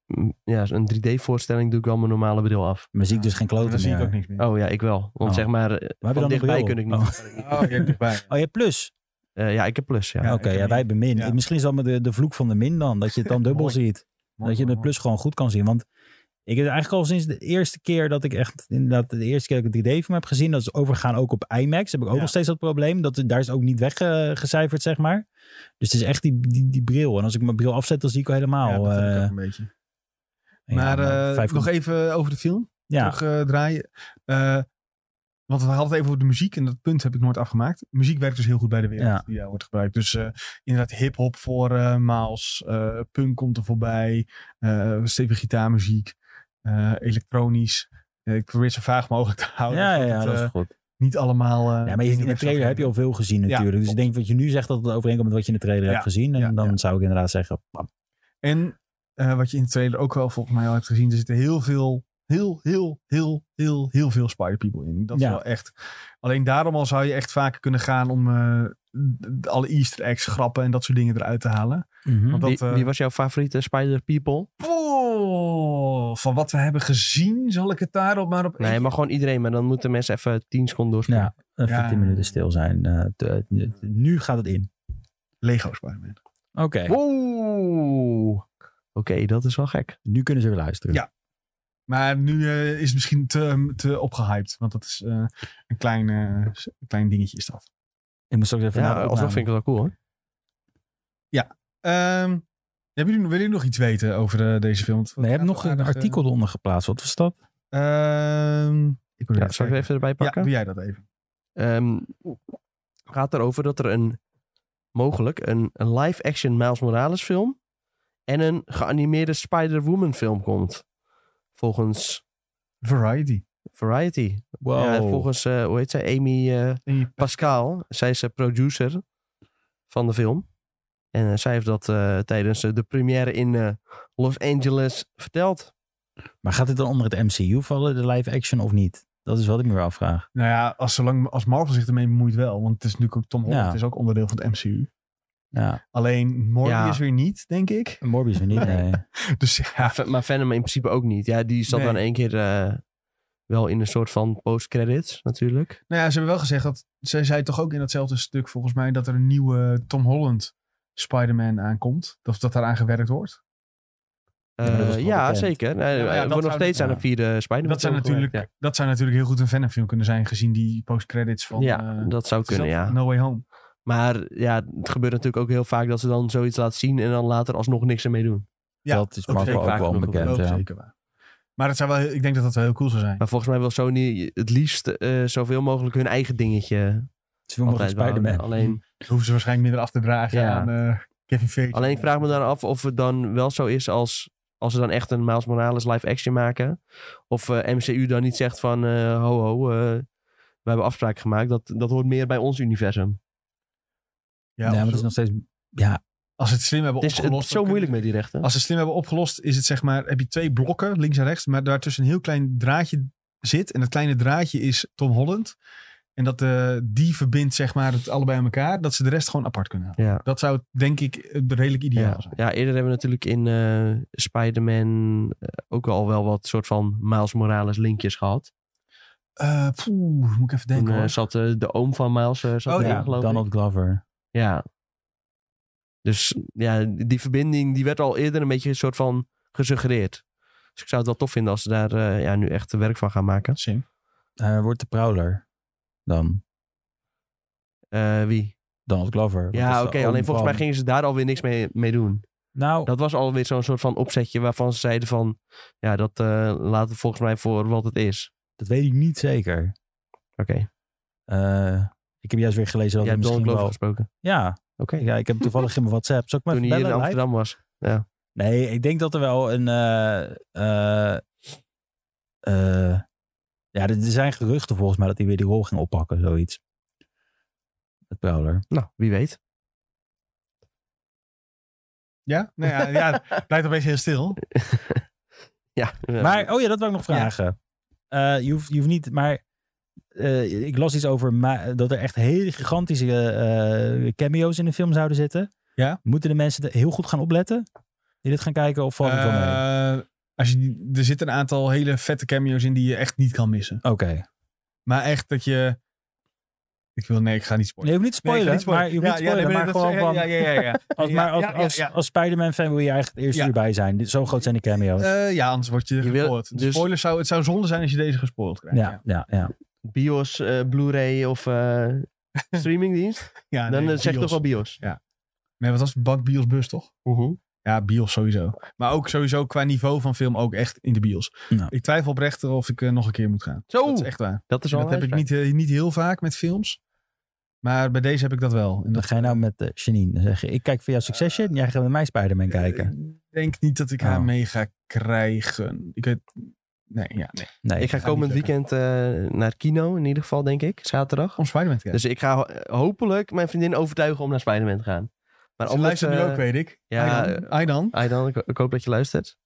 [SPEAKER 2] m, ja, een 3D-voorstelling doe ik wel mijn normale bril af.
[SPEAKER 3] Maar zie ik dus geen
[SPEAKER 1] Maar
[SPEAKER 3] kloten
[SPEAKER 1] Dan zie ik
[SPEAKER 3] meer.
[SPEAKER 1] ook niks meer.
[SPEAKER 2] Oh ja, ik wel. Want
[SPEAKER 3] Oh.
[SPEAKER 2] zeg maar, eh,
[SPEAKER 3] Maar heb je
[SPEAKER 2] van
[SPEAKER 3] dan een
[SPEAKER 2] dichtbij
[SPEAKER 3] bril?
[SPEAKER 2] kun ik niet.
[SPEAKER 3] Oh.
[SPEAKER 1] Oh, je hebt dichtbij.
[SPEAKER 3] Oh, je hebt plus.
[SPEAKER 2] Eh, ja, ik heb plus, ja.
[SPEAKER 1] Ja,
[SPEAKER 3] Oké,
[SPEAKER 1] ik heb
[SPEAKER 3] ja, wij
[SPEAKER 1] niet.
[SPEAKER 3] hebben min.
[SPEAKER 1] Ja.
[SPEAKER 3] Misschien is dat maar de, de vloek van de min dan. Dat je het dan dubbel
[SPEAKER 1] Mooi.
[SPEAKER 3] ziet.
[SPEAKER 1] Mooi,
[SPEAKER 3] dat je
[SPEAKER 1] mooi,
[SPEAKER 3] de plus gewoon goed kan zien. Want ik heb eigenlijk al sinds de eerste keer dat ik echt inderdaad de eerste keer dat ik een 3D-film heb gezien, dat is overgaan ook op IMAX. Heb ik ook
[SPEAKER 1] Ja.
[SPEAKER 3] nog steeds dat probleem. Dat, daar is het ook niet weggecijferd, zeg maar. Dus het is echt die, die, die bril. En als ik mijn bril afzet, dan zie ik al
[SPEAKER 1] mooi.
[SPEAKER 3] helemaal.
[SPEAKER 1] Ja, dat heb ik
[SPEAKER 3] eh,
[SPEAKER 1] ook een beetje.
[SPEAKER 3] ja,
[SPEAKER 1] maar eh,
[SPEAKER 3] vijf-
[SPEAKER 1] nog even over de film
[SPEAKER 3] ja,
[SPEAKER 1] terugdraaien. Eh, Want we hadden het even over de muziek en dat punt heb ik nooit afgemaakt. Muziek werkt dus heel goed bij de wereld
[SPEAKER 3] Ja.
[SPEAKER 1] die daar wordt gebruikt. Dus eh, inderdaad hip-hop voor eh Maals, eh, punk komt er voorbij, eh stevige gitaarmuziek, eh, elektronisch. Eh, ik probeer het zo vaag mogelijk te houden.
[SPEAKER 3] Ja,
[SPEAKER 1] zodat
[SPEAKER 3] ja, ja,
[SPEAKER 1] het,
[SPEAKER 2] dat
[SPEAKER 1] eh,
[SPEAKER 2] is goed.
[SPEAKER 1] niet allemaal. eh,
[SPEAKER 3] Ja, maar in
[SPEAKER 1] dingen
[SPEAKER 3] de
[SPEAKER 1] weg zou
[SPEAKER 3] trailer heb je
[SPEAKER 1] geven.
[SPEAKER 3] al veel gezien natuurlijk. dus ik
[SPEAKER 1] klopt.
[SPEAKER 3] denk wat je nu zegt dat het overeenkomt met wat je in de trailer
[SPEAKER 1] Ja,
[SPEAKER 3] hebt gezien. En
[SPEAKER 1] ja,
[SPEAKER 3] dan
[SPEAKER 1] ja.
[SPEAKER 3] zou ik inderdaad zeggen, bam.
[SPEAKER 1] En eh, wat je in de trailer ook wel volgens mij al hebt gezien, er zitten heel veel, heel, heel, heel, heel, heel veel Spider People in. Dat
[SPEAKER 3] Ja.
[SPEAKER 1] is wel echt. Alleen daarom al zou je echt vaker kunnen gaan om eh, d- alle Easter eggs, grappen en dat soort dingen eruit te halen.
[SPEAKER 3] Mhm.
[SPEAKER 1] Want dat,
[SPEAKER 2] Wie,
[SPEAKER 1] eh,
[SPEAKER 2] wie was jouw favoriete Spider People?
[SPEAKER 1] Poeh, Oh, van wat we hebben gezien, zal ik het daarop maar op.
[SPEAKER 2] Nee, maar gewoon iedereen. Maar dan moeten mensen even 10 seconden doorspelen.
[SPEAKER 3] Ja, even
[SPEAKER 1] Ja.
[SPEAKER 3] 10 minuten stil zijn. Eh, te- te- nu gaat het in.
[SPEAKER 1] Lego Spider-Man.
[SPEAKER 3] Oké,
[SPEAKER 2] Wow. Oké, dat is wel gek.
[SPEAKER 3] nu kunnen ze weer luisteren.
[SPEAKER 1] Ja. Maar nu eh, is het misschien te, te opgehyped, want dat is eh, een, klein, eh, een klein dingetje is dat.
[SPEAKER 3] Ik moet straks even
[SPEAKER 2] Ja,
[SPEAKER 3] naar de
[SPEAKER 2] alsnog
[SPEAKER 3] opname.
[SPEAKER 2] vind ik het wel cool hoor.
[SPEAKER 1] Ehm hebben jullie, willen jullie nog iets weten over eh, deze film? Want
[SPEAKER 3] Nee, je hebt
[SPEAKER 1] het
[SPEAKER 3] nog
[SPEAKER 1] gaat
[SPEAKER 3] een
[SPEAKER 1] wel aardig,
[SPEAKER 3] artikel eronder geplaatst. Wat was dat?
[SPEAKER 1] eh, ehm, ik wil
[SPEAKER 2] Ja, zal ik er even erbij
[SPEAKER 1] Ja,
[SPEAKER 2] pakken?
[SPEAKER 1] doe jij dat even.
[SPEAKER 2] Ehm, gaat erover dat er een mogelijk een, een live-action Miles Morales film en een geanimeerde Spider-Woman film komt. Volgens
[SPEAKER 1] Variety.
[SPEAKER 2] Variety.
[SPEAKER 3] Wow.
[SPEAKER 2] Ja, volgens, eh, hoe heet zij? Amy eh, Pascal. Zij is eh, producer van de film. En eh, zij heeft dat eh, tijdens eh, de première in eh, Los Angeles verteld.
[SPEAKER 3] Maar gaat dit dan onder het MCU vallen, de live action of niet? Dat is wat ik me weer afvraag.
[SPEAKER 1] Nou ja, als, zolang, als Marvel zich ermee bemoeit wel. Want het is natuurlijk ook Tom Holland.
[SPEAKER 3] Ja.
[SPEAKER 1] Het is ook onderdeel van het MCU.
[SPEAKER 3] Ja,
[SPEAKER 1] Alleen Morbius
[SPEAKER 2] Ja.
[SPEAKER 1] is weer niet, denk ik.
[SPEAKER 3] Morbius weer niet, nee.
[SPEAKER 1] Dus ja,
[SPEAKER 2] V- Maar Venom in principe ook niet. Ja, die zat
[SPEAKER 1] Nee.
[SPEAKER 2] dan één keer eh, wel in een soort van post-credits natuurlijk.
[SPEAKER 1] nou ja, ze hebben wel gezegd dat... Zij zei toch ook in datzelfde stuk volgens mij... dat er een nieuwe Tom Holland Spider-Man aankomt. Of dat daaraan gewerkt wordt.
[SPEAKER 3] maar dat was
[SPEAKER 2] Eh,
[SPEAKER 3] toch
[SPEAKER 2] ja,
[SPEAKER 3] bekend?
[SPEAKER 2] zeker. Eh,
[SPEAKER 1] ja,
[SPEAKER 2] er
[SPEAKER 1] dat
[SPEAKER 2] wordt nog
[SPEAKER 1] zou-
[SPEAKER 2] steeds aan
[SPEAKER 3] ja.
[SPEAKER 2] een vierde Spider-Man
[SPEAKER 1] Dat zou,
[SPEAKER 2] film
[SPEAKER 1] natuurlijk,
[SPEAKER 2] gewerkt,
[SPEAKER 1] dat zou natuurlijk heel goed een Venom-film kunnen zijn... gezien die post-credits van...
[SPEAKER 2] Ja,
[SPEAKER 1] eh,
[SPEAKER 2] Ja, dat zou kunnen,
[SPEAKER 1] zelf-
[SPEAKER 2] ja.
[SPEAKER 1] No Way Home.
[SPEAKER 2] Maar ja, het gebeurt natuurlijk ook heel vaak dat ze dan zoiets laten zien en dan later alsnog niks ermee doen.
[SPEAKER 1] Ja,
[SPEAKER 3] dat is
[SPEAKER 1] ook
[SPEAKER 3] Marvel
[SPEAKER 1] zeker
[SPEAKER 3] ook
[SPEAKER 2] vaak
[SPEAKER 3] wel
[SPEAKER 2] genoeg.
[SPEAKER 3] onbekend.
[SPEAKER 1] Dat is
[SPEAKER 3] Ja.
[SPEAKER 1] zeker waar. Maar dat zou wel, ik denk dat dat wel heel cool zou zijn.
[SPEAKER 2] Maar volgens mij wil Sony het liefst eh, zoveel mogelijk hun eigen dingetje
[SPEAKER 3] Zoveel mogelijk
[SPEAKER 2] altijd wel.
[SPEAKER 3] Spider-Man.
[SPEAKER 2] Alleen,
[SPEAKER 1] Dat hoeven ze waarschijnlijk minder af te dragen
[SPEAKER 2] Ja.
[SPEAKER 1] aan eh, Kevin Feige.
[SPEAKER 2] alleen ik vraag me dan af of het dan wel zo is als, als ze dan echt een Miles Morales live action maken. Of eh, MCU dan niet zegt van eh, ho ho, eh, we hebben afspraken gemaakt. Dat, dat hoort meer bij ons universum.
[SPEAKER 1] Ja,
[SPEAKER 3] Ja, maar
[SPEAKER 1] als,
[SPEAKER 3] het is nog steeds... Ja,
[SPEAKER 1] als ze het slim hebben
[SPEAKER 2] Het is, het is
[SPEAKER 1] opgelost.
[SPEAKER 2] zo
[SPEAKER 1] dan
[SPEAKER 2] moeilijk
[SPEAKER 1] kunnen-
[SPEAKER 2] met die rechten.
[SPEAKER 1] Als ze het slim hebben opgelost, is het zeg maar, heb je twee blokken, links en rechts. Maar daartussen een heel klein draadje zit. En dat kleine draadje is Tom Holland. En dat eh, die verbindt zeg maar het allebei aan elkaar. Dat ze de rest gewoon apart kunnen halen.
[SPEAKER 2] Ja.
[SPEAKER 1] Dat zou denk ik eh, redelijk ideaal
[SPEAKER 2] Ja.
[SPEAKER 1] zijn.
[SPEAKER 2] ja, eerder hebben we natuurlijk in eh, Spider-Man eh, ook al wel wat soort van Miles Morales linkjes gehad.
[SPEAKER 1] Eh, poeh, moet ik even
[SPEAKER 2] Toen
[SPEAKER 1] denken
[SPEAKER 2] eh,
[SPEAKER 1] hoor.
[SPEAKER 2] zat eh, de oom van Miles eh, zat
[SPEAKER 1] Oh,
[SPEAKER 2] erin,
[SPEAKER 1] ja,
[SPEAKER 2] geloof ik.
[SPEAKER 3] Donald Glover.
[SPEAKER 2] Ja. Dus ja, die verbinding die werd al eerder een beetje een soort van gesuggereerd. Dus ik zou het wel tof vinden als ze daar eh, ja, nu echt werk van gaan maken.
[SPEAKER 1] Sim.
[SPEAKER 3] Hij Eh, wordt de Prowler dan.
[SPEAKER 2] Eh, wie?
[SPEAKER 3] Donald Glover. Want dat is
[SPEAKER 2] Ja,
[SPEAKER 3] de
[SPEAKER 2] oké.
[SPEAKER 3] oom
[SPEAKER 2] alleen volgens mij
[SPEAKER 3] van-
[SPEAKER 2] gingen ze daar alweer niks mee, mee doen.
[SPEAKER 3] Nou,
[SPEAKER 2] Dat was alweer zo'n soort van opzetje waarvan ze zeiden van... Ja, dat eh, laten we volgens mij voor wat het is.
[SPEAKER 3] dat weet ik niet zeker.
[SPEAKER 2] Oké.
[SPEAKER 3] Eh, ik heb juist weer gelezen dat
[SPEAKER 2] Jij hebt
[SPEAKER 3] hij
[SPEAKER 2] Donald
[SPEAKER 3] misschien
[SPEAKER 2] Glover
[SPEAKER 3] wel...
[SPEAKER 2] gesproken.
[SPEAKER 3] Ja,
[SPEAKER 2] Oké.
[SPEAKER 3] ja, ik heb hem toevallig in mijn WhatsApp. Zal ik maar
[SPEAKER 2] Toen
[SPEAKER 3] even
[SPEAKER 2] hij hier in
[SPEAKER 3] bellen, live?
[SPEAKER 2] Amsterdam was.
[SPEAKER 3] Nee, ik denk dat er wel een. eh, eh, eh, ja, er er zijn geruchten volgens mij dat hij weer die rol ging oppakken, zoiets. Het Prowler.
[SPEAKER 2] Nou, wie weet.
[SPEAKER 1] Ja? Nou ja, ja, het blijft opeens heel stil.
[SPEAKER 2] Ja. eh,
[SPEAKER 3] Maar, oh ja, dat wou ik nog
[SPEAKER 1] Ja.
[SPEAKER 3] vragen. Eh, je, hoeft, je hoeft niet, maar. eh, ik las iets over ma- dat er echt hele gigantische eh, cameo's in de film zouden zitten.
[SPEAKER 1] Ja.
[SPEAKER 3] Moeten de mensen er heel goed gaan opletten? Die dit gaan kijken of valt het wel mee?
[SPEAKER 1] Eh, als je, die- er zitten een aantal hele vette cameo's in die je echt niet kan missen.
[SPEAKER 3] Oké.
[SPEAKER 1] Maar echt dat je... Ik wil... Nee, ik ga niet
[SPEAKER 3] Nee,
[SPEAKER 1] spoilen.
[SPEAKER 3] je hoeft niet te spoilen, maar je hoeft niet te spoilen. maar gewoon van,
[SPEAKER 1] Ja, ja, ja. Ja,
[SPEAKER 3] Als, maar als,
[SPEAKER 1] ja, ja,
[SPEAKER 3] als,
[SPEAKER 1] ja.
[SPEAKER 3] als Spider-Man fan wil je eigenlijk het eerste
[SPEAKER 1] Ja.
[SPEAKER 3] uur bij zijn. Dit- Zo groot zijn de cameo's.
[SPEAKER 1] Eh, ja, anders word je
[SPEAKER 2] Je wil-
[SPEAKER 1] gespoord.
[SPEAKER 2] dus-
[SPEAKER 1] Spoilers zou, het zou zonde zijn als je deze gespoord krijgt.
[SPEAKER 3] ja, ja, ja.
[SPEAKER 2] Bios, eh, Blu-ray of eh, streamingdienst.
[SPEAKER 1] Ja,
[SPEAKER 2] Dan
[SPEAKER 3] Ah,
[SPEAKER 1] nee,
[SPEAKER 2] eh, zeg ik
[SPEAKER 1] BIOS.
[SPEAKER 2] toch wel Bios.
[SPEAKER 1] Nee, wat was het? Bank BIOS Bus, toch? Ja, bios sowieso. Maar ook sowieso qua niveau van film ook echt in de bios.
[SPEAKER 3] Ja.
[SPEAKER 1] Ik twijfel oprecht of ik eh, nog een keer moet gaan.
[SPEAKER 2] Zo,
[SPEAKER 1] Dat is echt waar.
[SPEAKER 2] dat is
[SPEAKER 1] En
[SPEAKER 2] wel
[SPEAKER 1] dat
[SPEAKER 2] een
[SPEAKER 1] heb ik
[SPEAKER 2] uitspraak.
[SPEAKER 1] niet, eh, niet heel vaak met films. Maar bij deze heb ik dat wel. En
[SPEAKER 3] Wat
[SPEAKER 1] dat
[SPEAKER 3] ga je nou met eh, Janine zeggen? Ik kijk voor jou Succession, jij gaat met mij Spider-Man kijken.
[SPEAKER 1] Ik denk niet dat ik haar
[SPEAKER 3] Oh.
[SPEAKER 1] mee ga krijgen. Ik weet... Nee, ja, nee.
[SPEAKER 3] Nee,
[SPEAKER 2] Ik ga
[SPEAKER 1] ga niet Oh,
[SPEAKER 2] komend weekend eh, naar kino, in ieder geval, denk ik. Zaterdag.
[SPEAKER 1] Om Spider-Man te kijken.
[SPEAKER 2] Dus ik ga ho- hopelijk mijn vriendin overtuigen om naar Spider-Man te gaan. Maar
[SPEAKER 1] Ze
[SPEAKER 2] anders,
[SPEAKER 1] luistert nu
[SPEAKER 2] eh,
[SPEAKER 1] ook, weet ik.
[SPEAKER 2] ja, eh,
[SPEAKER 1] Aydan. Aydan.
[SPEAKER 2] Aydan, ik, ik hoop dat je luistert.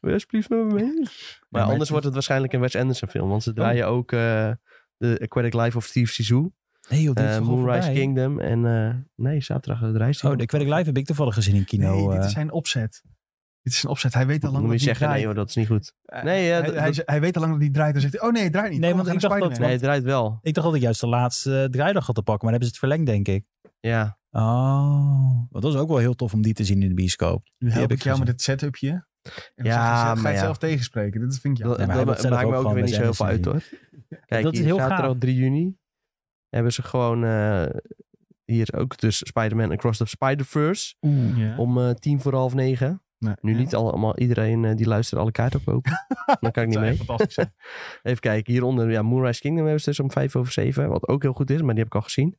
[SPEAKER 2] Wil je alsjeblieft met me mee? Maar
[SPEAKER 1] maar
[SPEAKER 2] anders
[SPEAKER 1] het-
[SPEAKER 2] wordt het waarschijnlijk een Wes Anderson film. Want ze draaien ook eh The Aquatic Life of Steve Zissou.
[SPEAKER 3] nee, joh, dit is
[SPEAKER 2] eh,
[SPEAKER 3] toch al
[SPEAKER 2] Moonrise
[SPEAKER 3] voorbij?
[SPEAKER 2] Kingdom. En eh, nee, zaterdag de reis.
[SPEAKER 3] Oh, de Aquatic Live heb ik toevallig gezien in kino.
[SPEAKER 1] Nee, dit
[SPEAKER 3] eh.
[SPEAKER 1] is zijn opzet. Dit is een opzet. Hij weet al
[SPEAKER 2] Dan
[SPEAKER 1] lang
[SPEAKER 2] moet
[SPEAKER 1] dat
[SPEAKER 2] je
[SPEAKER 1] hij
[SPEAKER 2] zeggen, nee
[SPEAKER 1] draait.
[SPEAKER 2] hoor, dat is niet goed.
[SPEAKER 1] Eh,
[SPEAKER 2] Nee, ja,
[SPEAKER 1] hij,
[SPEAKER 2] dat-
[SPEAKER 1] hij, hij weet al lang dat hij draait. Dan zegt hij, oh nee, draait niet.
[SPEAKER 3] Nee,
[SPEAKER 1] Kom, we
[SPEAKER 3] want
[SPEAKER 1] gaan
[SPEAKER 3] ik
[SPEAKER 1] naar
[SPEAKER 3] dacht
[SPEAKER 2] Nee,
[SPEAKER 1] Spider-Man.
[SPEAKER 2] het draait wel.
[SPEAKER 3] Ik dacht dat ik juist de laatste eh, draaidag had te pakken, maar dan hebben ze het verlengd, denk ik.
[SPEAKER 2] Ja.
[SPEAKER 3] Oh, want dat is ook wel heel tof om die te zien in de bioscoop.
[SPEAKER 1] Nu help
[SPEAKER 3] heb
[SPEAKER 1] ik
[SPEAKER 3] ik
[SPEAKER 1] jou met
[SPEAKER 3] gezien.
[SPEAKER 1] het setupje. En dan
[SPEAKER 2] Ja,
[SPEAKER 1] zeg je zelf- ga je
[SPEAKER 2] maar
[SPEAKER 1] het
[SPEAKER 2] ja.
[SPEAKER 1] zelf tegenspreken. Dit vind ik
[SPEAKER 2] Dat,
[SPEAKER 1] jammer.
[SPEAKER 3] maar hij
[SPEAKER 2] dat
[SPEAKER 3] wil zelf
[SPEAKER 2] maakt
[SPEAKER 3] ook
[SPEAKER 2] me ook
[SPEAKER 3] gewoon
[SPEAKER 2] weer niet
[SPEAKER 3] Wes
[SPEAKER 2] zo heel veel uit
[SPEAKER 3] Anderson
[SPEAKER 2] hoor. Kijk,
[SPEAKER 3] Dat is
[SPEAKER 2] hier,
[SPEAKER 3] heel
[SPEAKER 2] zaterdag
[SPEAKER 3] gaaf.
[SPEAKER 2] 3 juni hebben ze gewoon eh, hier ook dus Spider-Man Across the Spider-Verse.
[SPEAKER 3] Oeh.
[SPEAKER 1] Ja.
[SPEAKER 2] Om eh, tien voor half negen.
[SPEAKER 1] Nee,
[SPEAKER 2] Nu
[SPEAKER 1] ja.
[SPEAKER 2] niet allemaal, iedereen eh, die luistert alle kaarten opkopen. Dan kan ik
[SPEAKER 1] Dat
[SPEAKER 2] niet
[SPEAKER 1] zou echt
[SPEAKER 2] mee.
[SPEAKER 1] fantastisch zijn.
[SPEAKER 2] Even kijken, hieronder ja, Moonrise Kingdom hebben ze dus om vijf over zeven. Wat ook heel goed is, maar die heb ik al gezien.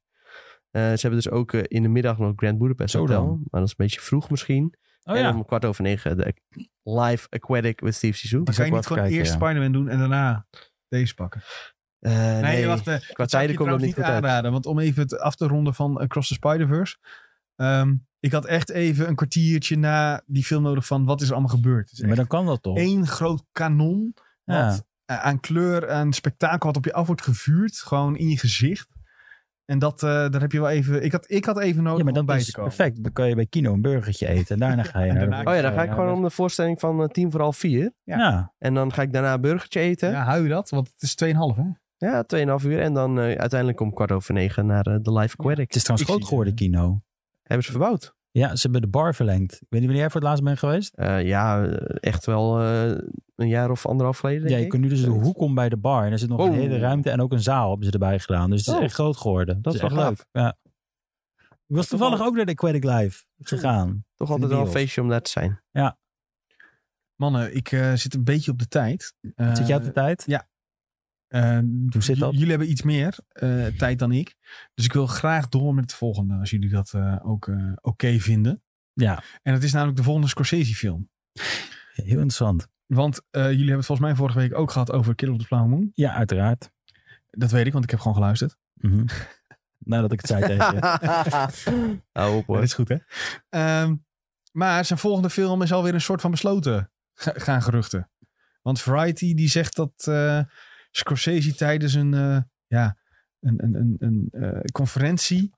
[SPEAKER 2] Eh, ze hebben dus ook eh, in de middag nog Grand Budapest
[SPEAKER 3] Zo
[SPEAKER 2] Hotel.
[SPEAKER 3] dan.
[SPEAKER 2] Maar dat is een beetje vroeg misschien.
[SPEAKER 3] Oh
[SPEAKER 2] en
[SPEAKER 3] ja.
[SPEAKER 2] om kwart over negen de Live Aquatic with Steve Zissou.
[SPEAKER 1] Die kan je
[SPEAKER 3] wel
[SPEAKER 1] niet
[SPEAKER 3] even
[SPEAKER 1] gewoon
[SPEAKER 3] kijken,
[SPEAKER 1] eerst
[SPEAKER 3] ja.
[SPEAKER 1] Spider-Man doen en daarna deze pakken.
[SPEAKER 2] Eh, nee,
[SPEAKER 1] Nee, wacht. eh,
[SPEAKER 2] qua
[SPEAKER 1] zou ik
[SPEAKER 2] tijden
[SPEAKER 1] je
[SPEAKER 2] komt dat
[SPEAKER 1] trouwens
[SPEAKER 2] niet goed uit.
[SPEAKER 1] aanraden. Want om even het af te ronden van Across the Spider-Verse. ehm, ik had echt even een kwartiertje na die film nodig van wat is er allemaal gebeurd. Het is
[SPEAKER 3] Maar
[SPEAKER 1] echt
[SPEAKER 3] dan kan dat toch?
[SPEAKER 1] één groot kanon
[SPEAKER 3] Ja.
[SPEAKER 1] wat, eh, aan kleur, aan spektakel wat op je af wordt gevuurd. Gewoon in je gezicht. En dat, eh, daar heb je wel even... Ik had, ik had even nodig
[SPEAKER 3] Ja, maar
[SPEAKER 1] om
[SPEAKER 3] dan
[SPEAKER 1] bij
[SPEAKER 3] is
[SPEAKER 1] te
[SPEAKER 3] het
[SPEAKER 1] komen.
[SPEAKER 3] perfect. Dan kan je bij Kino een burgertje eten. En daarna ga je
[SPEAKER 1] en
[SPEAKER 3] naar
[SPEAKER 1] daarna-
[SPEAKER 2] Oh ja, dan ga ik gewoon om de voorstelling van eh, tien voor half vier.
[SPEAKER 3] Ja.
[SPEAKER 1] ja.
[SPEAKER 2] En dan ga ik daarna een burgertje eten.
[SPEAKER 1] Ja, hou je dat? Want het is 2,5 hè?
[SPEAKER 2] Ja, 2,5 uur. En dan eh, uiteindelijk om kwart over negen naar eh, de Live Aquatic.
[SPEAKER 3] Het is trouwens
[SPEAKER 1] Ik
[SPEAKER 3] groot
[SPEAKER 1] zie-
[SPEAKER 3] geworden, Kino.
[SPEAKER 2] Hebben ze verbouwd.
[SPEAKER 3] Ja, ze hebben de bar verlengd. Ik weet niet wanneer jij voor het laatst bent geweest.
[SPEAKER 2] Eh, ja, eh, echt wel eh, een jaar of anderhalf geleden.
[SPEAKER 3] ja,
[SPEAKER 2] denk
[SPEAKER 3] je
[SPEAKER 2] ik.
[SPEAKER 3] kunt nu dus de
[SPEAKER 2] Zoiets.
[SPEAKER 3] hoek om bij de bar. En er zit nog
[SPEAKER 2] Oh.
[SPEAKER 3] een hele ruimte en ook een zaal hebben ze erbij gedaan. Dus het is
[SPEAKER 2] Oh.
[SPEAKER 3] echt groot geworden.
[SPEAKER 2] Dat
[SPEAKER 3] Het
[SPEAKER 2] is
[SPEAKER 3] echt
[SPEAKER 2] wel
[SPEAKER 3] leuk. Ja. Ik was toevallig ook naar de Aquatic Live gegaan.
[SPEAKER 2] Toch
[SPEAKER 3] in de
[SPEAKER 2] altijd wel een
[SPEAKER 3] bios.
[SPEAKER 2] feestje om daar te zijn.
[SPEAKER 1] Mannen, ik eh, zit een beetje op de tijd.
[SPEAKER 3] Zit jij op
[SPEAKER 1] Eh,
[SPEAKER 3] de tijd?
[SPEAKER 1] Eh,
[SPEAKER 3] Hoe zit
[SPEAKER 1] j-
[SPEAKER 3] dat?
[SPEAKER 1] Jullie hebben iets meer eh, tijd dan ik. Dus ik wil graag door met het volgende. Als jullie dat eh, ook eh, oké vinden.
[SPEAKER 3] Ja,
[SPEAKER 1] En dat is namelijk de volgende Scorsese film.
[SPEAKER 3] heel interessant.
[SPEAKER 1] Want eh, jullie hebben het volgens mij vorige week ook gehad over Kill of the Flower Moon.
[SPEAKER 3] Ja, uiteraard.
[SPEAKER 1] Dat weet ik, want ik heb gewoon geluisterd.
[SPEAKER 3] Mhm. Nadat ik het zei tegen je.
[SPEAKER 2] Hou
[SPEAKER 1] Dat
[SPEAKER 2] op hoor.
[SPEAKER 1] is goed hè. Ehm, maar zijn volgende film is alweer een soort van besloten. Ga- gaan geruchten. Want Variety die zegt dat eh, Scorsese tijdens een, eh, ja, een, een, een, een eh, conferentie.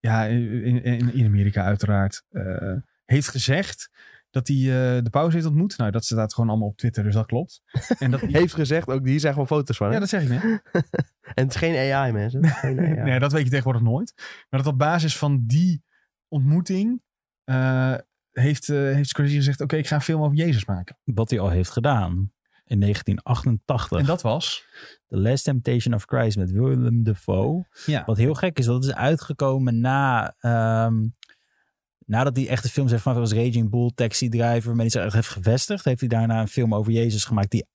[SPEAKER 1] Ja, in, in, in Amerika uiteraard. eh, heeft gezegd dat hij eh, de pauze heeft ontmoet. Nou, dat staat gewoon allemaal op Twitter, dus dat klopt. En dat,
[SPEAKER 2] Heeft gezegd, ook die zijn gewoon foto's van. hè?
[SPEAKER 1] ja, dat zeg ik net.
[SPEAKER 2] En het is geen AI mensen. Het is geen AI.
[SPEAKER 1] Nee, dat weet je tegenwoordig nooit. Maar dat op basis van die ontmoeting eh, heeft, eh heeft Scorsese gezegd... oké, ik ga een film over Jezus maken.
[SPEAKER 3] Wat hij al heeft gedaan. In 1988.
[SPEAKER 1] En dat was...
[SPEAKER 3] The Last Temptation of Christ met Willem Dafoe.
[SPEAKER 1] Ja.
[SPEAKER 3] Wat heel gek is, dat is uitgekomen na... ehm, nadat hij echt de films heeft gemaakt, was Raging Bull, Taxi Driver, waarmee hij zich echt heeft gevestigd, heeft hij daarna een film over Jezus gemaakt die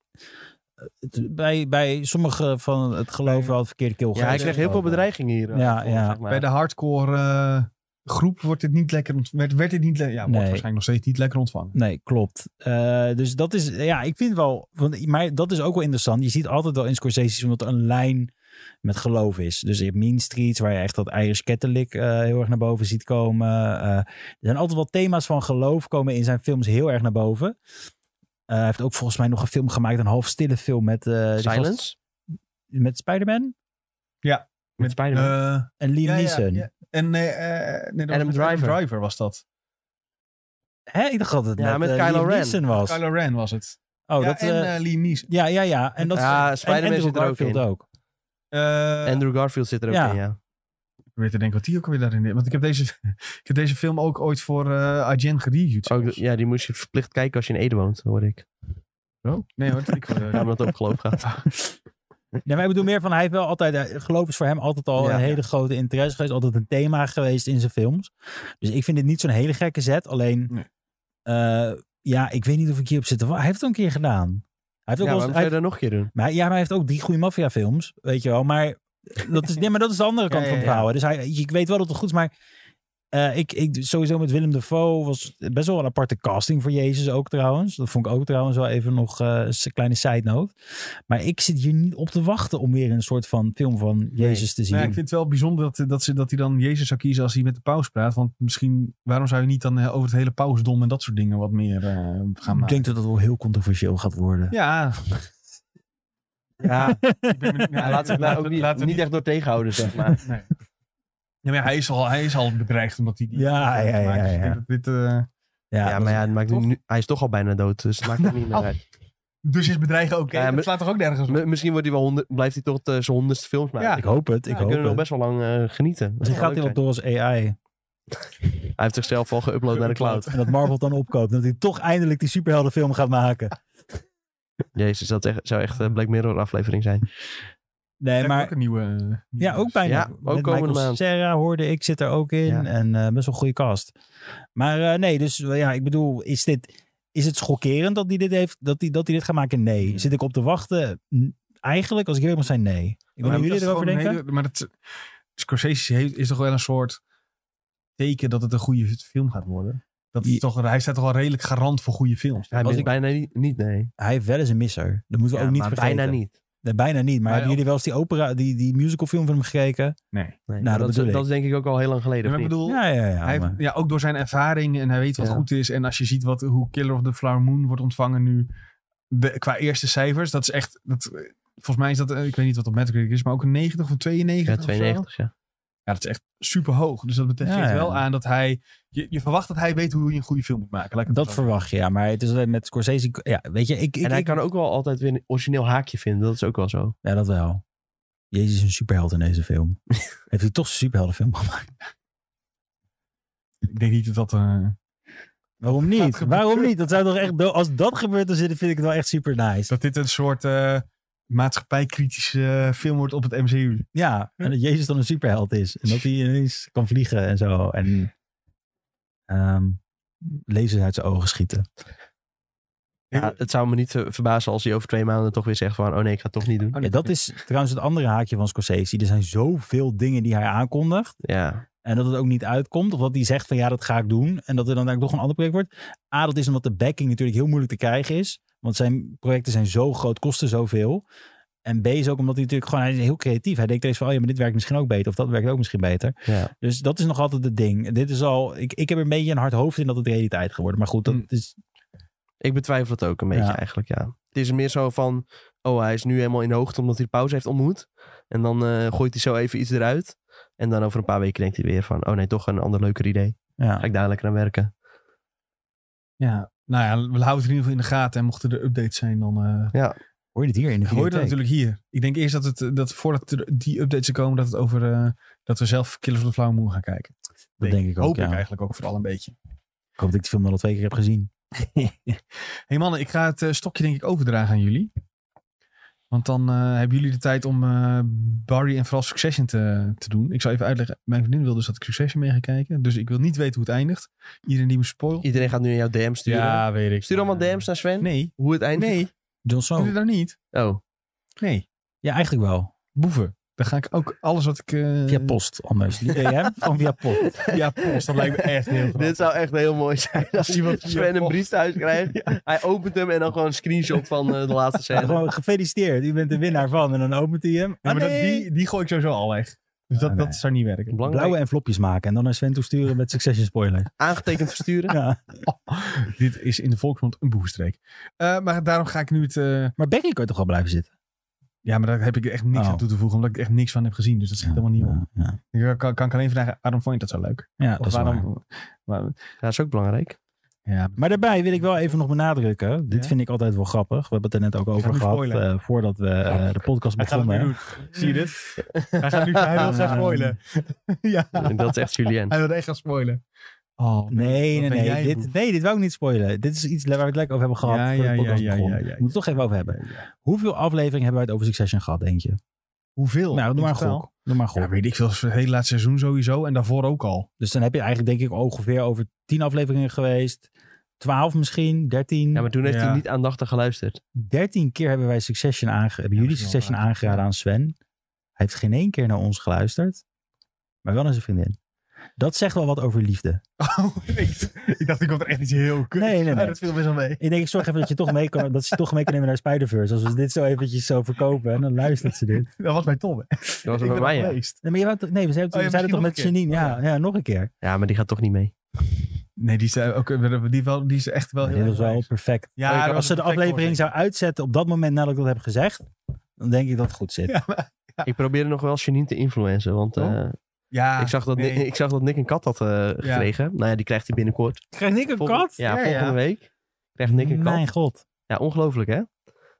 [SPEAKER 3] eh, het- bij, bij sommige van het geloof wel het verkeerde keel
[SPEAKER 2] Ja, hij kreeg heel veel bedreigingen hier. eh,
[SPEAKER 3] Ja,
[SPEAKER 2] voor,
[SPEAKER 3] ja.
[SPEAKER 2] zeg maar.
[SPEAKER 1] Bij de hardcore eh, groep wordt dit niet lekker ont- werd, werd dit niet le- ja, wordt
[SPEAKER 3] Nee.
[SPEAKER 1] waarschijnlijk nog steeds niet lekker ontvangen.
[SPEAKER 3] Nee, klopt. Eh, dus dat is, ja, ik vind wel, want, maar dat is ook wel interessant. Je ziet altijd wel in Scorsese's omdat er een lijn met geloof is. Dus je hebt Mean Streets, waar je echt dat Irish Catholic eh, heel erg naar boven ziet komen. Eh, er zijn altijd wel thema's van geloof komen in zijn films heel erg naar boven. Eh, hij heeft ook volgens mij nog een film gemaakt, een half stille film met, eh, die gast-
[SPEAKER 2] Silence.
[SPEAKER 3] met Spider-Man
[SPEAKER 2] Met Spider-Man.
[SPEAKER 1] Eh,
[SPEAKER 3] en Liam
[SPEAKER 1] ja, ja,
[SPEAKER 3] Neeson.
[SPEAKER 1] ja. En nee, eh, nee, dat
[SPEAKER 2] Adam
[SPEAKER 1] was met Adam
[SPEAKER 2] Driver.
[SPEAKER 1] Driver was dat.
[SPEAKER 3] Hè, ik dacht dat het
[SPEAKER 2] Ja,
[SPEAKER 3] met,
[SPEAKER 2] met
[SPEAKER 3] eh,
[SPEAKER 2] Kylo
[SPEAKER 3] Liam
[SPEAKER 2] Ren.
[SPEAKER 3] Neeson was.
[SPEAKER 1] Kylo Ren was het.
[SPEAKER 3] Oh,
[SPEAKER 1] ja,
[SPEAKER 3] dat,
[SPEAKER 1] en
[SPEAKER 3] eh,
[SPEAKER 1] eh Liam Neeson.
[SPEAKER 3] ja, ja, ja. En dat
[SPEAKER 2] Ja,
[SPEAKER 3] en- en
[SPEAKER 2] Spider-Man
[SPEAKER 3] Andrew
[SPEAKER 2] zit er ook
[SPEAKER 3] Garfield
[SPEAKER 2] in.
[SPEAKER 3] ook.
[SPEAKER 1] Eh,
[SPEAKER 2] Andrew Garfield zit er ook
[SPEAKER 3] ja.
[SPEAKER 2] in, ja.
[SPEAKER 1] Ik weet te denken wat die ook weer daarin is. Want ik heb deze, ik heb deze film ook ooit voor eh IGN gereviewd.
[SPEAKER 2] Ook,
[SPEAKER 1] zelfs.
[SPEAKER 2] Oh, ja, die moest je verplicht kijken als je in Ede woont, hoor ik.
[SPEAKER 1] Nee hoor, ik, eh,
[SPEAKER 2] Daarom dat het over geloof gaat.
[SPEAKER 3] Nee, maar ik bedoel meer van, hij heeft wel altijd, eh, geloof is voor hem altijd al
[SPEAKER 2] Ja.
[SPEAKER 3] een hele grote interesse geweest. Altijd een thema geweest in zijn films. Dus ik vind dit niet zo'n hele gekke zet. Alleen,
[SPEAKER 1] Nee.
[SPEAKER 3] Eh, ja, ik weet niet of ik hierop zit. te wa- Hij heeft het een keer gedaan. Hij heeft
[SPEAKER 2] Ja,
[SPEAKER 3] ook wel
[SPEAKER 2] waarom
[SPEAKER 3] eens-
[SPEAKER 2] zou
[SPEAKER 3] hij-
[SPEAKER 2] je dat nog een keer doen?
[SPEAKER 3] maar, ja, maar hij heeft ook die goede maffiafilms, weet je wel. Maar dat is, nee, maar dat is de andere kant
[SPEAKER 1] Ja,
[SPEAKER 3] van
[SPEAKER 1] ja, ja.
[SPEAKER 3] het verhaal. hè. Dus hij, ik weet wel dat het goed is, maar eh, ik, ik sowieso met Willem Dafoe was best wel een aparte casting voor Jezus ook trouwens. Dat vond ik ook trouwens wel even nog eh, een kleine side note. Maar ik zit hier niet op te wachten om weer een soort van film van Jezus te zien.
[SPEAKER 1] Nou ja, ik vind het wel bijzonder dat, dat, ze, dat hij dan Jezus zou kiezen als hij met de paus praat. Want misschien, waarom zou je niet dan eh, over het hele pausdom en dat soort dingen wat meer eh, gaan
[SPEAKER 3] ik
[SPEAKER 1] maken?
[SPEAKER 3] denk dat dat wel heel controversieel gaat worden.
[SPEAKER 1] Ja,
[SPEAKER 2] Ja,
[SPEAKER 1] ik ben benieuwd.
[SPEAKER 2] Ja, laten we daar ook niet,
[SPEAKER 1] laten we
[SPEAKER 2] niet echt door tegenhouden, zeg maar.
[SPEAKER 1] Nee. Ja, maar hij is al, hij is al bedreigd omdat hij die.
[SPEAKER 3] Ja, ja, ja,
[SPEAKER 1] Dus ik denk
[SPEAKER 3] ja.
[SPEAKER 1] dat dit, eh,
[SPEAKER 3] Ja, dus
[SPEAKER 2] Ja,
[SPEAKER 3] dat
[SPEAKER 2] maar
[SPEAKER 3] is-
[SPEAKER 2] ja, het maakt
[SPEAKER 1] toch?
[SPEAKER 2] nu, hij is toch al bijna dood, dus het maakt er niet meer uit.
[SPEAKER 1] dus is bedreigen oké.
[SPEAKER 2] Ja, maar-
[SPEAKER 1] dat slaat toch ook nergens op?
[SPEAKER 2] M- misschien wordt hij wel honderd, blijft hij toch eh, zijn honderdste films maken.
[SPEAKER 1] Ja.
[SPEAKER 2] Ik
[SPEAKER 3] ik hoop het. Ik
[SPEAKER 1] Ja,
[SPEAKER 2] we
[SPEAKER 3] hoop
[SPEAKER 2] kunnen nog
[SPEAKER 3] het.
[SPEAKER 2] best wel lang eh, genieten. Dat
[SPEAKER 3] Misschien
[SPEAKER 2] zou
[SPEAKER 3] gaat hij wel
[SPEAKER 2] leuk
[SPEAKER 3] door als AI.
[SPEAKER 2] zijn. Hij heeft zichzelf al geüpload naar de cloud.
[SPEAKER 3] En dat Marvel dan opkoopt. En dat hij toch eindelijk die superheldenfilm gaat maken.
[SPEAKER 2] Jezus, dat echt- zou echt een Black Mirror aflevering zijn.
[SPEAKER 1] Lijkt me
[SPEAKER 3] Nee,
[SPEAKER 1] ook
[SPEAKER 3] maar...
[SPEAKER 1] een nieuwe. eh, nieuwe
[SPEAKER 3] Ja, ook
[SPEAKER 1] nieuws.
[SPEAKER 3] bijna.
[SPEAKER 2] Ja, ook
[SPEAKER 3] Met
[SPEAKER 2] komende
[SPEAKER 3] Michael
[SPEAKER 2] maand.
[SPEAKER 3] Cera hoorde ik, zit er ook in.
[SPEAKER 2] Ja.
[SPEAKER 3] En eh, best wel een goede cast. Maar eh, nee, dus eh, ja, ik bedoel, is dit... Is het schokkerend dat hij dit heeft, dat hij, dat hij dit gaat maken?
[SPEAKER 2] Hmm.
[SPEAKER 3] Nee. Zit ik op te wachten? N- Eigenlijk, als ik heel eerlijk mag zijn, nee. Ik weet
[SPEAKER 1] Maar
[SPEAKER 3] niet hoe
[SPEAKER 1] dat
[SPEAKER 3] jullie
[SPEAKER 1] is
[SPEAKER 3] erover
[SPEAKER 1] gewoon een
[SPEAKER 3] denken.
[SPEAKER 1] hele- maar dat, Scorsese heeft, is toch wel een soort teken dat het een goede film gaat worden. Dat is
[SPEAKER 3] Ja.
[SPEAKER 1] toch, hij staat toch wel redelijk garant voor goede films.
[SPEAKER 2] Hij
[SPEAKER 3] Als
[SPEAKER 2] mist
[SPEAKER 3] ik-
[SPEAKER 2] bijna niet, niet nee.
[SPEAKER 3] Hij heeft wel eens een misser. Dat moeten we
[SPEAKER 2] Ja,
[SPEAKER 3] ook niet
[SPEAKER 2] maar
[SPEAKER 3] vergeten.
[SPEAKER 2] bijna niet.
[SPEAKER 3] Nee, bijna niet. Maar,
[SPEAKER 1] Maar
[SPEAKER 3] hebben
[SPEAKER 1] ook-
[SPEAKER 3] jullie wel eens die, opera, die, die musicalfilm van hem gekeken?
[SPEAKER 1] Nee.
[SPEAKER 2] Nee,
[SPEAKER 3] dat
[SPEAKER 2] maar Nou, dat, is-
[SPEAKER 3] bedoel ik.
[SPEAKER 2] dat is denk ik ook al heel lang geleden.
[SPEAKER 1] Maar
[SPEAKER 2] of
[SPEAKER 1] ik
[SPEAKER 2] niet?
[SPEAKER 1] bedoel,
[SPEAKER 3] Ja, ja, ja.
[SPEAKER 1] hij,
[SPEAKER 3] maar-
[SPEAKER 1] heeft- ja, ook door zijn ervaring en hij weet wat
[SPEAKER 2] Ja.
[SPEAKER 1] goed is. En als je ziet wat, hoe Killer of the Flower Moon wordt ontvangen nu. De, qua eerste cijfers, dat is echt. Dat, eh, volgens mij is dat, eh, ik weet niet wat op Metacritic is, maar ook een 90 of 92.
[SPEAKER 2] ja,
[SPEAKER 1] of zo.
[SPEAKER 2] 92, ja.
[SPEAKER 1] Ja, dat is echt super hoog. Dus dat betekent
[SPEAKER 3] Ja,
[SPEAKER 1] geeft
[SPEAKER 3] ja.
[SPEAKER 1] wel aan dat hij. Je, je verwacht dat hij weet hoe je een goede film moet maken. Laat ik het
[SPEAKER 3] Dat
[SPEAKER 1] zo
[SPEAKER 3] verwacht je, ja. Maar het is alleen met Scorsese... Ja, weet je, ik... ik
[SPEAKER 2] En hij
[SPEAKER 3] ik-
[SPEAKER 2] kan ook wel altijd weer een origineel haakje vinden, dat is ook wel zo.
[SPEAKER 3] Ja, dat wel. Jezus is een superheld in deze film. Heeft hij toch een superheldenfilm gemaakt?
[SPEAKER 1] zeggen. Ik denk niet dat dat. eh,
[SPEAKER 3] Waarom
[SPEAKER 1] Gaat
[SPEAKER 3] niet?
[SPEAKER 1] gebeuren.
[SPEAKER 3] Waarom niet? Dat zou toch echt... do- Als dat gebeurt, dan zit- vind ik het wel echt super nice.
[SPEAKER 1] dat dit een soort eh, maatschappijkritische eh, film wordt op het MCU.
[SPEAKER 3] Ja, en dat Jezus dan een superheld is. En dat hij ineens kan vliegen en zo. En ehm lasers uit zijn ogen schieten.
[SPEAKER 2] Ja,
[SPEAKER 1] Eh,
[SPEAKER 2] het zou me niet ver- verbazen als hij over twee maanden toch weer zegt van, oh nee, ik ga het toch niet doen.
[SPEAKER 1] Oh,
[SPEAKER 3] Ja,
[SPEAKER 1] nee.
[SPEAKER 3] dat is trouwens het andere haakje van Scorsese. Er zijn zoveel dingen die hij aankondigt.
[SPEAKER 2] Ja,
[SPEAKER 3] En dat het ook niet uitkomt. Of dat hij zegt van ja, dat ga ik doen. En dat er dan eigenlijk toch een ander project wordt. A, dat is omdat de backing natuurlijk heel moeilijk te krijgen is. Want zijn projecten zijn zo groot, kosten zoveel. En B is ook omdat hij natuurlijk gewoon, hij is heel creatief. Hij denkt er eens van, oh ja, maar dit werkt misschien ook beter. Of dat werkt ook misschien beter.
[SPEAKER 2] ja.
[SPEAKER 3] Dus dat is nog altijd het ding. Dit is al, ik, ik heb er een beetje een hard hoofd in dat het realiteit geworden. Maar goed, dat
[SPEAKER 1] Mm.
[SPEAKER 3] is,
[SPEAKER 2] Ik betwijfel het ook een beetje
[SPEAKER 3] Ja.
[SPEAKER 2] eigenlijk, ja. Het is meer zo van, oh hij is nu helemaal in de hoogte omdat hij de pauze heeft ontmoet. En dan eh, gooit hij zo even iets eruit. En dan over een paar weken denkt hij weer van, oh nee, toch een ander leuker idee.
[SPEAKER 3] ja.
[SPEAKER 2] Ga ik daar lekker aan werken.
[SPEAKER 1] Ja, nou ja, we houden het in ieder geval in de gaten. En mochten er updates zijn, dan eh
[SPEAKER 3] Hoor je dit hier in de
[SPEAKER 1] hoor je dat
[SPEAKER 3] videotheek?
[SPEAKER 1] natuurlijk hier. Ik denk eerst dat, het, eh, dat voordat er die updates er komen, dat, het over, eh, dat we zelf Killers of the Flower Moon gaan kijken.
[SPEAKER 3] Dat denk ik ook,
[SPEAKER 1] Hoop
[SPEAKER 3] ja.
[SPEAKER 1] ik eigenlijk ook vooral een beetje.
[SPEAKER 3] Ik hoop dat ik de film al twee keer heb gezien.
[SPEAKER 1] hey mannen, ik ga het eh, stokje denk ik overdragen aan jullie. Want dan eh, hebben jullie de tijd om eh, Barry en vooral Succession te, te doen. Ik zal even uitleggen. Mijn vriendin wil dus dat ik Succession mee ga kijken. Dus ik wil niet weten hoe het eindigt. Iedereen die me spoilt.
[SPEAKER 2] Iedereen gaat nu in jouw DM sturen.
[SPEAKER 1] Ja, weet ik.
[SPEAKER 2] Stuur allemaal DM's naar Sven.
[SPEAKER 1] Nee,
[SPEAKER 2] Hoe het eindigt.
[SPEAKER 1] nee.
[SPEAKER 3] John
[SPEAKER 1] Doe je
[SPEAKER 3] Snow?
[SPEAKER 1] dat niet?
[SPEAKER 2] Oh,
[SPEAKER 1] Nee.
[SPEAKER 3] Ja, eigenlijk wel.
[SPEAKER 1] boeven. Dan ga ik ook alles wat ik... eh,
[SPEAKER 3] Via post anders. Niet DM, gewoon via post.
[SPEAKER 1] Via post, dat lijkt me echt heel
[SPEAKER 2] dit
[SPEAKER 1] grappig.
[SPEAKER 2] zou echt heel mooi zijn als
[SPEAKER 1] Iemand via
[SPEAKER 2] Sven een
[SPEAKER 1] post.
[SPEAKER 2] brief thuis krijgt. Hij opent hem en dan gewoon een screenshot van eh, de laatste
[SPEAKER 3] Ja,
[SPEAKER 2] scène.
[SPEAKER 3] gewoon gefeliciteerd. U bent de winnaar van. En dan opent hij hem.
[SPEAKER 1] Ja, maar
[SPEAKER 3] Ah,
[SPEAKER 1] dat,
[SPEAKER 3] nee.
[SPEAKER 1] die, die gooi ik sowieso al weg. Dus dat,
[SPEAKER 3] Ah, nee.
[SPEAKER 1] dat zou niet werken.
[SPEAKER 2] Belangrijk.
[SPEAKER 3] Blauwe envelopjes maken. En dan naar Sven toe sturen met Succession spoilers.
[SPEAKER 2] Aangetekend versturen.
[SPEAKER 3] Ja.
[SPEAKER 1] Dit is in de volksmond een boevenstreek. Eh, maar daarom ga ik nu het... eh,
[SPEAKER 3] Maar Becky kan toch wel blijven zitten?
[SPEAKER 1] ja, maar daar heb ik echt niks
[SPEAKER 3] Oh.
[SPEAKER 1] aan toe te voegen. Omdat ik er echt niks van heb gezien. Dus dat schiet helemaal niet om.
[SPEAKER 3] Ja, ja.
[SPEAKER 1] Ik eh, kan, kan ik alleen vragen, waarom vond je dat zo leuk?
[SPEAKER 3] Ja, dat
[SPEAKER 1] Of
[SPEAKER 3] is waar.
[SPEAKER 1] waarom... waar-
[SPEAKER 2] Ja, dat is ook belangrijk.
[SPEAKER 1] ja,
[SPEAKER 3] Maar daarbij wil ik wel even nog benadrukken. Dit
[SPEAKER 1] Ja?
[SPEAKER 3] vind ik altijd wel grappig. We hebben het er net ook over
[SPEAKER 1] nu
[SPEAKER 3] gehad.
[SPEAKER 1] spoilen.
[SPEAKER 3] eh, voordat we eh, de podcast
[SPEAKER 1] hij gaat het nu
[SPEAKER 3] begonnen.
[SPEAKER 1] doen. Zie je dit? Hij gaat nu hij wil gaan spoilen. ja,
[SPEAKER 2] En dat is echt Julien.
[SPEAKER 1] hij wil echt gaan spoilen. Oh,
[SPEAKER 3] Nee, nee,
[SPEAKER 1] Wat ben
[SPEAKER 3] nee.
[SPEAKER 1] jij,
[SPEAKER 3] Dit,
[SPEAKER 1] boef?
[SPEAKER 3] nee, dit wou ik niet spoilen. Dit is iets waar we het lekker over hebben gehad.
[SPEAKER 1] Ja,
[SPEAKER 3] voor
[SPEAKER 1] ja, ja,
[SPEAKER 3] de podcast
[SPEAKER 1] ja,
[SPEAKER 3] begon.
[SPEAKER 1] ja, ja,
[SPEAKER 3] We moeten het toch even over hebben.
[SPEAKER 1] Ja, ja.
[SPEAKER 3] Hoeveel afleveringen hebben wij het over Succession gehad, denk je?
[SPEAKER 1] Hoeveel?
[SPEAKER 3] Nou, doe
[SPEAKER 1] In
[SPEAKER 3] maar een
[SPEAKER 1] totaal?
[SPEAKER 3] gok. Doe maar een gok.
[SPEAKER 1] Ja, weet ik veel. Het hele laatste seizoen sowieso. En daarvoor ook al.
[SPEAKER 3] Dus dan heb je eigenlijk denk ik ongeveer over tien afleveringen geweest. 12 misschien, 13.
[SPEAKER 2] Ja, maar toen heeft
[SPEAKER 1] Ja.
[SPEAKER 2] hij niet aandachtig geluisterd.
[SPEAKER 3] 13 keer hebben wij Succession aange hebben
[SPEAKER 1] Ja,
[SPEAKER 3] jullie
[SPEAKER 1] dat is wel
[SPEAKER 3] Succession
[SPEAKER 1] waar.
[SPEAKER 3] aangeraden aan Sven. Hij heeft geen één keer naar ons geluisterd, maar wel naar zijn vriendin. Dat zegt wel wat over liefde.
[SPEAKER 1] Oh, ik, ik dacht, ik komt er echt iets heel kut.
[SPEAKER 3] Nee, nee, nee.
[SPEAKER 1] Maar dat viel best wel mee.
[SPEAKER 3] Ik denk, ik zorg even dat je toch mee kan, dat ze toch mee kan nemen naar Spider-Verse. Als we dit zo eventjes zo verkopen en dan luistert ze dit.
[SPEAKER 1] Dat was bij Tom. hè.
[SPEAKER 2] Dat was
[SPEAKER 1] Ik
[SPEAKER 2] bij
[SPEAKER 1] ben
[SPEAKER 2] mij,
[SPEAKER 1] er
[SPEAKER 2] ja.
[SPEAKER 1] geweest.
[SPEAKER 3] Nee, maar je wou toch- nee we zeiden,
[SPEAKER 1] Oh ja,
[SPEAKER 3] we zeiden toch met
[SPEAKER 1] misschien nog Oh,
[SPEAKER 3] Janine, ja, ja, nog een keer.
[SPEAKER 2] Ja, maar die gaat toch niet mee.
[SPEAKER 1] Nee, die is, eh, ook, eh, die, wel, die is echt wel
[SPEAKER 3] dit
[SPEAKER 1] heel
[SPEAKER 3] was
[SPEAKER 1] erg
[SPEAKER 3] wel
[SPEAKER 1] geweest.
[SPEAKER 3] perfect.
[SPEAKER 1] Ja,
[SPEAKER 3] Als-
[SPEAKER 1] dat was
[SPEAKER 3] als ze de
[SPEAKER 1] een perfect
[SPEAKER 3] aflevering zou uitzetten op dat moment nadat ik dat heb gezegd, dan denk ik dat het goed zit.
[SPEAKER 1] Ja, maar-
[SPEAKER 2] Ik probeerde nog wel Janine te influencen, want eh,
[SPEAKER 1] ja,
[SPEAKER 2] ik, zag dat
[SPEAKER 1] nee.
[SPEAKER 2] Nick, ik zag dat Nick een kat had eh, gekregen. Nou ja, die krijgt hij binnenkort.
[SPEAKER 3] Krijg ik een
[SPEAKER 2] Volgende- Ja,
[SPEAKER 1] Ja,
[SPEAKER 2] volgende
[SPEAKER 1] ja.
[SPEAKER 2] week krijgt Nick een kat.
[SPEAKER 3] Mijn god.
[SPEAKER 2] Ja, ongelooflijk hè?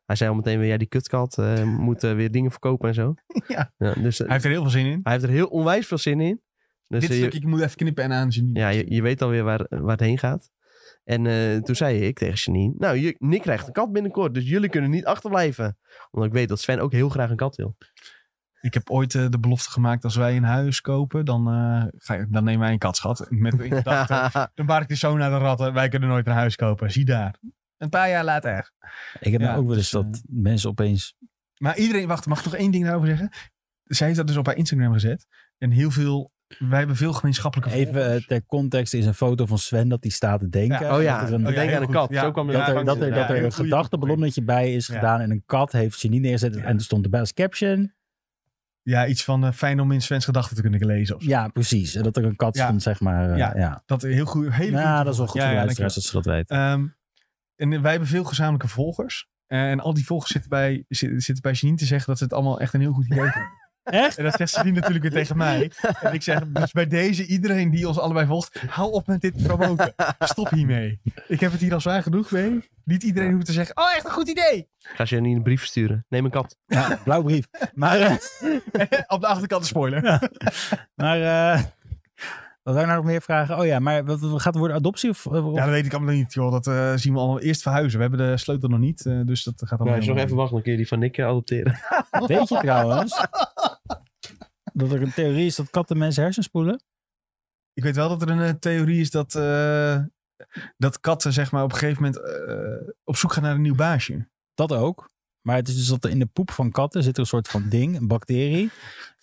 [SPEAKER 2] Hij zei al meteen weer, ja die kutkat eh, moet eh, weer dingen verkopen en zo.
[SPEAKER 1] Ja.
[SPEAKER 2] dus, eh,
[SPEAKER 1] Hij heeft er heel veel zin in.
[SPEAKER 2] hij heeft er heel onwijs veel zin in. Dus
[SPEAKER 1] Dit
[SPEAKER 2] eh, je-
[SPEAKER 1] stukje, ik moet even knippen en aan Janine.
[SPEAKER 2] Ja, je, je weet alweer waar, waar het heen gaat. En eh, toen zei ik tegen Janine, nou, je, Nick krijgt een kat binnenkort, dus jullie kunnen niet achterblijven. Omdat ik weet dat Sven ook heel graag een kat wil.
[SPEAKER 1] Ik heb ooit eh, de belofte gemaakt, als wij een huis kopen, dan, eh, ga, je- dan nemen wij een katschat. Met de gedachte, dan baar ik die zo naar de ratten, wij kunnen nooit een huis kopen. Zie daar. Een paar jaar later.
[SPEAKER 3] Ik heb
[SPEAKER 1] Ja,
[SPEAKER 3] nou ook wel eens
[SPEAKER 1] dus,
[SPEAKER 3] dat mensen opeens...
[SPEAKER 1] Maar iedereen, wacht, mag ik toch één ding daarover zeggen? Zij heeft dat dus op haar Instagram gezet. En heel veel, wij hebben veel gemeenschappelijke
[SPEAKER 3] Even eh, ter context is een foto van Sven dat die staat te denken.
[SPEAKER 1] Ja.
[SPEAKER 2] Oh
[SPEAKER 3] Dat
[SPEAKER 2] ja,
[SPEAKER 3] er een-
[SPEAKER 1] Oh
[SPEAKER 2] ik
[SPEAKER 1] ja,
[SPEAKER 2] denk
[SPEAKER 1] heel
[SPEAKER 2] aan de
[SPEAKER 1] goed.
[SPEAKER 2] kat.
[SPEAKER 1] Ja.
[SPEAKER 2] Zo kwam
[SPEAKER 3] Dat er,
[SPEAKER 1] Ja,
[SPEAKER 3] dat er, dat er
[SPEAKER 1] heel
[SPEAKER 3] een
[SPEAKER 1] goeie
[SPEAKER 3] gedachterballonnetje bij is
[SPEAKER 1] Ja.
[SPEAKER 3] gedaan en een kat heeft Janine neergezet.
[SPEAKER 1] Ja.
[SPEAKER 3] En er stond erbij als caption.
[SPEAKER 1] Ja, iets van eh, fijn om in Sven's gedachten te kunnen lezen. Of zo.
[SPEAKER 3] Ja, precies. En dat er een kat
[SPEAKER 1] Ja.
[SPEAKER 3] stond, zeg maar. eh,
[SPEAKER 1] Ja.
[SPEAKER 3] ja.
[SPEAKER 1] Dat een heel goed. Hele
[SPEAKER 3] Ja,
[SPEAKER 1] goede-
[SPEAKER 3] dat is wel
[SPEAKER 1] Ja,
[SPEAKER 3] goed voor de
[SPEAKER 1] ja,
[SPEAKER 3] luisteraars dat ze dat weten.
[SPEAKER 1] Ehm, en wij hebben veel gezamenlijke volgers. en al die volgers zitten bij, zitten, zitten bij Janine te zeggen dat ze het allemaal echt een heel goed idee vinden.
[SPEAKER 3] Echt?
[SPEAKER 1] En dat zegt Janine natuurlijk weer tegen mij. En ik zeg, dus bij deze, iedereen die ons allebei volgt, hou op met dit promoten. Stop hiermee. Ik heb het hier al zwaar genoeg mee. Niet iedereen hoeft te zeggen, oh echt een goed idee.
[SPEAKER 2] Ga je niet een brief sturen? Neem een kat.
[SPEAKER 3] Ja, blauw brief. Maar, eh,
[SPEAKER 1] Op de achterkant een spoiler.
[SPEAKER 3] maar eh, wat wou ik nou nog meer vragen? Oh ja, maar wat, wat gaat het worden? Adoptie of... of-
[SPEAKER 1] Ja, dat weet ik allemaal niet, joh. Dat eh, zien we allemaal eerst verhuizen. We hebben de sleutel nog niet, eh, dus dat gaat allemaal
[SPEAKER 2] Nou, als je nog even wacht, dan kun je die van Nick eh, adopteren.
[SPEAKER 3] Weet je trouwens dat er een theorie is dat katten mensen hersens spoelen?
[SPEAKER 1] Ik weet wel dat er een eh, theorie is dat, eh, dat katten zeg maar, op een gegeven moment eh, op zoek gaan naar een nieuw baasje.
[SPEAKER 3] Dat ook. Maar het is dus dat er in de poep van katten zit er een soort van ding, een bacterie.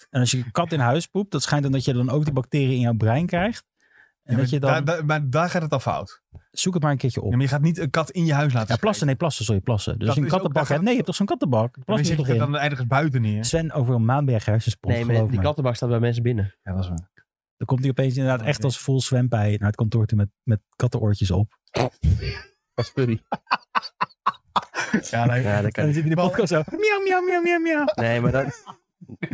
[SPEAKER 3] En als je een kat in huis poept, dat schijnt dan dat je dan ook die bacterie in jouw brein krijgt. En
[SPEAKER 1] Ja, maar,
[SPEAKER 3] dat je dan...
[SPEAKER 1] daar, daar- maar daar gaat het al fout.
[SPEAKER 3] Zoek het maar een keertje
[SPEAKER 1] Ja,
[SPEAKER 3] op.
[SPEAKER 1] maar je gaat niet een kat in je huis laten
[SPEAKER 3] Ja, plassen,
[SPEAKER 1] schrijven.
[SPEAKER 3] nee, plassen, sorry, plassen.
[SPEAKER 1] Dat
[SPEAKER 3] Dus als je een
[SPEAKER 1] is ook-
[SPEAKER 3] kattenbak
[SPEAKER 1] daar
[SPEAKER 3] hebt...
[SPEAKER 1] gaat-
[SPEAKER 3] Nee, je hebt toch zo'n kattenbak?
[SPEAKER 1] Dan
[SPEAKER 3] Plassen
[SPEAKER 1] zit
[SPEAKER 3] is
[SPEAKER 1] je
[SPEAKER 3] toch
[SPEAKER 1] er
[SPEAKER 3] in?
[SPEAKER 1] dan ergens buiten neer.
[SPEAKER 3] Sven over een Maanberg hersenspoel,
[SPEAKER 2] Nee, maar
[SPEAKER 3] geloof
[SPEAKER 2] die
[SPEAKER 3] me.
[SPEAKER 2] kattenbak staat bij mensen binnen.
[SPEAKER 1] Ja, dat is waar.
[SPEAKER 3] Dan komt hij opeens
[SPEAKER 1] Oh,
[SPEAKER 3] inderdaad echt als vol zwempij naar het kantoor toe met, met kattenoortjes op.
[SPEAKER 1] Oh,
[SPEAKER 2] Dat is furry.
[SPEAKER 1] Ja, nee.
[SPEAKER 2] Ja, dat kan
[SPEAKER 3] En dan
[SPEAKER 2] niet.
[SPEAKER 3] zit hij in de podcast zo, miauw, miauw, miauw, miauw, miauw.
[SPEAKER 2] Nee, maar dan,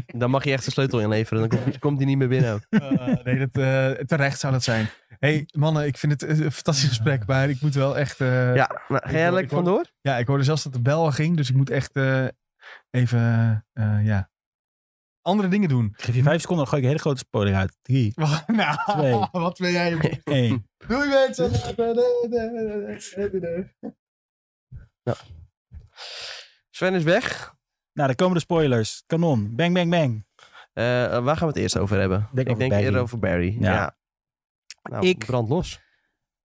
[SPEAKER 2] dan mag je echt de sleutel inleveren. Dan komt, komt die niet meer binnen. ook.
[SPEAKER 1] Eh, nee, dat, eh, terecht zou dat zijn. hey, mannen, ik vind het eh, een fantastisch gesprek, maar ik moet wel echt... eh, ja.
[SPEAKER 2] Ja, nou, ga
[SPEAKER 1] ik
[SPEAKER 2] jij
[SPEAKER 1] hoor-
[SPEAKER 2] lekker
[SPEAKER 1] ik hoor-
[SPEAKER 2] vandoor?
[SPEAKER 1] ik hoorde zelfs dat de bel al ging, dus ik moet echt eh, even, eh, ja, andere dingen doen.
[SPEAKER 3] Ik geef je vijf seconden, dan gooi ik een hele grote spoiler uit. Drie,
[SPEAKER 1] Wacht, nou,
[SPEAKER 3] Twee.
[SPEAKER 1] wat ben jij...
[SPEAKER 3] één.
[SPEAKER 1] Doei mensen! Oké,
[SPEAKER 2] Sven is weg.
[SPEAKER 3] Nou, daar komen de spoilers. Kanon. Bang, bang, bang.
[SPEAKER 2] Eh, waar gaan we het eerst over hebben? ik
[SPEAKER 3] Denk over
[SPEAKER 2] denk
[SPEAKER 3] Barry.
[SPEAKER 2] eerder over Barry.
[SPEAKER 3] Ja.
[SPEAKER 2] Ja. Nou,
[SPEAKER 3] Ik-
[SPEAKER 2] brand los.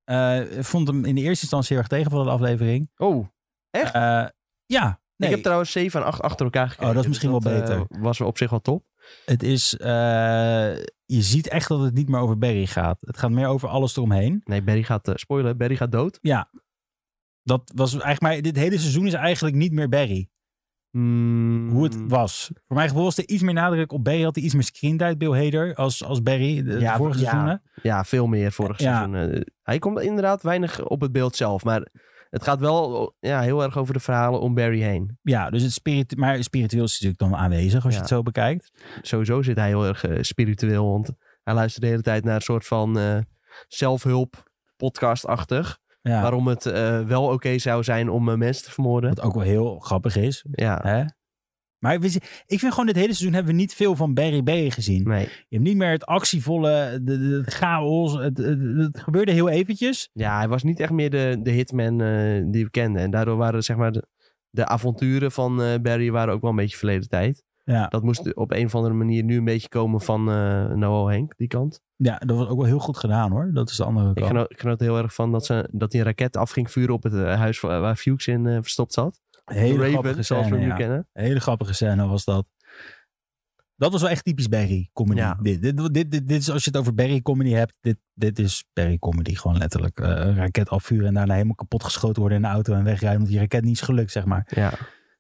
[SPEAKER 3] Eh, ik vond hem in de eerste instantie heel erg tegen van de aflevering.
[SPEAKER 2] Oh, Echt?
[SPEAKER 3] Eh, ja. Nee,
[SPEAKER 2] ik heb trouwens 7 en 8 achter elkaar gekeken.
[SPEAKER 3] Oh, dat is misschien
[SPEAKER 2] dus
[SPEAKER 3] wel
[SPEAKER 2] dat, eh, was op zich wel top.
[SPEAKER 3] het is... eh, je ziet echt dat het niet meer over Barry gaat. Het gaat meer over alles eromheen.
[SPEAKER 2] Nee, Barry gaat, eh, spoiler, Barry gaat dood.
[SPEAKER 3] Dat was eigenlijk... Maar dit hele seizoen is eigenlijk niet meer Barry.
[SPEAKER 2] Hmm.
[SPEAKER 3] Hoe het was. Voor mijn gevoel was er iets meer nadruk op Barry. Had hij iets meer screentijd, Bill Hader, als, als Barry. De, de
[SPEAKER 2] Ja,
[SPEAKER 3] vorige
[SPEAKER 2] ja.
[SPEAKER 3] seizoenen.
[SPEAKER 2] Ja, veel meer vorig
[SPEAKER 3] Ja.
[SPEAKER 2] seizoen. Eh, hij komt inderdaad weinig op het beeld zelf, maar het gaat wel eh, ja, heel erg over de verhalen om Barry heen.
[SPEAKER 3] Ja, dus het spiritu maar spiritueel is natuurlijk dan aanwezig als je
[SPEAKER 2] Ja.
[SPEAKER 3] het zo bekijkt.
[SPEAKER 2] Sowieso zit hij heel erg eh, spiritueel, want hij luistert de hele tijd naar een soort van eh, zelfhulp podcast-achtig.
[SPEAKER 3] Ja.
[SPEAKER 2] Waarom het eh, wel oké zou zijn om eh, mensen te vermoorden.
[SPEAKER 3] Wat ook wel heel grappig is.
[SPEAKER 2] Ja,
[SPEAKER 3] Hè? Maar we, zien- ik vind gewoon dit hele seizoen hebben we niet veel van Barry Barry gezien.
[SPEAKER 2] nee.
[SPEAKER 3] Je hebt niet meer het actievolle, de, de- het chaos. Het, het, het gebeurde heel eventjes.
[SPEAKER 2] Ja, hij was niet echt meer de, de hitman eh, die we kenden. En daardoor waren zeg maar de, de avonturen van eh, Barry waren ook wel een beetje verleden tijd.
[SPEAKER 3] Ja.
[SPEAKER 2] Dat moest op een of andere manier nu een beetje komen van eh Noah Henk, die kant.
[SPEAKER 3] ja, dat was ook wel heel goed gedaan hoor. Dat is de andere
[SPEAKER 2] Ik
[SPEAKER 3] kant.
[SPEAKER 2] genoot, ik genoot heel erg van dat, ze, dat die een raket af ging vuren op het eh, huis waar, waar Fuchs in eh, verstopt zat.
[SPEAKER 3] Hele grappige
[SPEAKER 2] Raven, zoals we
[SPEAKER 3] scène.
[SPEAKER 2] hem nu
[SPEAKER 3] ja.
[SPEAKER 2] kennen.
[SPEAKER 3] Hele grappige scène was dat. Dat was wel echt typisch Barry comedy.
[SPEAKER 2] Ja.
[SPEAKER 3] Dit, dit, dit, dit, dit is als je het over Barry comedy hebt. Dit, dit is Barry comedy. Gewoon letterlijk eh, een raket afvuren en daarna helemaal kapot geschoten worden in de auto en wegrijden. Omdat die raket niet is gelukt, zeg maar.
[SPEAKER 2] Ja,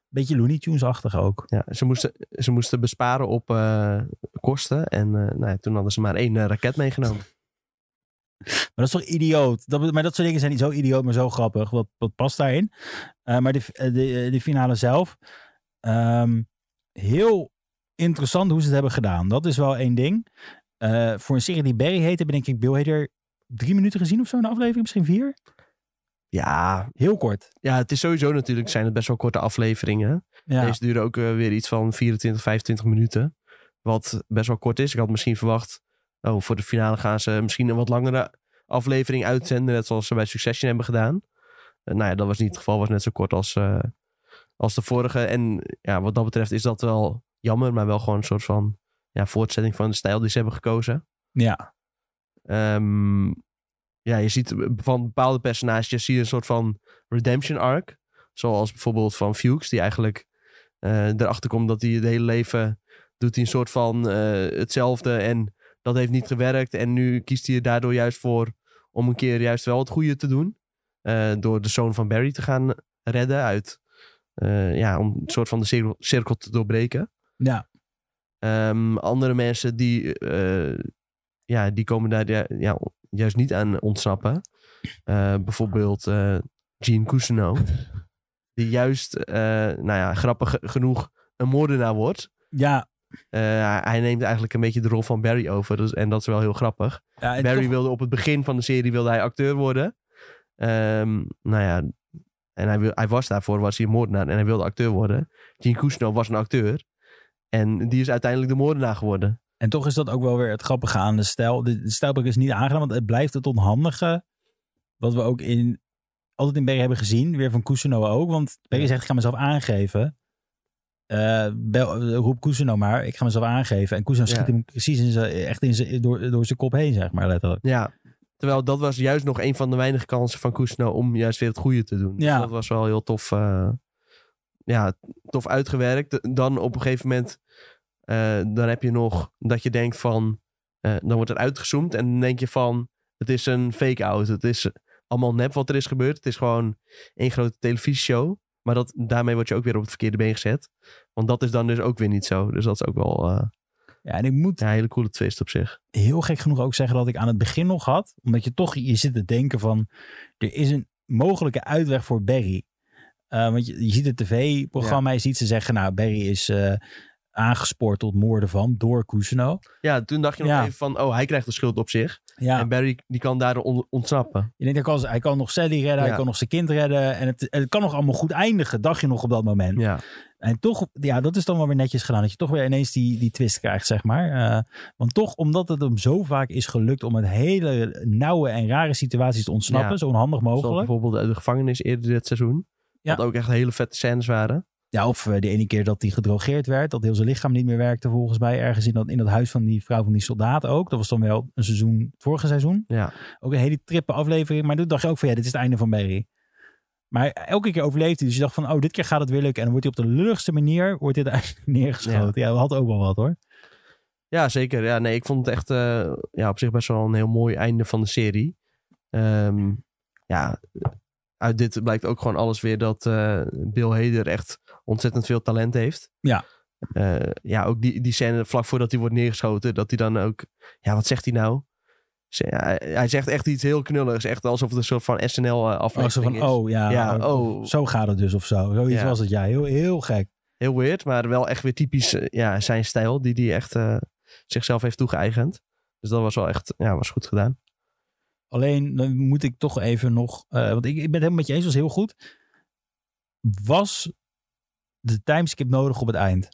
[SPEAKER 3] Beetje Looney Tunes-achtig ook.
[SPEAKER 2] ja. Ze, moesten, ze moesten besparen op eh, kosten. En eh, nou ja, toen hadden ze maar één eh, raket meegenomen.
[SPEAKER 3] Maar dat is toch idioot? Dat, maar dat soort dingen zijn niet zo idioot, maar zo grappig. Wat, wat past daarin? Eh, maar de, eh, de, de finale zelf. ehm, heel interessant hoe ze het hebben gedaan. Dat is wel één ding. Eh, voor een serie die Barry heette, ben ik, ik Bill Hader drie minuten gezien of zo in de aflevering. Misschien vier.
[SPEAKER 2] Ja,
[SPEAKER 3] Heel kort.
[SPEAKER 2] ja, het is sowieso natuurlijk zijn het best wel korte afleveringen.
[SPEAKER 3] Ja.
[SPEAKER 2] Deze duurde ook eh, weer iets van 24, 25 minuten. Wat best wel kort is. Ik had misschien verwacht, oh, voor de finale gaan ze misschien een wat langere aflevering uitzenden. Net zoals ze bij Succession hebben gedaan. Eh, nou ja, dat was niet het geval. was net zo kort als, eh, als de vorige. En ja, wat dat betreft is dat wel jammer. Maar wel gewoon een soort van ja, voortzetting van de stijl die ze hebben gekozen.
[SPEAKER 3] ja.
[SPEAKER 2] Ehm, ja, je ziet van bepaalde personages zie je een soort van redemption arc. Zoals bijvoorbeeld van Fuchs, die eigenlijk eh, erachter komt dat hij het hele leven doet hij een soort van eh, hetzelfde. En dat heeft niet gewerkt. En nu kiest hij er daardoor juist voor om een keer juist wel het goede te doen. Eh, door de zoon van Barry te gaan redden uit. eh, ja, om een soort van de cirkel, cirkel te doorbreken.
[SPEAKER 3] Ja.
[SPEAKER 2] Ehm, andere mensen die, eh, ja, die komen daar ja, ja, juist niet aan ontsnappen. Eh, bijvoorbeeld eh Gene Cousineau. Die juist, eh, nou ja, grappig ge- genoeg een moordenaar wordt.
[SPEAKER 3] Ja.
[SPEAKER 2] Eh, hij- hij neemt eigenlijk een beetje de rol van Barry over. Dus, en dat is wel heel grappig.
[SPEAKER 3] Ja, en
[SPEAKER 2] Barry
[SPEAKER 3] toch-
[SPEAKER 2] wilde op het begin van de serie wilde hij acteur worden. Ehm, nou ja, en hij, wil, hij was daarvoor, was hij een moordenaar en hij wilde acteur worden. Gene Cousineau was een acteur. En die is uiteindelijk de moordenaar geworden.
[SPEAKER 3] En toch is dat ook wel weer het grappige aan de stijl. De, de stijlbreuk is niet aangedaan, want het blijft het onhandige. Wat we ook in, altijd in Berry hebben gezien. Weer van Cousineau ook. Want Berry zegt, ik ga mezelf aangeven. Eh, bel, roep Cousineau maar, ik ga mezelf aangeven. En Cousineau schiet
[SPEAKER 2] Ja.
[SPEAKER 3] hem precies in zijn, echt in zijn, door, door zijn kop heen, zeg maar, letterlijk.
[SPEAKER 2] Ja, terwijl dat was juist nog een van de weinige kansen van Cousineau om juist weer het goede te doen. Dus
[SPEAKER 3] Ja.
[SPEAKER 2] dat was wel heel tof, eh, ja, tof uitgewerkt. Dan op een gegeven moment, eh, dan heb je nog dat je denkt van, eh, dan wordt er uitgezoomd en dan denk je van, het is een fake-out. Het is allemaal nep wat er is gebeurd. Het is gewoon één grote televisieshow. Maar dat, daarmee word je ook weer op het verkeerde been gezet. Want dat is dan dus ook weer niet zo. Dus dat is ook wel eh,
[SPEAKER 3] Ja, en ik moet
[SPEAKER 2] een hele coole twist op zich.
[SPEAKER 3] heel gek genoeg ook zeggen dat ik aan het begin nog had. Omdat je toch, je zit te denken van, er is een mogelijke uitweg voor Barry. Eh, want je, je ziet het tv-programma, je ziet ze zeggen, nou, Barry is eh, aangespoord tot moorden van, door Cousineau.
[SPEAKER 2] Ja, toen dacht je nog
[SPEAKER 3] Ja.
[SPEAKER 2] even van, oh, hij krijgt de schuld op zich.
[SPEAKER 3] Ja,
[SPEAKER 2] En Barry die kan daar on- ontsnappen.
[SPEAKER 3] je denkt, hij kan, hij kan nog Sally redden, hij
[SPEAKER 2] Ja.
[SPEAKER 3] kan nog zijn kind redden. En het, het kan nog allemaal goed eindigen, dacht je nog op dat moment.
[SPEAKER 2] Ja.
[SPEAKER 3] En toch, ja, dat is dan wel weer netjes gedaan. Dat je toch weer ineens die, die twist krijgt, zeg maar. Eh, want toch, omdat het hem zo vaak is gelukt om uit hele nauwe en rare situaties te ontsnappen,
[SPEAKER 2] Ja.
[SPEAKER 3] zo onhandig
[SPEAKER 2] Zoals
[SPEAKER 3] mogelijk.
[SPEAKER 2] bijvoorbeeld uit de gevangenis eerder dit seizoen.
[SPEAKER 3] Ja.
[SPEAKER 2] Dat ook echt hele vette scènes waren.
[SPEAKER 3] Ja, of eh, de ene keer dat hij gedrogeerd werd, dat heel zijn lichaam niet meer werkte, volgens mij ergens in dat, in dat huis van die vrouw van die soldaat ook. Dat was dan wel een seizoen, vorige seizoen.
[SPEAKER 2] Ja.
[SPEAKER 3] Ook een hele trippe aflevering. Maar toen dacht je ook van ja, dit is het einde van Barry. Maar elke keer overleefde hij. Dus je dacht van, oh, dit keer gaat het weer lukken. En dan wordt hij op de lulligste manier wordt dit eigenlijk neergeschoten. Ja, dat had ook wel wat hoor.
[SPEAKER 2] ja, zeker. Ja, nee, ik vond het echt eh, ja, op zich best wel een heel mooi einde van de serie. Ehm, ja, uit dit blijkt ook gewoon alles weer dat eh, Bill Hader echt ontzettend veel talent heeft.
[SPEAKER 3] Ja.
[SPEAKER 2] Eh, ja, ook die, die scène vlak voordat hij wordt neergeschoten. Dat hij dan ook... Ja, wat zegt hij nou? Ze- Hij, hij zegt echt iets heel knulligs. Echt alsof het een soort van
[SPEAKER 3] Oh, zo
[SPEAKER 2] SNL-aflevering
[SPEAKER 3] van,
[SPEAKER 2] eh, is.
[SPEAKER 3] oh ja,
[SPEAKER 2] Ja,
[SPEAKER 3] oh,
[SPEAKER 2] oh.
[SPEAKER 3] zo gaat het dus of zo. Zoiets
[SPEAKER 2] Ja.
[SPEAKER 3] was het, ja. Heel, heel gek.
[SPEAKER 2] Heel weird, maar wel echt weer typisch eh, ja, zijn stijl. Die hij echt eh, zichzelf heeft toegeëigend. Dus dat was wel echt ja, was goed gedaan.
[SPEAKER 3] Alleen dan moet ik toch even nog. eh, want ik, ik ben het helemaal met je eens, was heel goed. Was de timeskip nodig op het eind?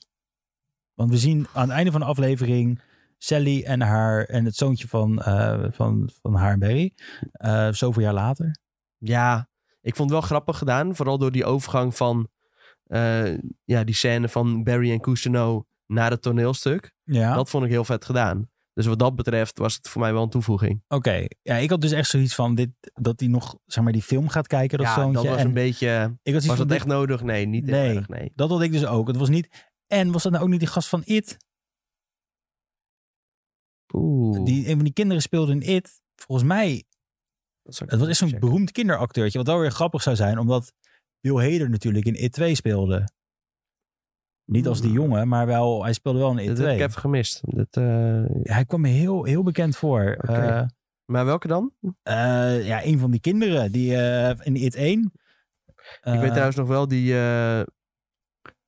[SPEAKER 3] Want we zien aan het einde van de aflevering Sally en haar en het zoontje van, eh, van, van haar en Barry. eh, zoveel jaar later.
[SPEAKER 2] Ja, ik vond het wel grappig gedaan. Vooral door die overgang van eh, ja, die scène van Barry en Cousineau naar het toneelstuk.
[SPEAKER 3] Ja,
[SPEAKER 2] Dat vond ik heel vet gedaan. Dus wat dat betreft was het voor mij wel een toevoeging.
[SPEAKER 3] oké. Ja, ik had dus echt zoiets van dit, dat hij nog zeg maar, die film gaat kijken, dat
[SPEAKER 2] ja,
[SPEAKER 3] zoontje.
[SPEAKER 2] dat was
[SPEAKER 3] en
[SPEAKER 2] een beetje...
[SPEAKER 3] ik had zoiets
[SPEAKER 2] Was
[SPEAKER 3] van,
[SPEAKER 2] dat
[SPEAKER 3] dit-
[SPEAKER 2] echt nodig? Nee, niet echt
[SPEAKER 3] Nee.
[SPEAKER 2] nodig, nee.
[SPEAKER 3] dat had ik dus ook. Het was niet... En was dat nou ook niet die gast van It?
[SPEAKER 2] Oeh.
[SPEAKER 3] Die, een van die kinderen speelde in It. Volgens mij,
[SPEAKER 2] dat zou ik
[SPEAKER 3] het was
[SPEAKER 2] even
[SPEAKER 3] echt zo'n
[SPEAKER 2] checken.
[SPEAKER 3] beroemd kinderacteurtje. Wat wel weer grappig zou zijn, omdat Bill Hader natuurlijk in It 2 speelde. Niet als die
[SPEAKER 2] Hmm.
[SPEAKER 3] jongen, maar wel, hij speelde wel in It
[SPEAKER 2] Dat heb
[SPEAKER 3] 2.
[SPEAKER 2] ik even gemist. Dat, eh,
[SPEAKER 3] Ja, hij kwam me heel, heel bekend voor.
[SPEAKER 2] Oké.
[SPEAKER 3] Eh,
[SPEAKER 2] maar welke dan?
[SPEAKER 3] eh, ja, een van die kinderen die eh, in It 1.
[SPEAKER 2] ik
[SPEAKER 3] eh,
[SPEAKER 2] weet trouwens nog wel die, eh,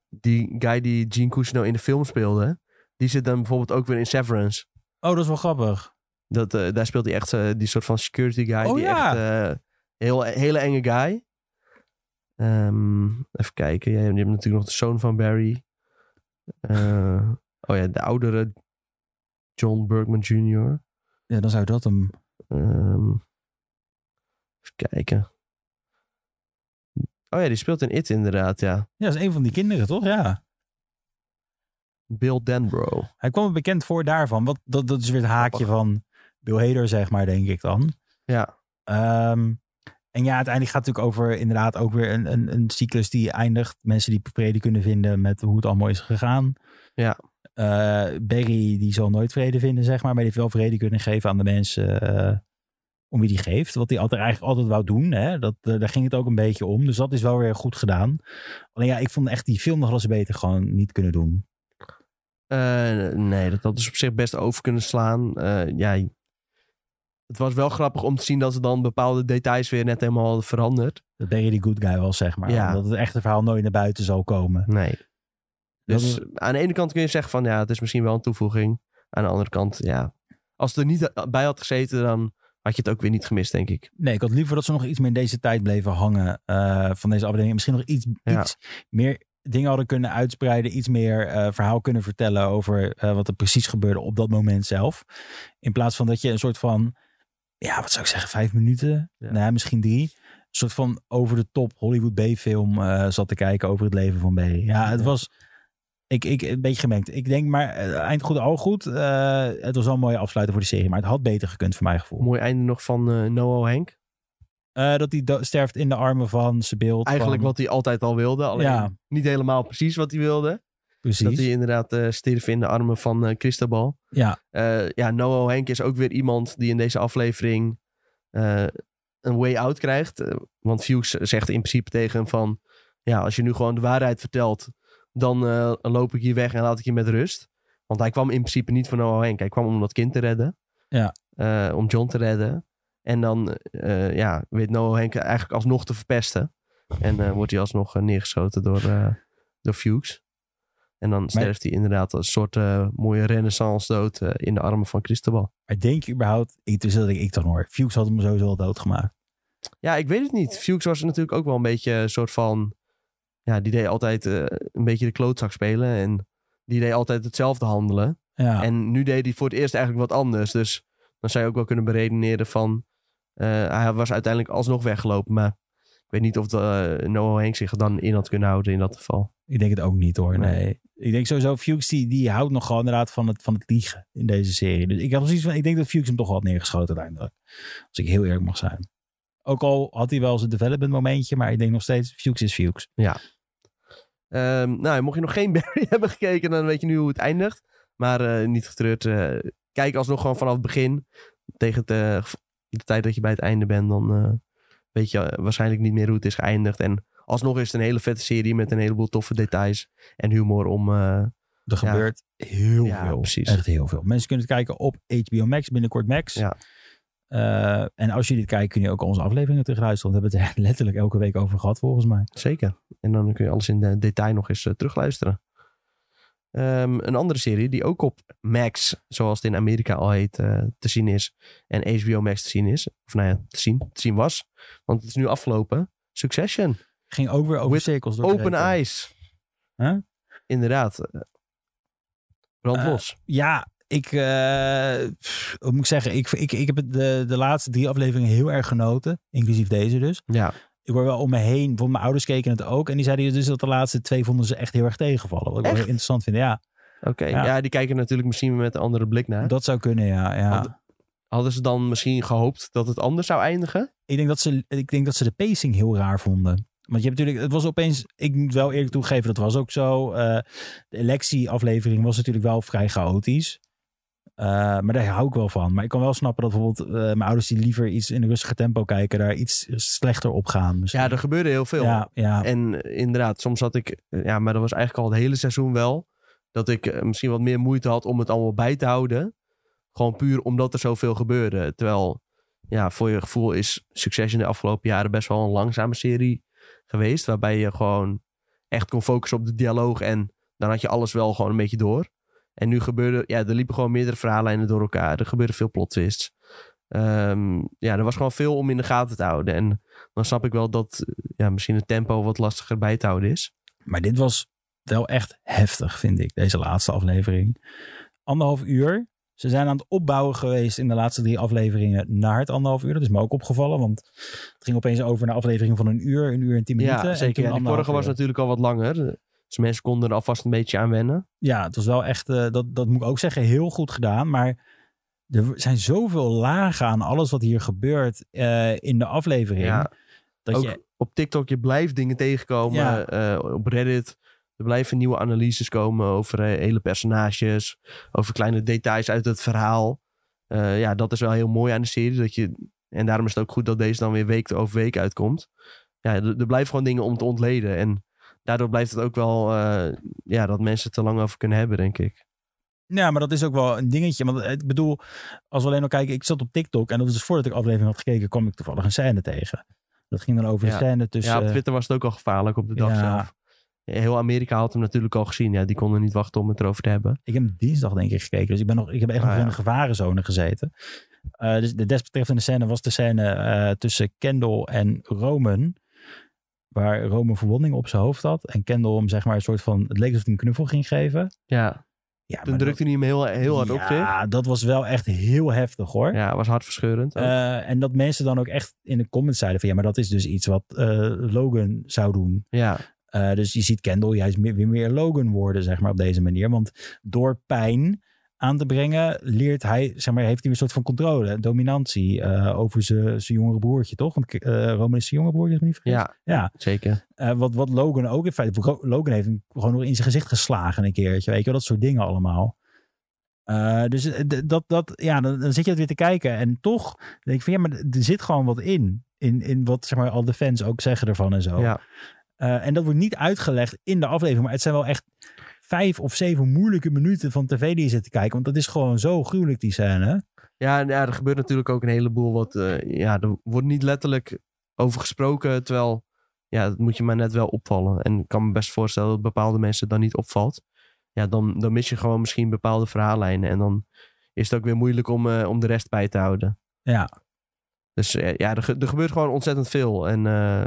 [SPEAKER 2] die guy die Gene Cousineau in de film speelde. Die zit dan bijvoorbeeld ook weer in Severance.
[SPEAKER 3] Oh, dat is wel grappig.
[SPEAKER 2] Dat, eh, daar speelt hij echt eh, die soort van security guy.
[SPEAKER 3] Oh,
[SPEAKER 2] die
[SPEAKER 3] ja.
[SPEAKER 2] echt eh, heel, hele enge guy. Ehm, even kijken. Ja, je hebt natuurlijk nog de zoon van Barry. Eh, oh ja, de oudere John Bergman Jr.
[SPEAKER 3] Ja, dan zou dat hem.
[SPEAKER 2] Ehm, even kijken. Oh ja, die speelt in It inderdaad, ja.
[SPEAKER 3] Ja, dat is een van die kinderen, toch? Ja.
[SPEAKER 2] Bill Denbro.
[SPEAKER 3] Hij kwam me bekend voor daarvan. Wat, dat, dat is weer het haakje
[SPEAKER 2] Grappig.
[SPEAKER 3] van Bill Hader, zeg maar, denk ik dan.
[SPEAKER 2] Ja.
[SPEAKER 3] Ehm, en ja, uiteindelijk gaat het natuurlijk over inderdaad ook weer een, een, een cyclus die eindigt. Mensen die vrede kunnen vinden met hoe het allemaal is gegaan.
[SPEAKER 2] Ja.
[SPEAKER 3] Eh, Barry, die zal nooit vrede vinden, zeg maar. Maar die heeft wel vrede kunnen geven aan de mensen eh, om wie die geeft. Wat hij altijd, eigenlijk altijd wou doen. Hè? Dat, eh, daar ging het ook een beetje om. Dus dat is wel weer goed gedaan. Alleen ja, ik vond echt die film nog wel eens beter gewoon niet kunnen doen.
[SPEAKER 2] Eh, nee, dat had dus op zich best over kunnen slaan. Eh, ja, je- het was wel grappig om te zien dat ze dan bepaalde details weer net helemaal hadden veranderd.
[SPEAKER 3] Dat Barry die good guy was, zeg maar.
[SPEAKER 2] Ja.
[SPEAKER 3] Dat het echte verhaal nooit naar buiten zal komen.
[SPEAKER 2] Nee.
[SPEAKER 3] Dat
[SPEAKER 2] Dus aan de ene kant kun je zeggen van ja, het is misschien wel een toevoeging. Aan de andere kant, ja. Als het er niet bij had gezeten, dan had je het ook weer niet gemist, denk ik.
[SPEAKER 3] Nee, ik had liever dat ze nog iets meer in deze tijd bleven hangen eh, van deze afdeling. Misschien nog iets,
[SPEAKER 2] Ja.
[SPEAKER 3] iets meer dingen hadden kunnen uitspreiden. Iets meer eh, verhaal kunnen vertellen over eh, wat er precies gebeurde op dat moment zelf. In plaats van dat je een soort van, ja, wat zou ik zeggen, vijf minuten?
[SPEAKER 2] Ja.
[SPEAKER 3] Nou, ja, misschien drie. Een soort van over de top Hollywood B-film eh, zat te kijken over het leven van B. Ja, het
[SPEAKER 2] Ja.
[SPEAKER 3] was... Ik, ik, een beetje gemengd. Ik denk maar, eh, eind goed, al goed. Eh, het was wel een mooie afsluiter voor de serie. Maar het had beter gekund, voor mijn gevoel.
[SPEAKER 2] Mooi einde nog van eh, Noah Henk.
[SPEAKER 3] Eh, dat hij do- sterft in de armen van zijn beeld.
[SPEAKER 2] Eigenlijk
[SPEAKER 3] van-
[SPEAKER 2] wat hij altijd al wilde. Alleen
[SPEAKER 3] Ja.
[SPEAKER 2] niet helemaal precies wat hij wilde.
[SPEAKER 3] Precies.
[SPEAKER 2] Dat hij inderdaad eh stierf in de armen van eh Cristobal.
[SPEAKER 3] Ja,
[SPEAKER 2] Eh, ja, Noah Henk is ook weer iemand die in deze aflevering eh, een way out krijgt. Eh, want Fuchs zegt in principe tegen hem van... Ja, als je nu gewoon de waarheid vertelt... dan eh, loop ik hier weg en laat ik je met rust. Want hij kwam in principe niet voor Noah Henk. Hij kwam om dat kind te redden.
[SPEAKER 3] Ja.
[SPEAKER 2] Eh, om John te redden. En dan eh, ja, weet Noah Henk eigenlijk alsnog te verpesten. En eh, wordt hij alsnog eh, neergeschoten door, eh, door Fuchs. En dan sterft hij inderdaad als een soort eh, mooie renaissance dood eh, in de armen van Cristobal.
[SPEAKER 3] maar denk je überhaupt... Ik, dus dat ik, ik dan hoor. Fuchs had hem sowieso al doodgemaakt.
[SPEAKER 2] Ja, ik weet het niet. Fuchs was natuurlijk ook wel een beetje een soort van... Ja, die deed altijd eh, een beetje de klootzak spelen. En die deed altijd hetzelfde handelen.
[SPEAKER 3] Ja,
[SPEAKER 2] En nu deed hij voor het eerst eigenlijk wat anders. Dus dan zou je ook wel kunnen beredeneren van... eh, hij was uiteindelijk alsnog weggelopen. Maar ik weet niet of de, eh, Noah Henk zich er dan in had kunnen houden in dat geval.
[SPEAKER 3] ik denk het ook niet hoor, nee.
[SPEAKER 2] Nee.
[SPEAKER 3] Ik denk sowieso, Fuchs die, die houdt nog gewoon inderdaad van het, van het liegen in deze serie. Dus ik, heb zoiets van, ik denk dat Fuchs hem toch wel had neergeschoten uiteindelijk. Als ik heel eerlijk mag zijn. Ook al had hij wel zijn development momentje, maar ik denk nog steeds, Fuchs is Fuchs.
[SPEAKER 2] Ehm, nou, mocht je nog geen Barry hebben gekeken, dan weet je nu hoe het eindigt. Maar eh, niet getreurd. eh, kijk alsnog gewoon vanaf het begin. Tegen de, de tijd dat je bij het einde bent, dan eh, weet je eh, waarschijnlijk niet meer hoe het is geëindigd. En alsnog is het een hele vette serie met een heleboel toffe details en humor om... eh,
[SPEAKER 3] Er
[SPEAKER 2] Ja.
[SPEAKER 3] gebeurt heel
[SPEAKER 2] Ja,
[SPEAKER 3] veel.
[SPEAKER 2] precies.
[SPEAKER 3] Echt heel veel. Mensen kunnen het kijken op HBO Max, binnenkort Max.
[SPEAKER 2] Ja.
[SPEAKER 3] Eh, en als jullie het kijken, kun je ook onze afleveringen terugluisteren. Want we hebben het er letterlijk elke week over gehad, volgens mij.
[SPEAKER 2] Zeker. En dan kun je alles in de detail nog eens eh, terugluisteren. Ehm, een andere serie die ook op Max, zoals het in Amerika al heet, eh, te zien is. En HBO Max te zien is. Of nou ja, te zien, te zien was. Want het is nu afgelopen. Succession.
[SPEAKER 3] Ging ook weer over
[SPEAKER 2] With
[SPEAKER 3] cirkels. door de
[SPEAKER 2] Open
[SPEAKER 3] rekening.
[SPEAKER 2] Eyes.
[SPEAKER 3] Huh?
[SPEAKER 2] Inderdaad. Eh, Brand
[SPEAKER 3] Eh,
[SPEAKER 2] los.
[SPEAKER 3] Ja, ik eh, pff, wat moet ik zeggen, ik, ik, ik heb het de, de laatste drie afleveringen heel erg genoten. Inclusief deze dus.
[SPEAKER 2] Ja.
[SPEAKER 3] Ik hoor wel om me heen, want mijn ouders keken het ook. En die zeiden dus dat de laatste twee vonden ze echt heel erg tegenvallen. Wat ik wel heel
[SPEAKER 2] Echt?
[SPEAKER 3] interessant vind, ja.
[SPEAKER 2] Oké,
[SPEAKER 3] Ja.
[SPEAKER 2] ja. die kijken natuurlijk misschien met een andere blik naar.
[SPEAKER 3] Dat zou kunnen, ja. ja.
[SPEAKER 2] Want- Hadden ze dan misschien gehoopt dat het anders zou eindigen?
[SPEAKER 3] Ik denk, dat ze, ik denk dat ze de pacing heel raar vonden. Want je hebt natuurlijk, het was opeens, ik moet wel eerlijk toegeven, dat was ook zo. Eh, de electieaflevering was natuurlijk wel vrij chaotisch. Eh, maar daar hou ik wel van. Maar ik kan wel snappen dat bijvoorbeeld eh, mijn ouders die liever iets in een rustiger tempo kijken, daar iets slechter op gaan. misschien.
[SPEAKER 2] Ja, er gebeurde heel veel.
[SPEAKER 3] ja, ja.
[SPEAKER 2] En eh, inderdaad, soms had ik, eh, ja, maar dat was eigenlijk al het hele seizoen wel, dat ik eh, misschien wat meer moeite had om het allemaal bij te houden. Gewoon puur omdat er zoveel gebeurde. Terwijl, ja, voor je gevoel is Succession de afgelopen jaren best wel een langzame serie geweest. Waarbij je gewoon echt kon focussen op de dialoog en dan had je alles wel gewoon een beetje door. En nu gebeurde, ja, er liepen gewoon meerdere verhaallijnen door elkaar. Er gebeurde veel plot twists. Ehm, ja, er was gewoon veel om in de gaten te houden. En dan snap ik wel dat ja, misschien het tempo wat lastiger bij te houden is.
[SPEAKER 3] Maar dit was wel echt heftig, vind ik, deze laatste aflevering. Anderhalf uur. Ze zijn aan het opbouwen geweest in de laatste drie afleveringen naar het anderhalf uur. Dat is me ook opgevallen, want het ging opeens over naar afleveringen van een uur, een uur en tien minuten.
[SPEAKER 2] ja,
[SPEAKER 3] en
[SPEAKER 2] zeker.
[SPEAKER 3] toen
[SPEAKER 2] Ja, die
[SPEAKER 3] anderhalf
[SPEAKER 2] vorige was
[SPEAKER 3] uur.
[SPEAKER 2] natuurlijk al wat langer. Dus mensen konden er alvast een beetje aan wennen.
[SPEAKER 3] Ja, het was wel echt, eh, dat, dat moet ik ook zeggen, heel goed gedaan. Maar er zijn zoveel lagen aan alles wat hier gebeurt eh, in de aflevering.
[SPEAKER 2] Ja,
[SPEAKER 3] dat
[SPEAKER 2] ook
[SPEAKER 3] je,
[SPEAKER 2] op TikTok, je blijft dingen tegenkomen.
[SPEAKER 3] Ja.
[SPEAKER 2] Eh, op Reddit, er blijven nieuwe analyses komen over eh, hele personages. Over kleine details uit het verhaal. Eh, ja, dat is wel heel mooi aan de serie. Dat je, en daarom is het ook goed dat deze dan weer week over week uitkomt. Ja, er, er blijven gewoon dingen om te ontleden. En daardoor blijft het ook wel eh, ja, dat mensen het te lang over kunnen hebben, denk ik.
[SPEAKER 3] Ja, maar dat is ook wel een dingetje. Want eh, ik bedoel, als we alleen al kijken, ik zat op TikTok en dat was dus voordat ik de aflevering had gekeken, kwam ik toevallig een scène tegen. Dat ging dan over de
[SPEAKER 2] Ja.
[SPEAKER 3] scène tussen.
[SPEAKER 2] ja, op Twitter was het ook al gevaarlijk op de dag
[SPEAKER 3] ja.
[SPEAKER 2] zelf. Heel Amerika had hem natuurlijk al gezien. Ja, die konden niet wachten om het erover te hebben.
[SPEAKER 3] eh, ik heb hem dinsdag denk ik gekeken, dus ik ben nog, ik heb echt
[SPEAKER 2] Ah,
[SPEAKER 3] nog in
[SPEAKER 2] ja.
[SPEAKER 3] de gevarenzone gezeten. Eh, dus de desbetreffende scène was de scène eh, tussen Kendall en Roman, waar Roman verwondingen op zijn hoofd had en Kendall hem zeg maar een soort van, het leek alsof hij een knuffel ging geven.
[SPEAKER 2] Ja,
[SPEAKER 3] Ja,
[SPEAKER 2] toen drukte hij hem heel, heel hard op zich.
[SPEAKER 3] Ja, dat was wel echt heel heftig hoor.
[SPEAKER 2] Ja, was hartverscheurend. ook.
[SPEAKER 3] Eh, en dat mensen dan ook echt in de comments zeiden van ja, maar dat is dus iets wat eh, Logan zou doen.
[SPEAKER 2] ja,
[SPEAKER 3] Eh, dus je ziet Kendall juist meer, weer meer Logan worden, zeg maar, op deze manier. Want door pijn aan te brengen, leert hij, zeg maar, heeft hij een soort van controle, dominantie eh, over zijn zijn jongere broertje, toch? Want eh Roman is zijn jongere broertje, als ik me niet vergis.
[SPEAKER 2] ja,
[SPEAKER 3] Ja.
[SPEAKER 2] zeker.
[SPEAKER 3] Eh, wat, wat Logan ook in feite, Ro- Logan heeft hem gewoon nog in zijn gezicht geslagen een keertje, weet je wel, dat soort dingen allemaal. Eh, dus eh, d- dat, dat, ja, dan, dan zit je het weer te kijken en toch denk ik van ja, maar d- er zit gewoon wat in. In, in wat zeg maar, al de fans ook zeggen ervan en zo.
[SPEAKER 2] Ja.
[SPEAKER 3] Eh, en dat wordt niet uitgelegd in de aflevering. Maar het zijn wel echt vijf of zeven moeilijke minuten van tv die je zit te kijken. Want dat is gewoon zo gruwelijk, die scène.
[SPEAKER 2] Ja, en ja, er gebeurt natuurlijk ook een heleboel wat... eh, ja, er wordt niet letterlijk over gesproken. Terwijl, ja, dat moet je maar net wel opvallen. En ik kan me best voorstellen dat bepaalde mensen het dan niet opvalt. Ja, dan, dan mis je gewoon misschien bepaalde verhaallijnen. En dan is het ook weer moeilijk om, eh, om de rest bij te houden.
[SPEAKER 3] Ja,
[SPEAKER 2] Dus eh, ja, er, ge- er gebeurt gewoon ontzettend veel. En eh,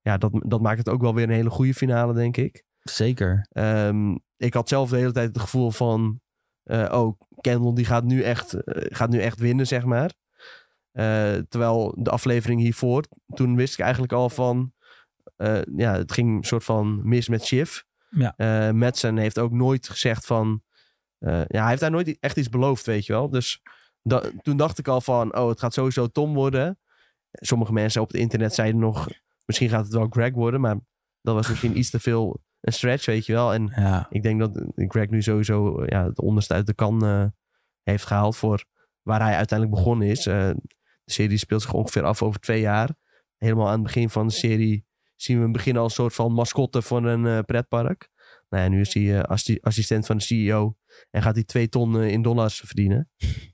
[SPEAKER 2] ja, dat, dat maakt het ook wel weer een hele goede finale, denk ik.
[SPEAKER 3] zeker.
[SPEAKER 2] Ehm, ik had zelf de hele tijd het gevoel van... eh, oh, Kendall die gaat nu echt, eh, gaat nu echt winnen, zeg maar. Eh, terwijl de aflevering hiervoor, toen wist ik eigenlijk al van... eh, ja, het ging een soort van mis met Schiff.
[SPEAKER 3] Ja.
[SPEAKER 2] Eh, Madsen heeft ook nooit gezegd van... eh, ja, hij heeft daar nooit i- echt iets beloofd, weet je wel. Dus da- toen dacht ik al van, oh, het gaat sowieso Tom worden. Sommige mensen op het internet zeiden nog... Misschien gaat het wel Greg worden, maar dat was misschien iets te veel een stretch, weet je wel. En
[SPEAKER 3] Ja,
[SPEAKER 2] ik denk dat Greg nu sowieso eh, ja, het onderste uit de kan eh, heeft gehaald voor waar hij uiteindelijk begonnen is. Eh, de serie speelt zich ongeveer af over twee jaar. Helemaal aan het begin van de serie zien we hem beginnen als een soort van mascotte van een eh, pretpark. Nou ja, nu is hij eh, assi- assistent van de CEO en gaat hij twee ton eh, in dollars verdienen.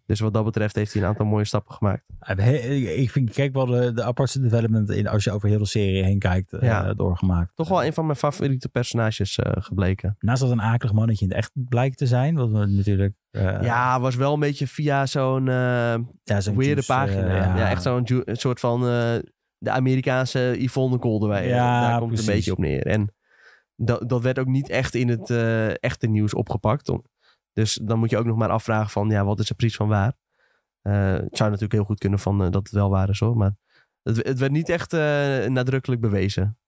[SPEAKER 2] Dus wat dat betreft heeft hij een aantal mooie stappen gemaakt.
[SPEAKER 3] Eh, He- ik vind, kijk wel de, de apartste development in als je over heel de serie heen kijkt, eh,
[SPEAKER 2] Ja.
[SPEAKER 3] doorgemaakt.
[SPEAKER 2] Toch wel een van mijn favoriete personages eh, gebleken.
[SPEAKER 3] Naast dat een akelig mannetje in het echt blijkt te zijn, wat we natuurlijk... eh,
[SPEAKER 2] ja, was wel een beetje via zo'n... eh,
[SPEAKER 3] ja zo'n
[SPEAKER 2] weirde
[SPEAKER 3] juice, eh,
[SPEAKER 2] pagina. ja. echt zo'n ju- een soort van eh, de Amerikaanse Yvonne Koldewijn.
[SPEAKER 3] Ja,
[SPEAKER 2] Daar komt het
[SPEAKER 3] precies.
[SPEAKER 2] een beetje op neer. En dat, dat werd ook niet echt in het eh, echte nieuws opgepakt. Om- Dus dan moet je ook nog maar afvragen van, ja, wat is er precies van waar? Eh, het zou natuurlijk heel goed kunnen van eh, dat het wel waar is hoor, maar het, het werd niet echt eh, nadrukkelijk bewezen.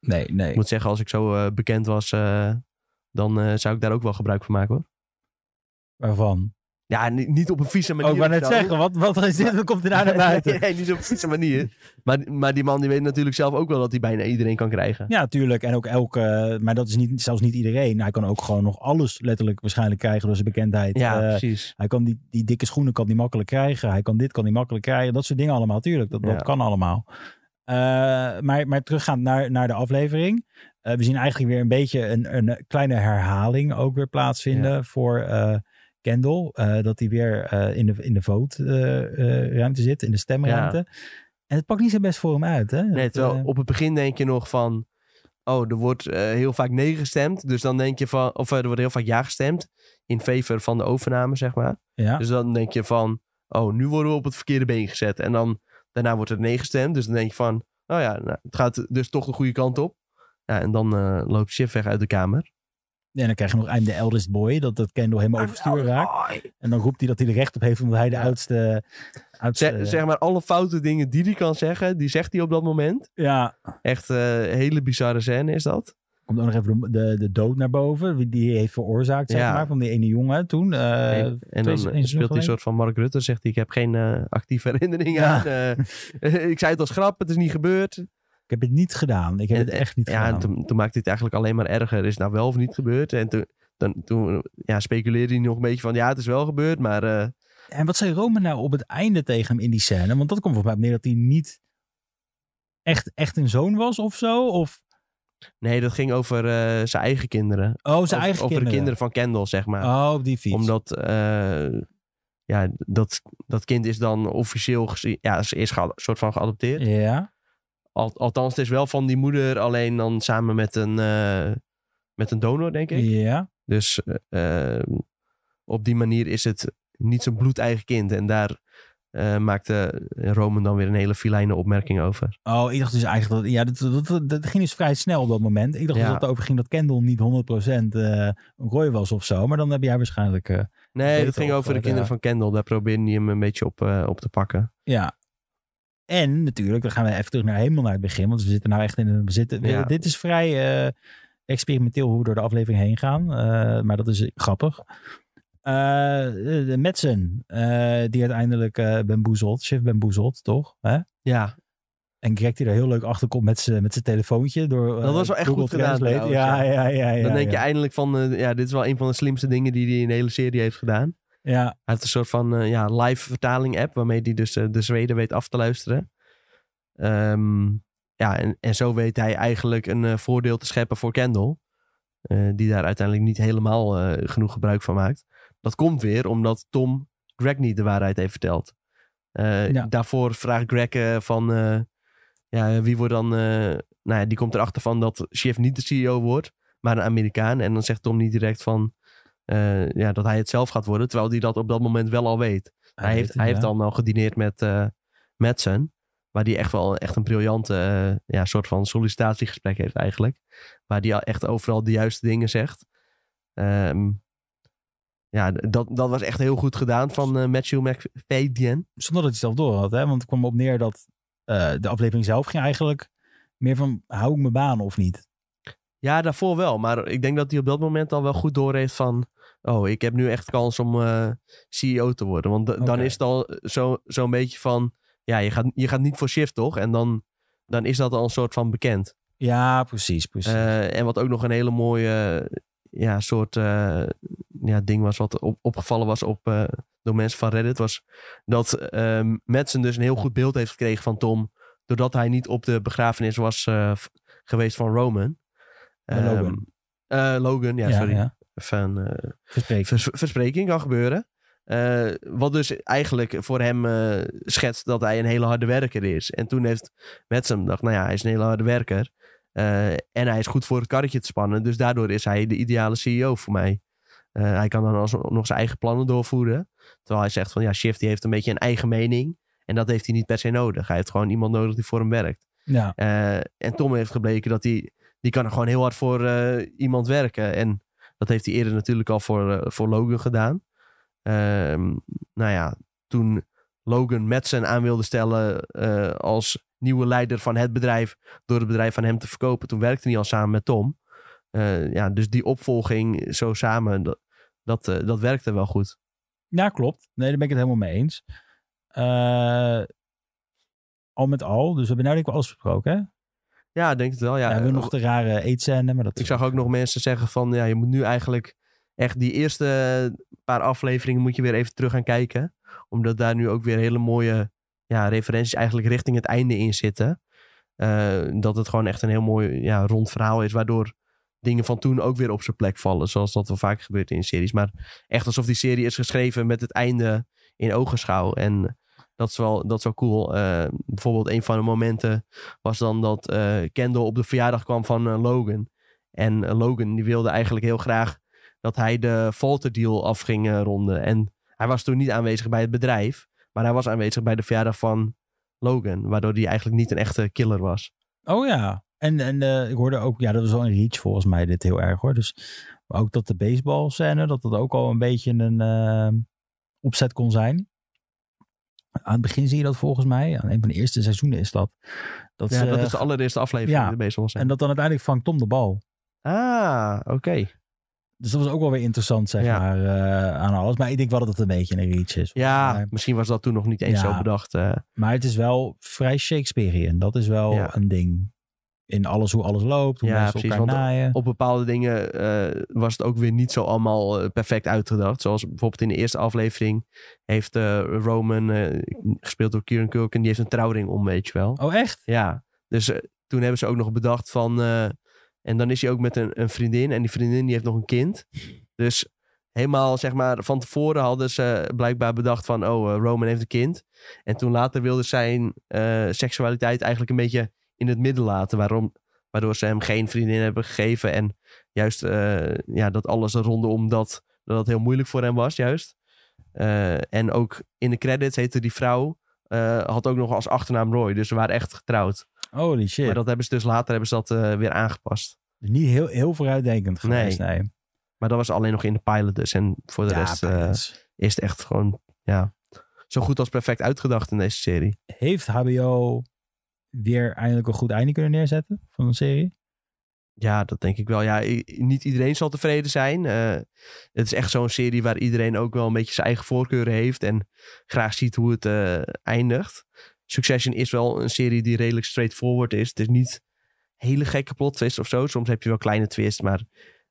[SPEAKER 3] Nee, nee.
[SPEAKER 2] Ik moet zeggen, als ik zo eh, bekend was, eh, dan eh, zou ik daar ook wel gebruik van maken hoor.
[SPEAKER 3] Waarvan?
[SPEAKER 2] Ja, ni- niet op een vieze manier.
[SPEAKER 3] Ook maar
[SPEAKER 2] of
[SPEAKER 3] net
[SPEAKER 2] zo.
[SPEAKER 3] zeggen, wat, wat is dit? Wat komt er nou naar buiten?
[SPEAKER 2] nee, niet op een vieze manier. Maar, maar die man die weet natuurlijk zelf ook wel dat hij bijna iedereen kan krijgen.
[SPEAKER 3] Ja, tuurlijk. En ook elke, maar dat is niet, zelfs niet iedereen. Hij kan ook gewoon nog alles letterlijk waarschijnlijk krijgen door zijn bekendheid.
[SPEAKER 2] Ja,
[SPEAKER 3] Eh,
[SPEAKER 2] precies.
[SPEAKER 3] hij kan die, die dikke schoenen kan die makkelijk krijgen. Hij kan dit, kan die makkelijk krijgen. Dat soort dingen allemaal, tuurlijk. Dat,
[SPEAKER 2] Ja.
[SPEAKER 3] dat kan allemaal. Eh, maar, maar teruggaand naar, naar de aflevering. Eh, we zien eigenlijk weer een beetje een, een kleine herhaling ook weer plaatsvinden voor eh, Kendall. Eh, dat hij weer eh, in de, in de vote-ruimte zit, in de stemruimte. En het pakt niet zo best voor hem uit, hè?
[SPEAKER 2] Nee,
[SPEAKER 3] Dat,
[SPEAKER 2] terwijl
[SPEAKER 3] eh,
[SPEAKER 2] op het begin denk je nog van... Oh, er wordt eh, heel vaak nee gestemd. Dus dan denk je van... Of eh, er wordt heel vaak ja gestemd. In favor van de overname, zeg maar.
[SPEAKER 3] ja.
[SPEAKER 2] Dus dan denk je van... Oh, nu worden we op het verkeerde been gezet. En dan daarna wordt het nee gestemd. Dus dan denk je van... Oh ja, nou, het gaat dus toch de goede kant op. Ja, en dan eh, loopt Chef weg uit de kamer.
[SPEAKER 3] En dan krijg je nog I'm the eldest boy. Dat, dat Kendall helemaal overstuur raakt. En dan roept hij dat hij er recht op heeft omdat hij de
[SPEAKER 2] Ja.
[SPEAKER 3] oudste... oudste
[SPEAKER 2] Zeg, zeg maar alle foute dingen die hij kan zeggen... die zegt hij op dat moment.
[SPEAKER 3] Ja,
[SPEAKER 2] Echt een hele bizarre scène is dat.
[SPEAKER 3] komt ook nog even de, de, de dood naar boven. wie Die heeft veroorzaakt, zeg
[SPEAKER 2] Ja.
[SPEAKER 3] maar, van die ene jongen toen. eh,
[SPEAKER 2] en, en
[SPEAKER 3] twee-
[SPEAKER 2] dan
[SPEAKER 3] één
[SPEAKER 2] eh,
[SPEAKER 3] seizoen
[SPEAKER 2] speelt hij een
[SPEAKER 3] geleden.
[SPEAKER 2] soort van Mark Rutte. Zegt hij, ik heb geen eh, actieve herinnering
[SPEAKER 3] Ja.
[SPEAKER 2] aan. eh, ik zei het als grap, het is niet gebeurd.
[SPEAKER 3] Ik heb het niet gedaan. Ik heb
[SPEAKER 2] En-
[SPEAKER 3] het echt niet
[SPEAKER 2] Ja, en
[SPEAKER 3] gedaan.
[SPEAKER 2] toen, toen maakte hij het eigenlijk alleen maar erger. Is het nou wel of niet gebeurd? En toen, dan, toen ja, speculeerde hij nog een beetje van... Ja, het is wel gebeurd, maar... eh,
[SPEAKER 3] En wat zei Rome nou op het einde tegen hem in die scène? Want dat komt volgens mij op neer dat hij niet echt, echt een zoon was of zo. Of,
[SPEAKER 2] nee, dat ging over eh, zijn eigen kinderen.
[SPEAKER 3] oh, zijn
[SPEAKER 2] Over-
[SPEAKER 3] eigen
[SPEAKER 2] over de kinderen van Kendall, zeg maar.
[SPEAKER 3] Oh, op die fiets.
[SPEAKER 2] Omdat... eh, ja, dat, dat kind is dan officieel gezien... Ja, ze is gead- soort van geadopteerd.
[SPEAKER 3] Ja,
[SPEAKER 2] Al- althans, het is wel van die moeder, alleen dan samen met een, eh, met een donor, denk ik.
[SPEAKER 3] ja.
[SPEAKER 2] Dus eh, eh, op die manier is het niet zijn bloedeigen kind. En daar eh, maakte Roman dan weer een hele filijne opmerking over.
[SPEAKER 3] Oh, ik dacht dus eigenlijk dat... Ja, dat, dat, dat, dat ging dus vrij snel op dat moment. Ik dacht
[SPEAKER 2] Ja.
[SPEAKER 3] dus dat het over ging dat Kendall niet 100% eh Roy was of zo. Maar dan heb jij waarschijnlijk... eh,
[SPEAKER 2] Nee,
[SPEAKER 3] Beter
[SPEAKER 2] dat ging
[SPEAKER 3] of,
[SPEAKER 2] over de
[SPEAKER 3] eh,
[SPEAKER 2] kinderen
[SPEAKER 3] ja.
[SPEAKER 2] van Kendall. Daar probeerde hij hem een beetje op, eh, op te pakken.
[SPEAKER 3] Ja. En natuurlijk, dan gaan we even terug naar helemaal naar het begin. Want we zitten nou echt in een... We zitten, we-
[SPEAKER 2] Ja.
[SPEAKER 3] Dit is vrij eh, experimenteel hoe we door de aflevering heen gaan. eh, maar dat is grappig. Eh de Madsen, eh, die uiteindelijk eh bamboezelt. Chef bamboezelt, toch? Hè?
[SPEAKER 2] Ja,
[SPEAKER 3] En Greg die er heel leuk achter komt met zijn met zijn telefoontje. Door,
[SPEAKER 2] Dat
[SPEAKER 3] eh,
[SPEAKER 2] was wel echt
[SPEAKER 3] Google
[SPEAKER 2] goed gedaan
[SPEAKER 3] Translate. Ja,
[SPEAKER 2] trouwens,
[SPEAKER 3] ja, ja. ja
[SPEAKER 2] dan denk
[SPEAKER 3] ja.
[SPEAKER 2] je eindelijk van... eh, ja, dit is wel een van de slimste dingen die hij in de hele serie heeft gedaan.
[SPEAKER 3] Ja,
[SPEAKER 2] Hij heeft een soort van eh, ja, live vertaling app waarmee hij dus eh, de Zweden weet af te luisteren. Ehm, ja, en, en zo weet hij eigenlijk een eh, voordeel te scheppen voor Kendall. eh, die daar uiteindelijk niet helemaal eh, genoeg gebruik van maakt. Dat komt weer omdat Tom Greg niet de waarheid heeft verteld. Eh,
[SPEAKER 3] Ja.
[SPEAKER 2] Daarvoor vraagt Greg eh, van eh, ja, wie wordt dan. eh, nou ja, die komt erachter van dat Schiff niet de CEO wordt, maar een Amerikaan. En dan zegt Tom niet direct van eh, ja, dat hij het zelf gaat worden, terwijl hij dat op dat moment wel al weet. Hij, heeft, hij heeft dan al gedineerd met eh Madsen. Waar die echt wel echt een briljante eh, ja, soort van sollicitatiegesprek heeft eigenlijk. Waar die al echt overal de juiste dingen zegt. Ehm, ja, d- dat, dat was echt heel goed gedaan van eh, Matthew McFadyen.
[SPEAKER 3] zonder dat hij het zelf door had. Hè? Want het kwam op neer dat eh, de aflevering zelf ging eigenlijk meer van hou ik mijn baan of niet.
[SPEAKER 2] Ja, daarvoor wel. Maar ik denk dat hij op dat moment al wel goed door heeft van... Oh, ik heb nu echt kans om eh, CEO te worden. Want d- dan
[SPEAKER 3] Oké.
[SPEAKER 2] is het al zo'n zo zo'n beetje van... Ja, je gaat, je gaat niet voor shift, toch? En dan, dan is dat al een soort van bekend.
[SPEAKER 3] Ja, precies, precies.
[SPEAKER 2] Eh, en wat ook nog een hele mooie ja, soort eh, ja, ding was, wat op, opgevallen was op, eh, door mensen van Reddit, was dat ehm Madsen dus een heel goed beeld heeft gekregen van Tom, doordat hij niet op de begrafenis was eh, v- geweest van Roman.
[SPEAKER 3] Van
[SPEAKER 2] Ehm,
[SPEAKER 3] Logan.
[SPEAKER 2] eh, Logan, ja, sorry.
[SPEAKER 3] ja.
[SPEAKER 2] Van, eh,
[SPEAKER 3] Verspreek.
[SPEAKER 2] vers- verspreking kan gebeuren. Eh, wat dus eigenlijk voor hem eh, schetst dat hij een hele harde werker is. En toen heeft Metzum gedacht, nou ja, hij is een hele harde werker. Eh, en hij is goed voor het karretje te spannen. Dus daardoor is hij de ideale CEO voor mij. Eh, hij kan dan alsnog nog zijn eigen plannen doorvoeren. Terwijl hij zegt van, ja, Shift die heeft een beetje een eigen mening. En dat heeft hij niet per se nodig. Hij heeft gewoon iemand nodig die voor hem werkt.
[SPEAKER 3] Ja,
[SPEAKER 2] Eh, en Tom heeft gebleken dat hij... Die kan er gewoon heel hard voor eh, iemand werken. En dat heeft hij eerder natuurlijk al voor, eh, voor Logan gedaan. Ehm, nou ja, toen Logan Madsen aan wilde stellen eh, als nieuwe leider van het bedrijf... door het bedrijf van hem te verkopen, toen werkte hij al samen met Tom. Eh, ja, dus die opvolging zo samen, dat, Dat, eh, dat werkte wel goed.
[SPEAKER 3] Ja, klopt. Nee, daar ben ik het helemaal mee eens. Eh, al met al. Dus we hebben nu denk ik wel alles besproken, hè?
[SPEAKER 2] Ja, ik denk het wel. Ja,
[SPEAKER 3] Ja,
[SPEAKER 2] eh,
[SPEAKER 3] we hebben nog de rare eetscène, maar dat...
[SPEAKER 2] Ik zag ook nog mensen zeggen van, ja, je moet nu eigenlijk echt die eerste paar afleveringen moet je weer even terug gaan kijken. Omdat daar nu ook weer hele mooie ja, referenties eigenlijk richting het einde in zitten. Eh, dat het gewoon echt een heel mooi ja, rond verhaal is, waardoor dingen van toen ook weer op zijn plek vallen. Zoals dat wel vaak gebeurt in series. Maar echt alsof die serie is geschreven met het einde in ogenschouw. En dat is wel, dat is wel cool. Eh, bijvoorbeeld een van de momenten was dan dat eh, Kendall op de verjaardag kwam van eh, Logan. En eh, Logan die wilde eigenlijk heel graag dat hij de Falter deal af ging eh, ronden. En hij was toen niet aanwezig bij het bedrijf. Maar hij was aanwezig bij de verjaardag van Logan. Waardoor hij eigenlijk niet een echte killer was.
[SPEAKER 3] Oh ja. En, en eh, ik hoorde ook, ja, dat was wel een reach volgens mij dit heel erg hoor. Dus maar ook dat de baseball scène, dat dat ook al een beetje een eh, opzet kon zijn. Aan het begin zie je dat volgens mij. Aan een van de eerste seizoenen is dat. dat,
[SPEAKER 2] Ja,
[SPEAKER 3] ze-
[SPEAKER 2] dat is de allereerste aflevering
[SPEAKER 3] ja.
[SPEAKER 2] die er bezig was.
[SPEAKER 3] En dat dan uiteindelijk vangt Tom de bal.
[SPEAKER 2] Ah, oké.
[SPEAKER 3] Dus dat was ook wel weer interessant, zeg
[SPEAKER 2] Ja.
[SPEAKER 3] maar, eh, aan alles. Maar ik denk wel dat het een beetje een reach is.
[SPEAKER 2] Ja,
[SPEAKER 3] Maar,
[SPEAKER 2] misschien was dat toen nog niet eens
[SPEAKER 3] Ja.
[SPEAKER 2] zo bedacht. eh.
[SPEAKER 3] maar het is wel vrij Shakespearean. Dat is wel
[SPEAKER 2] Ja.
[SPEAKER 3] een ding. In alles hoe alles loopt, hoe
[SPEAKER 2] Ja,
[SPEAKER 3] mensen
[SPEAKER 2] precies,
[SPEAKER 3] elkaar
[SPEAKER 2] want- eh,
[SPEAKER 3] naaien.
[SPEAKER 2] op bepaalde dingen eh, was het ook weer niet zo allemaal eh, perfect uitgedacht. Zoals bijvoorbeeld in de eerste aflevering heeft eh, Roman, eh, gespeeld door Kieran Culkin, die heeft een trouwring om, weet je wel.
[SPEAKER 3] Oh echt?
[SPEAKER 2] Ja, dus eh, toen hebben ze ook nog bedacht van... eh, en dan is hij ook met een, een vriendin. En die vriendin die heeft nog een kind. Dus helemaal, zeg maar, van tevoren hadden ze blijkbaar bedacht van... Oh, eh, Roman heeft een kind. En toen later wilde zijn eh, seksualiteit eigenlijk een beetje in het midden laten. Waarom, waardoor ze hem geen vriendin hebben gegeven. En juist eh, ja, dat alles rondom dat, dat het heel moeilijk voor hem was, juist. Eh, en ook in de credits heette die vrouw... eh, had ook nog als achternaam Roy. Dus ze waren echt getrouwd.
[SPEAKER 3] Holy shit.
[SPEAKER 2] Maar dat hebben ze dus later hebben ze dat eh, weer aangepast.
[SPEAKER 3] Dus Niet heel, heel vooruitdenkend
[SPEAKER 2] Nee.
[SPEAKER 3] geweest, nee.
[SPEAKER 2] Maar dat was alleen nog in de pilot dus. En voor de
[SPEAKER 3] Ja,
[SPEAKER 2] rest eh,
[SPEAKER 3] Pirates.
[SPEAKER 2] is het echt gewoon ja, zo goed als perfect uitgedacht in deze serie.
[SPEAKER 3] Heeft HBO weer eindelijk een goed einde kunnen neerzetten van een serie?
[SPEAKER 2] Ja, dat denk ik wel. Ja, i- niet iedereen zal tevreden zijn. Eh, het is echt zo'n serie waar iedereen ook wel een beetje zijn eigen voorkeuren heeft. En graag ziet hoe het eh, eindigt. Succession is wel een serie die redelijk straightforward is. Het is niet hele gekke plot twist of zo. Soms heb je wel kleine twist, maar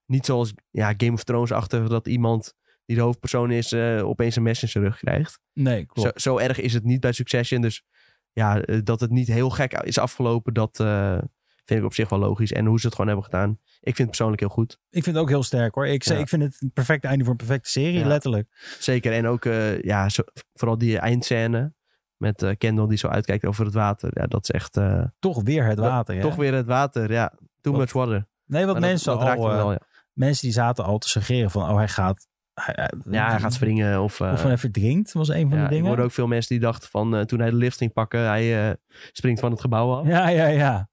[SPEAKER 2] niet zoals ja, Game of Thrones-achtig dat iemand die de hoofdpersoon is eh, opeens een mes in zijn rug krijgt.
[SPEAKER 3] Nee,
[SPEAKER 2] Zo, zo erg is het niet bij Succession. Dus ja, eh, dat het niet heel gek is afgelopen, dat eh, vind ik op zich wel logisch. En hoe ze het gewoon hebben gedaan, ik vind het persoonlijk heel goed.
[SPEAKER 3] Ik vind het ook heel sterk hoor. Ik, ze-
[SPEAKER 2] Ja.
[SPEAKER 3] ik vind het een perfect einde voor een perfecte serie,
[SPEAKER 2] Ja.
[SPEAKER 3] letterlijk.
[SPEAKER 2] Zeker. En ook eh, ja, zo- vooral die eindscène met eh, Kendall die zo uitkijkt over het water. Ja, dat is echt eh,
[SPEAKER 3] Toch weer het
[SPEAKER 2] Dat-
[SPEAKER 3] water. hè?
[SPEAKER 2] toch weer het water. Ja, too
[SPEAKER 3] Wat-
[SPEAKER 2] much water.
[SPEAKER 3] Nee, want
[SPEAKER 2] Maar dat-
[SPEAKER 3] mensen,
[SPEAKER 2] dat, raakt
[SPEAKER 3] al,
[SPEAKER 2] me
[SPEAKER 3] eh,
[SPEAKER 2] wel, ja.
[SPEAKER 3] mensen die zaten al te suggereren van, oh hij gaat... Hij,
[SPEAKER 2] ja, hij gaat springen of... eh,
[SPEAKER 3] Of van hij verdrinkt, was een
[SPEAKER 2] ja,
[SPEAKER 3] van de
[SPEAKER 2] ik
[SPEAKER 3] dingen.
[SPEAKER 2] hoorde ook veel mensen die dachten van eh, toen hij de lift ging pakken, hij eh, springt van het gebouw af.
[SPEAKER 3] Ja, ja, ja.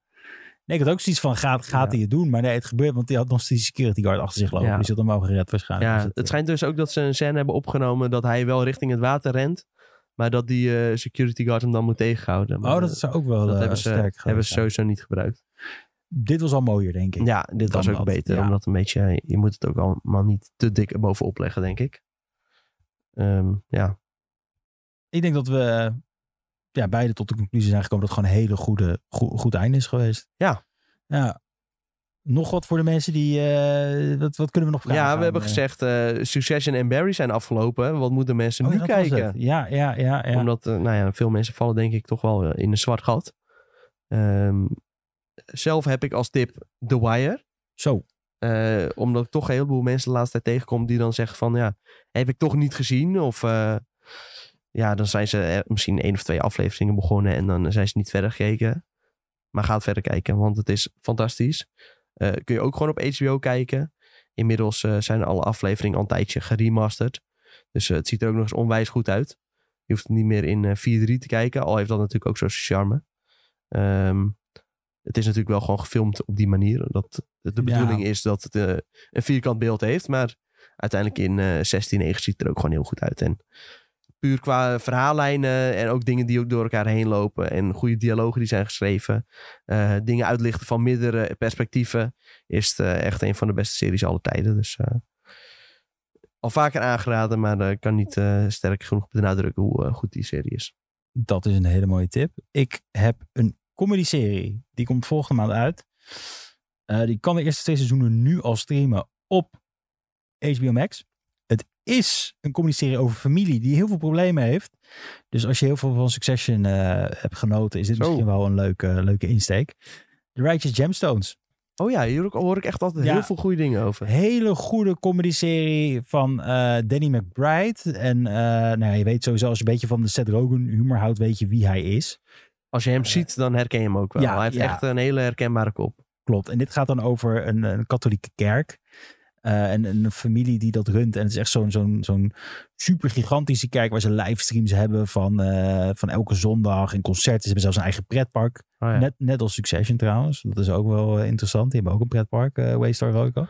[SPEAKER 3] Nee, ik had ook zoiets van, gaat, gaat hij het doen? Maar nee, het gebeurt, want hij had nog steeds die security guard achter zich lopen.
[SPEAKER 2] Ja.
[SPEAKER 3] Die zit hem wel gered waarschijnlijk. Dus
[SPEAKER 2] Ja,
[SPEAKER 3] het-
[SPEAKER 2] het schijnt dus ook dat ze een scène hebben opgenomen dat hij wel richting het water rent. Maar dat die eh, security guard hem dan moet tegenhouden. Maar,
[SPEAKER 3] Oh, dat
[SPEAKER 2] eh,
[SPEAKER 3] is ook wel
[SPEAKER 2] dat
[SPEAKER 3] eh,
[SPEAKER 2] hebben ze,
[SPEAKER 3] sterk.
[SPEAKER 2] hebben
[SPEAKER 3] geweest,
[SPEAKER 2] ze
[SPEAKER 3] ja.
[SPEAKER 2] sowieso niet gebruikt.
[SPEAKER 3] Dit was al mooier, denk ik.
[SPEAKER 2] Ja, dit
[SPEAKER 3] dan
[SPEAKER 2] was ook
[SPEAKER 3] dat,
[SPEAKER 2] beter.
[SPEAKER 3] ja.
[SPEAKER 2] Omdat een beetje, eh, je moet het ook allemaal niet te dik bovenop leggen, denk ik. Ehm, ja.
[SPEAKER 3] ik denk dat we eh, ja, beide tot de conclusie zijn gekomen dat het gewoon een hele goede, goe- goed einde is geweest.
[SPEAKER 2] Ja.
[SPEAKER 3] ja. Nog wat voor de mensen die. eh, wat, wat kunnen we nog vragen?
[SPEAKER 2] ja,
[SPEAKER 3] aan,
[SPEAKER 2] we hebben
[SPEAKER 3] eh,
[SPEAKER 2] gezegd eh, Succession en Barry zijn afgelopen. Wat moeten mensen
[SPEAKER 3] oh, ja,
[SPEAKER 2] nu
[SPEAKER 3] dat was
[SPEAKER 2] kijken?
[SPEAKER 3] het. Ja, ja, ja. ja.
[SPEAKER 2] Omdat eh, nou ja, veel mensen vallen denk ik toch wel eh, in een zwart gat. Ehm, zelf heb ik als tip The Wire.
[SPEAKER 3] Zo.
[SPEAKER 2] Eh, omdat ik toch een heleboel mensen de laatste tijd tegenkom die dan zeggen van ja, heb ik toch niet gezien. Of eh, ja, dan zijn ze eh, misschien één of twee afleveringen begonnen en dan zijn ze niet verder gekeken. Maar ga het verder kijken, want het is fantastisch. Eh, kun je ook gewoon op HBO kijken. Inmiddels eh, zijn alle afleveringen al een tijdje geremasterd. Dus eh, het ziet er ook nog eens onwijs goed uit. Je hoeft het niet meer in eh, 4-3 te kijken, al heeft dat natuurlijk ook zo zijn charme. Ehm, het is natuurlijk wel gewoon gefilmd op die manier. Dat de
[SPEAKER 3] Ja.
[SPEAKER 2] bedoeling is dat het eh, een vierkant beeld heeft. Maar uiteindelijk in eh 16 9 ziet het er ook gewoon heel goed uit. En puur qua verhaallijnen en ook dingen die ook door elkaar heen lopen. En goede dialogen die zijn geschreven. eh, dingen uitlichten van meerdere perspectieven. Is het eh, echt een van de beste series aller tijden. Dus eh, al vaker aangeraden, maar eh, ik kan niet eh, sterk genoeg benadrukken hoe eh, goed die serie is.
[SPEAKER 3] Dat is een hele mooie tip. Ik heb een comedy-serie. Die komt volgende maand uit. Eh, die kan de eerste twee seizoenen nu al streamen op HBO Max. Het is een comedy-serie over familie die heel veel problemen heeft. Dus als je heel veel van Succession eh, hebt genoten, is dit
[SPEAKER 2] Zo.
[SPEAKER 3] misschien wel een leuke, leuke insteek. The Righteous Gemstones.
[SPEAKER 2] Oh ja, hier ook- hoor ik echt altijd
[SPEAKER 3] Ja.
[SPEAKER 2] heel veel goede dingen over.
[SPEAKER 3] Hele goede comedy-serie van eh, Danny McBride. En eh, nou ja, je weet sowieso, als je een beetje van de Seth Rogen humor houdt, weet je wie hij is.
[SPEAKER 2] Als je hem ziet, dan herken je hem ook wel.
[SPEAKER 3] Eh, Ja,
[SPEAKER 2] Hij heeft
[SPEAKER 3] ja.
[SPEAKER 2] echt een hele herkenbare kop.
[SPEAKER 3] Klopt. En dit gaat dan over een, een katholieke kerk. eh, en een familie die dat runt. En het is echt zo'n zo'n zo'n super gigantische kerk waar ze livestreams hebben van, eh, van elke zondag. En concerten. Ze hebben zelfs een eigen pretpark.
[SPEAKER 2] Oh ja.
[SPEAKER 3] Net, net als Succession trouwens. Dat is ook wel eh, interessant. Die hebben ook een pretpark, eh Waystar Roco.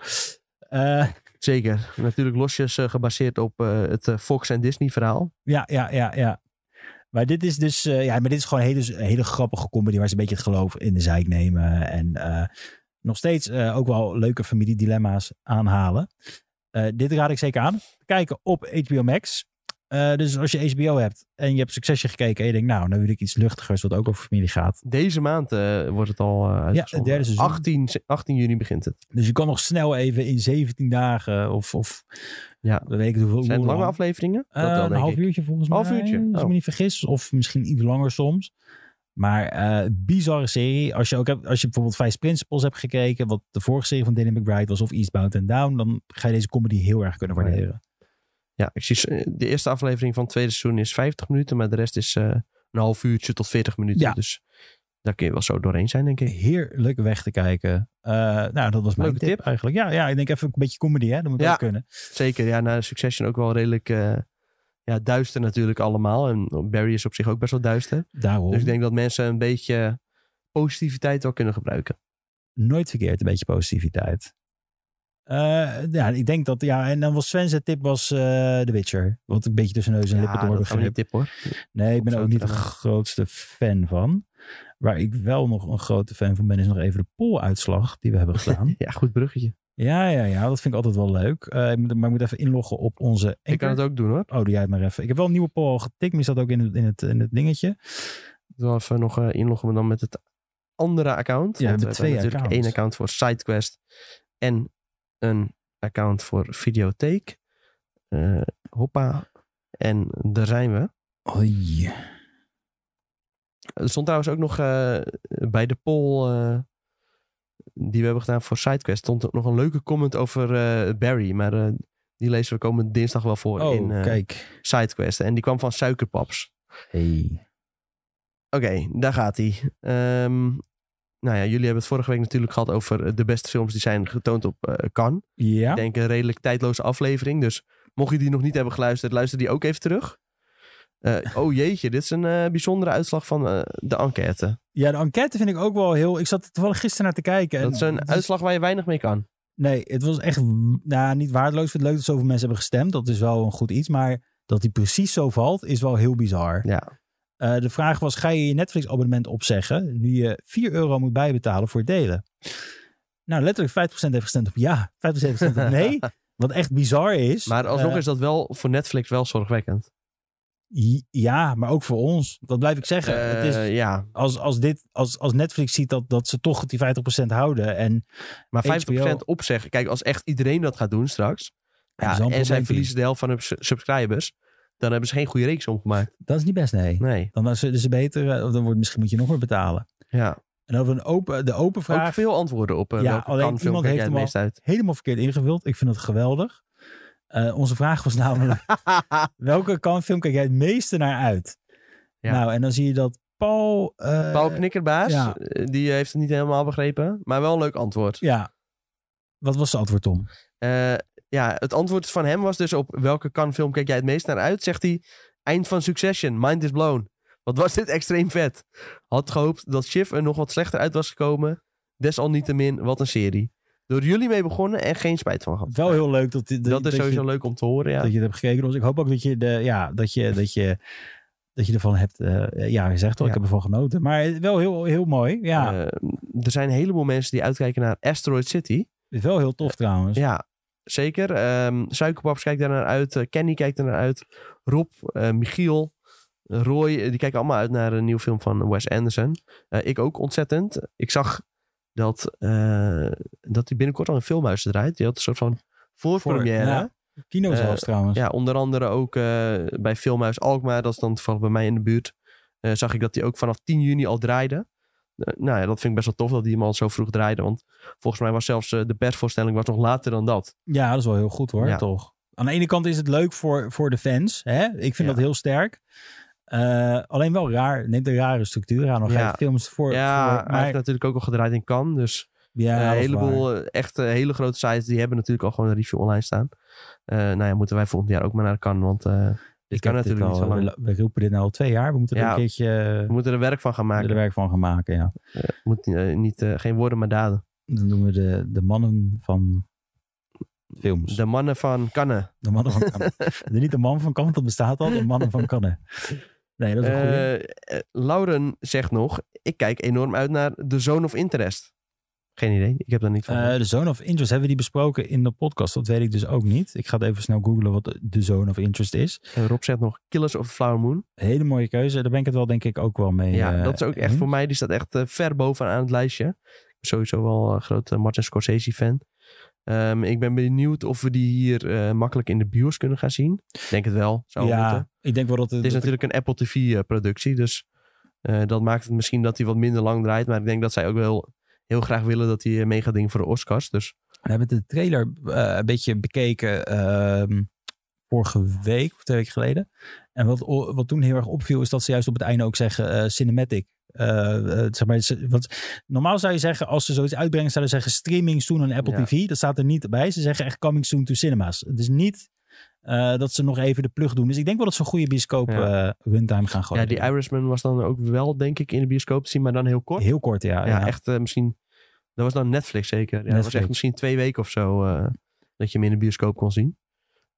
[SPEAKER 3] Eh,
[SPEAKER 2] Zeker. Natuurlijk losjes eh, gebaseerd op eh, het eh, Fox en Disney verhaal.
[SPEAKER 3] Ja, ja, ja, ja. Maar dit is dus, eh, ja, maar dit is gewoon een hele, een hele grappige comedy waar ze een beetje het geloof in de zeik nemen. En eh, nog steeds eh, ook wel leuke familiedilemma's aanhalen. Eh, dit raad ik zeker aan. Kijken op HBO Max. Eh, dus als je HBO hebt en je hebt Succession gekeken en je denkt, nou, nou wil ik iets luchtigers wat ook over familie gaat.
[SPEAKER 2] Deze maand eh, wordt het al eh uitgezonden.
[SPEAKER 3] derde seizoen.
[SPEAKER 2] 18, se- 18 juni begint het.
[SPEAKER 3] Dus je kan nog snel even in 17 dagen of, of
[SPEAKER 2] Ja.
[SPEAKER 3] we weten hoeveel.
[SPEAKER 2] Zijn het
[SPEAKER 3] hoe
[SPEAKER 2] lange
[SPEAKER 3] lang.
[SPEAKER 2] afleveringen?
[SPEAKER 3] Eh,
[SPEAKER 2] Dat wel,
[SPEAKER 3] een
[SPEAKER 2] denk
[SPEAKER 3] half
[SPEAKER 2] ik.
[SPEAKER 3] uurtje volgens
[SPEAKER 2] Half
[SPEAKER 3] mij.
[SPEAKER 2] uurtje?
[SPEAKER 3] Als ik
[SPEAKER 2] Oh.
[SPEAKER 3] me niet vergis. Of misschien iets langer soms. Maar eh bizarre serie. Als je, ook hebt, als je bijvoorbeeld Vice Principles hebt gekeken. Wat de vorige serie van Danny McBride was. Of Eastbound and Down. Dan ga je deze comedy heel erg kunnen
[SPEAKER 2] Oh, ja.
[SPEAKER 3] waarderen.
[SPEAKER 2] Ja, ik zie, s- eh, de eerste aflevering van het tweede seizoen is 50 minuten, maar de rest is eh, een half uurtje tot 40 minuten.
[SPEAKER 3] Ja.
[SPEAKER 2] Dus daar kun je wel zo doorheen zijn, denk ik.
[SPEAKER 3] Heerlijk weg te kijken. Eh, nou, dat was mijn
[SPEAKER 2] Leuke
[SPEAKER 3] tip,
[SPEAKER 2] tip.
[SPEAKER 3] eigenlijk. Ja, ja, ik denk even een beetje comedy. Hè? Dat moet
[SPEAKER 2] Ja.
[SPEAKER 3] ook kunnen.
[SPEAKER 2] Zeker, ja, na Succession ook wel redelijk eh, ja, duister natuurlijk allemaal. En Barry is op zich ook best wel duister.
[SPEAKER 3] Daarom.
[SPEAKER 2] Dus ik denk dat mensen een beetje positiviteit wel kunnen gebruiken.
[SPEAKER 3] nooit verkeerd, een beetje positiviteit. Eh, ja, ik denk dat, ja, en dan was Sven's tip was eh, The Witcher. Wat een beetje tussen neus en lippen door
[SPEAKER 2] dat gaan we
[SPEAKER 3] begreep.
[SPEAKER 2] niet tip hoor.
[SPEAKER 3] Nee, ik ben
[SPEAKER 2] Om zo
[SPEAKER 3] er ook
[SPEAKER 2] te
[SPEAKER 3] niet de
[SPEAKER 2] zeggen.
[SPEAKER 3] grootste fan van. Waar ik wel nog een grote fan van ben, is nog even de polluitslag die we hebben gedaan.
[SPEAKER 2] Ja, goed bruggetje.
[SPEAKER 3] ja, ja, ja, dat vind ik altijd wel leuk. Eh, ik moet, maar ik moet even inloggen op onze.
[SPEAKER 2] Ik kan het ook doen hoor.
[SPEAKER 3] ook. Oh, doe jij het maar even. Ik heb wel een nieuwe poll al getikt, maar die staat ook in het, in het, in het dingetje.
[SPEAKER 2] Ik wil even nog eh, inloggen, maar dan met het andere account.
[SPEAKER 3] Ja,
[SPEAKER 2] Want we hebben
[SPEAKER 3] met twee
[SPEAKER 2] natuurlijk
[SPEAKER 3] accounts.
[SPEAKER 2] één account voor SideQuest en een account voor Videotheek. Eh, hoppa. En daar zijn we.
[SPEAKER 3] Oei.
[SPEAKER 2] Er stond trouwens ook nog eh, bij de poll eh, die we hebben gedaan voor SideQuest... stond ook nog een leuke comment over eh, Barry. Maar eh, die lezen we komende dinsdag wel voor
[SPEAKER 3] Oh,
[SPEAKER 2] in eh,
[SPEAKER 3] kijk.
[SPEAKER 2] SideQuest. En die kwam van Suikerpaps.
[SPEAKER 3] Hey.
[SPEAKER 2] Oké, daar gaat hij. nou ja, jullie hebben het vorige week natuurlijk gehad over eh, de beste films die zijn getoond op eh Cannes.
[SPEAKER 3] Ja.
[SPEAKER 2] Ik denk een redelijk tijdloze aflevering. Dus mocht je die nog niet hebben geluisterd, luister die ook even terug. Eh, oh jeetje, dit is een eh, bijzondere uitslag van eh, de enquête.
[SPEAKER 3] ja, de enquête vind ik ook wel heel. Ik zat er toevallig gisteren naar te kijken. en
[SPEAKER 2] Dat is een
[SPEAKER 3] het
[SPEAKER 2] uitslag waar je weinig mee kan.
[SPEAKER 3] Nee, het was echt nou, niet waardeloos. Ik vind het leuk dat zoveel mensen hebben gestemd. Dat is wel een goed iets. Maar dat die precies zo valt, is wel heel bizar.
[SPEAKER 2] Ja,
[SPEAKER 3] Eh, de vraag was, ga je je Netflix-abonnement opzeggen... nu je 4 euro moet bijbetalen voor delen? Nou, letterlijk 50% heeft gestemd op ja. 50% heeft gestemd op nee. Wat echt bizar is.
[SPEAKER 2] maar alsnog
[SPEAKER 3] Eh,
[SPEAKER 2] is dat wel voor Netflix wel zorgwekkend.
[SPEAKER 3] j- Ja, maar ook voor ons. Dat blijf ik zeggen. het is,
[SPEAKER 2] Eh, ja,
[SPEAKER 3] als, als, dit, als, als Netflix ziet dat, dat ze toch die 50% houden... en
[SPEAKER 2] maar 50%
[SPEAKER 3] HBO
[SPEAKER 2] opzeggen. Kijk, als echt iedereen dat gaat doen straks...
[SPEAKER 3] Dat
[SPEAKER 2] Ja,
[SPEAKER 3] is wel een
[SPEAKER 2] en zij
[SPEAKER 3] probleempje.
[SPEAKER 2] verliezen de helft van hun su- subscribers... dan hebben ze geen goede reeks omgemaakt.
[SPEAKER 3] dat is niet best, nee.
[SPEAKER 2] Nee.
[SPEAKER 3] Dan zullen ze beter... eh, Dan wordt, misschien moet je nog meer betalen.
[SPEAKER 2] Ja,
[SPEAKER 3] En over een open, de open vraag.
[SPEAKER 2] ook veel antwoorden op eh
[SPEAKER 3] Ja,
[SPEAKER 2] welke
[SPEAKER 3] alleen
[SPEAKER 2] kanfilm
[SPEAKER 3] iemand
[SPEAKER 2] kijk
[SPEAKER 3] heeft
[SPEAKER 2] jij het
[SPEAKER 3] hem
[SPEAKER 2] meest uit.
[SPEAKER 3] Helemaal verkeerd ingevuld. Ik vind het geweldig. Eh, onze vraag was namelijk: welke kanfilm kijk jij het meeste naar uit?
[SPEAKER 2] Ja.
[SPEAKER 3] Nou, en dan zie je dat Paul. eh,
[SPEAKER 2] Paul Knikkerbaas,
[SPEAKER 3] ja.
[SPEAKER 2] eh, die heeft het niet helemaal begrepen, maar wel een leuk antwoord.
[SPEAKER 3] Ja. Wat was zijn antwoord, Tom?
[SPEAKER 2] Eh, ja, het antwoord van hem was dus op welke kanfilm kijk jij het meest naar uit, zegt hij. Eind van Succession, Mind is Blown. Wat was dit extreem vet. Had gehoopt dat Shiv er nog wat slechter uit was gekomen. Desalniettemin, wat een serie. Door jullie mee begonnen en geen spijt van gehad.
[SPEAKER 3] Wel heel leuk dat, dit-
[SPEAKER 2] dat is sowieso
[SPEAKER 3] je,
[SPEAKER 2] leuk om te horen, ja.
[SPEAKER 3] dat je het hebt gekeken. Dus ik hoop ook dat je, de, ja, dat je, dat je, dat je ervan hebt. eh, ja, je zegt toch,
[SPEAKER 2] Ja.
[SPEAKER 3] ik heb ervan genoten. Maar wel heel, heel mooi. Ja,
[SPEAKER 2] Eh, er zijn een heleboel mensen die uitkijken naar Asteroid City.
[SPEAKER 3] wel heel tof trouwens.
[SPEAKER 2] Ja, Zeker. Ehm Suikerpaps kijkt daar naar uit. eh, Kenny kijkt er naar uit. Rob, eh, Michiel, Roy, eh, die kijken allemaal uit naar een nieuwe film van Wes Anderson. Eh, ik ook ontzettend. Ik zag dat, eh, dat hij binnenkort al in filmhuizen draait. Die had een soort van voorpremière.
[SPEAKER 3] Voor- ja. Kino
[SPEAKER 2] Eh,
[SPEAKER 3] zelfs trouwens.
[SPEAKER 2] Ja, onder andere ook eh, bij Filmhuis Alkmaar, dat is dan toevallig bij mij in de buurt, eh, zag ik dat die ook vanaf 10 juni al draaide. Eh, nou ja, dat vind ik best wel tof dat die hem al zo vroeg draaide, want volgens mij was zelfs eh, de persvoorstelling was nog later dan dat.
[SPEAKER 3] Ja, dat is wel heel goed hoor,
[SPEAKER 2] Ja.
[SPEAKER 3] toch? Aan de ene kant is het leuk voor, voor de fans. Hè? Ik vind
[SPEAKER 2] Ja.
[SPEAKER 3] dat heel sterk. Eh, alleen wel raar. Neemt een rare structuur aan. Dan ga
[SPEAKER 2] Ja.
[SPEAKER 3] je films voor.
[SPEAKER 2] ja,
[SPEAKER 3] voor
[SPEAKER 2] hij
[SPEAKER 3] maar,
[SPEAKER 2] heeft natuurlijk ook al gedraaid in Cannes, dus
[SPEAKER 3] ja,
[SPEAKER 2] eh,
[SPEAKER 3] dat
[SPEAKER 2] een
[SPEAKER 3] is waar.
[SPEAKER 2] heleboel eh, echte hele grote sites, die hebben natuurlijk al gewoon een review online staan. Eh, nou ja, moeten wij volgend jaar ook maar naar Cannes, want eh, dit
[SPEAKER 3] Ik
[SPEAKER 2] kan
[SPEAKER 3] heb dit
[SPEAKER 2] natuurlijk niet zo
[SPEAKER 3] al-
[SPEAKER 2] lang.
[SPEAKER 3] We, we roepen dit nou al twee jaar. We moeten er
[SPEAKER 2] Ja.
[SPEAKER 3] een keertje
[SPEAKER 2] We
[SPEAKER 3] eh,
[SPEAKER 2] moeten er werk van gaan
[SPEAKER 3] er
[SPEAKER 2] maken.
[SPEAKER 3] werk van gaan maken. Ja.
[SPEAKER 2] Moet, eh, niet, eh, geen woorden, maar daden.
[SPEAKER 3] Dan doen we de, de mannen van films.
[SPEAKER 2] De mannen van Cannes.
[SPEAKER 3] De mannen van Cannes. De- niet de man van Cannes, dat bestaat al. De mannen van Cannes. Nee, dat is een goede.
[SPEAKER 2] Eh, eh, Lauren zegt nog: Ik kijk enorm uit naar The Zone of Interest. Geen idee, ik heb daar niet van. gehoord.
[SPEAKER 3] Eh, de Zone of Interest, hebben we die besproken in de podcast? Dat weet ik dus ook niet. Ik ga het even snel googlen wat de- de Zone of Interest is.
[SPEAKER 2] En Rob zegt nog: Killers of the Flower Moon.
[SPEAKER 3] Hele mooie keuze. Daar ben ik het wel denk ik ook wel mee.
[SPEAKER 2] ja,
[SPEAKER 3] eh,
[SPEAKER 2] dat is ook echt
[SPEAKER 3] eens.
[SPEAKER 2] voor mij, die staat echt eh, ver bovenaan het lijstje. Ik ben sowieso wel een grote Martin Scorsese fan. Ehm, ik ben benieuwd of we die hier eh, makkelijk in de bios kunnen gaan zien. Ik Denk het wel. Zou
[SPEAKER 3] ja,
[SPEAKER 2] moeten.
[SPEAKER 3] ik denk wel dat het...
[SPEAKER 2] Het is natuurlijk een Apple TV-productie, dus eh, dat maakt het misschien dat hij wat minder lang draait. Maar ik denk dat zij ook wel heel graag willen dat hij eh, mee gaat dingen voor de Oscars. Dus
[SPEAKER 3] We hebben de trailer eh, een beetje bekeken ehm, vorige week of twee weken geleden. En wat, o- wat toen heel erg opviel is dat ze juist op het einde ook zeggen eh, cinematic. Eh, eh, zeg maar, ze- want normaal zou je zeggen, als ze zoiets uitbrengen, zouden ze zeggen streaming soon on Apple
[SPEAKER 2] Ja.
[SPEAKER 3] TV. Dat staat er niet bij. Ze zeggen echt coming soon to cinemas. Het is niet eh, dat ze nog even de plug doen. Dus ik denk wel dat ze een goede bioscoop
[SPEAKER 2] Ja.
[SPEAKER 3] eh, runtime gaan gooien.
[SPEAKER 2] Ja, die Irishman was dan ook wel, denk ik, in de bioscoop te zien, maar dan heel kort.
[SPEAKER 3] Heel kort, ja.
[SPEAKER 2] ja,
[SPEAKER 3] Ah, ja.
[SPEAKER 2] echt eh, misschien... Dat was dan Netflix zeker. Ja, Dat was
[SPEAKER 3] Netflix.
[SPEAKER 2] echt misschien twee weken of zo eh, dat je hem in de bioscoop kon zien.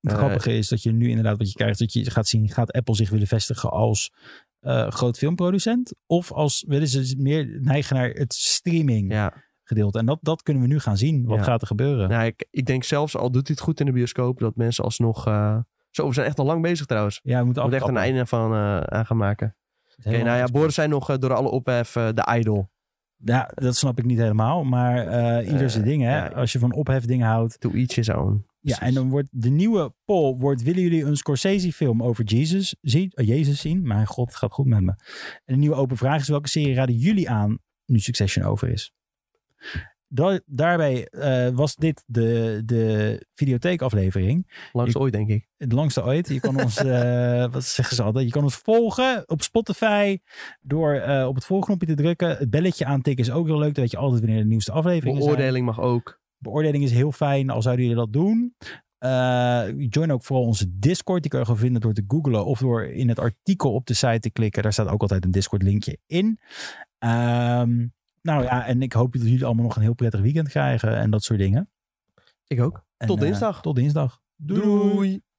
[SPEAKER 3] Het
[SPEAKER 2] Eh,
[SPEAKER 3] grappige is dat je nu inderdaad wat je krijgt, dat je gaat zien, gaat Apple zich willen vestigen als eh, groot filmproducent? Of als willen ze meer neigen naar het streaming
[SPEAKER 2] Ja.
[SPEAKER 3] gedeelte? En dat, dat kunnen we nu gaan zien. Wat
[SPEAKER 2] Ja.
[SPEAKER 3] gaat er gebeuren? Mm. Ja,
[SPEAKER 2] Nou, ik, ik denk zelfs, al doet hij het goed in de bioscoop, dat mensen alsnog... eh, Zo, we zijn echt al lang bezig trouwens. We
[SPEAKER 3] we moeten
[SPEAKER 2] moeten echt een
[SPEAKER 3] afkappen.
[SPEAKER 2] einde van, eh, aan gaan maken. Oké,
[SPEAKER 3] Het is helemaal
[SPEAKER 2] nou ja,
[SPEAKER 3] afgesproken.
[SPEAKER 2] Boris zei nog eh, door alle ophef eh, de idol.
[SPEAKER 3] Ja, dat snap ik niet helemaal. Maar eh ieder
[SPEAKER 2] Eh,
[SPEAKER 3] zijn ding, hè?
[SPEAKER 2] ja.
[SPEAKER 3] Als je van ophef dingen houdt.
[SPEAKER 2] To each his own.
[SPEAKER 3] Ja, en
[SPEAKER 2] Precies.
[SPEAKER 3] dan wordt de nieuwe poll wordt, willen jullie een Scorsese-film over Jesus zien? eh, Jezus zien? Mijn god, het gaat goed met me. En de nieuwe open vraag is, welke serie raden jullie aan nu Succession over is? Da- daarbij eh, was dit de, de videotheekaflevering.
[SPEAKER 2] Langs ooit, denk ik.
[SPEAKER 3] Het langste ooit. Je kan ons, eh, wat zeggen ze altijd, je kan ons volgen op Spotify door eh, op het volgknopje te drukken. Het belletje aantikken is ook heel leuk. Dan weet je altijd wanneer de nieuwste aflevering is.
[SPEAKER 2] Beoordeling mag ook.
[SPEAKER 3] Beoordeling is heel fijn, al zouden jullie dat doen. Eh, join ook vooral onze Discord. Die kun je gewoon vinden door te googlen of door in het artikel op de site te klikken. Daar staat ook altijd een Discord linkje in. Ehm, nou ja, en ik hoop dat jullie allemaal nog een heel prettig weekend krijgen en dat soort dingen.
[SPEAKER 2] Ik ook.
[SPEAKER 3] En,
[SPEAKER 2] Tot
[SPEAKER 3] eh,
[SPEAKER 2] dinsdag.
[SPEAKER 3] tot dinsdag.
[SPEAKER 2] Doei.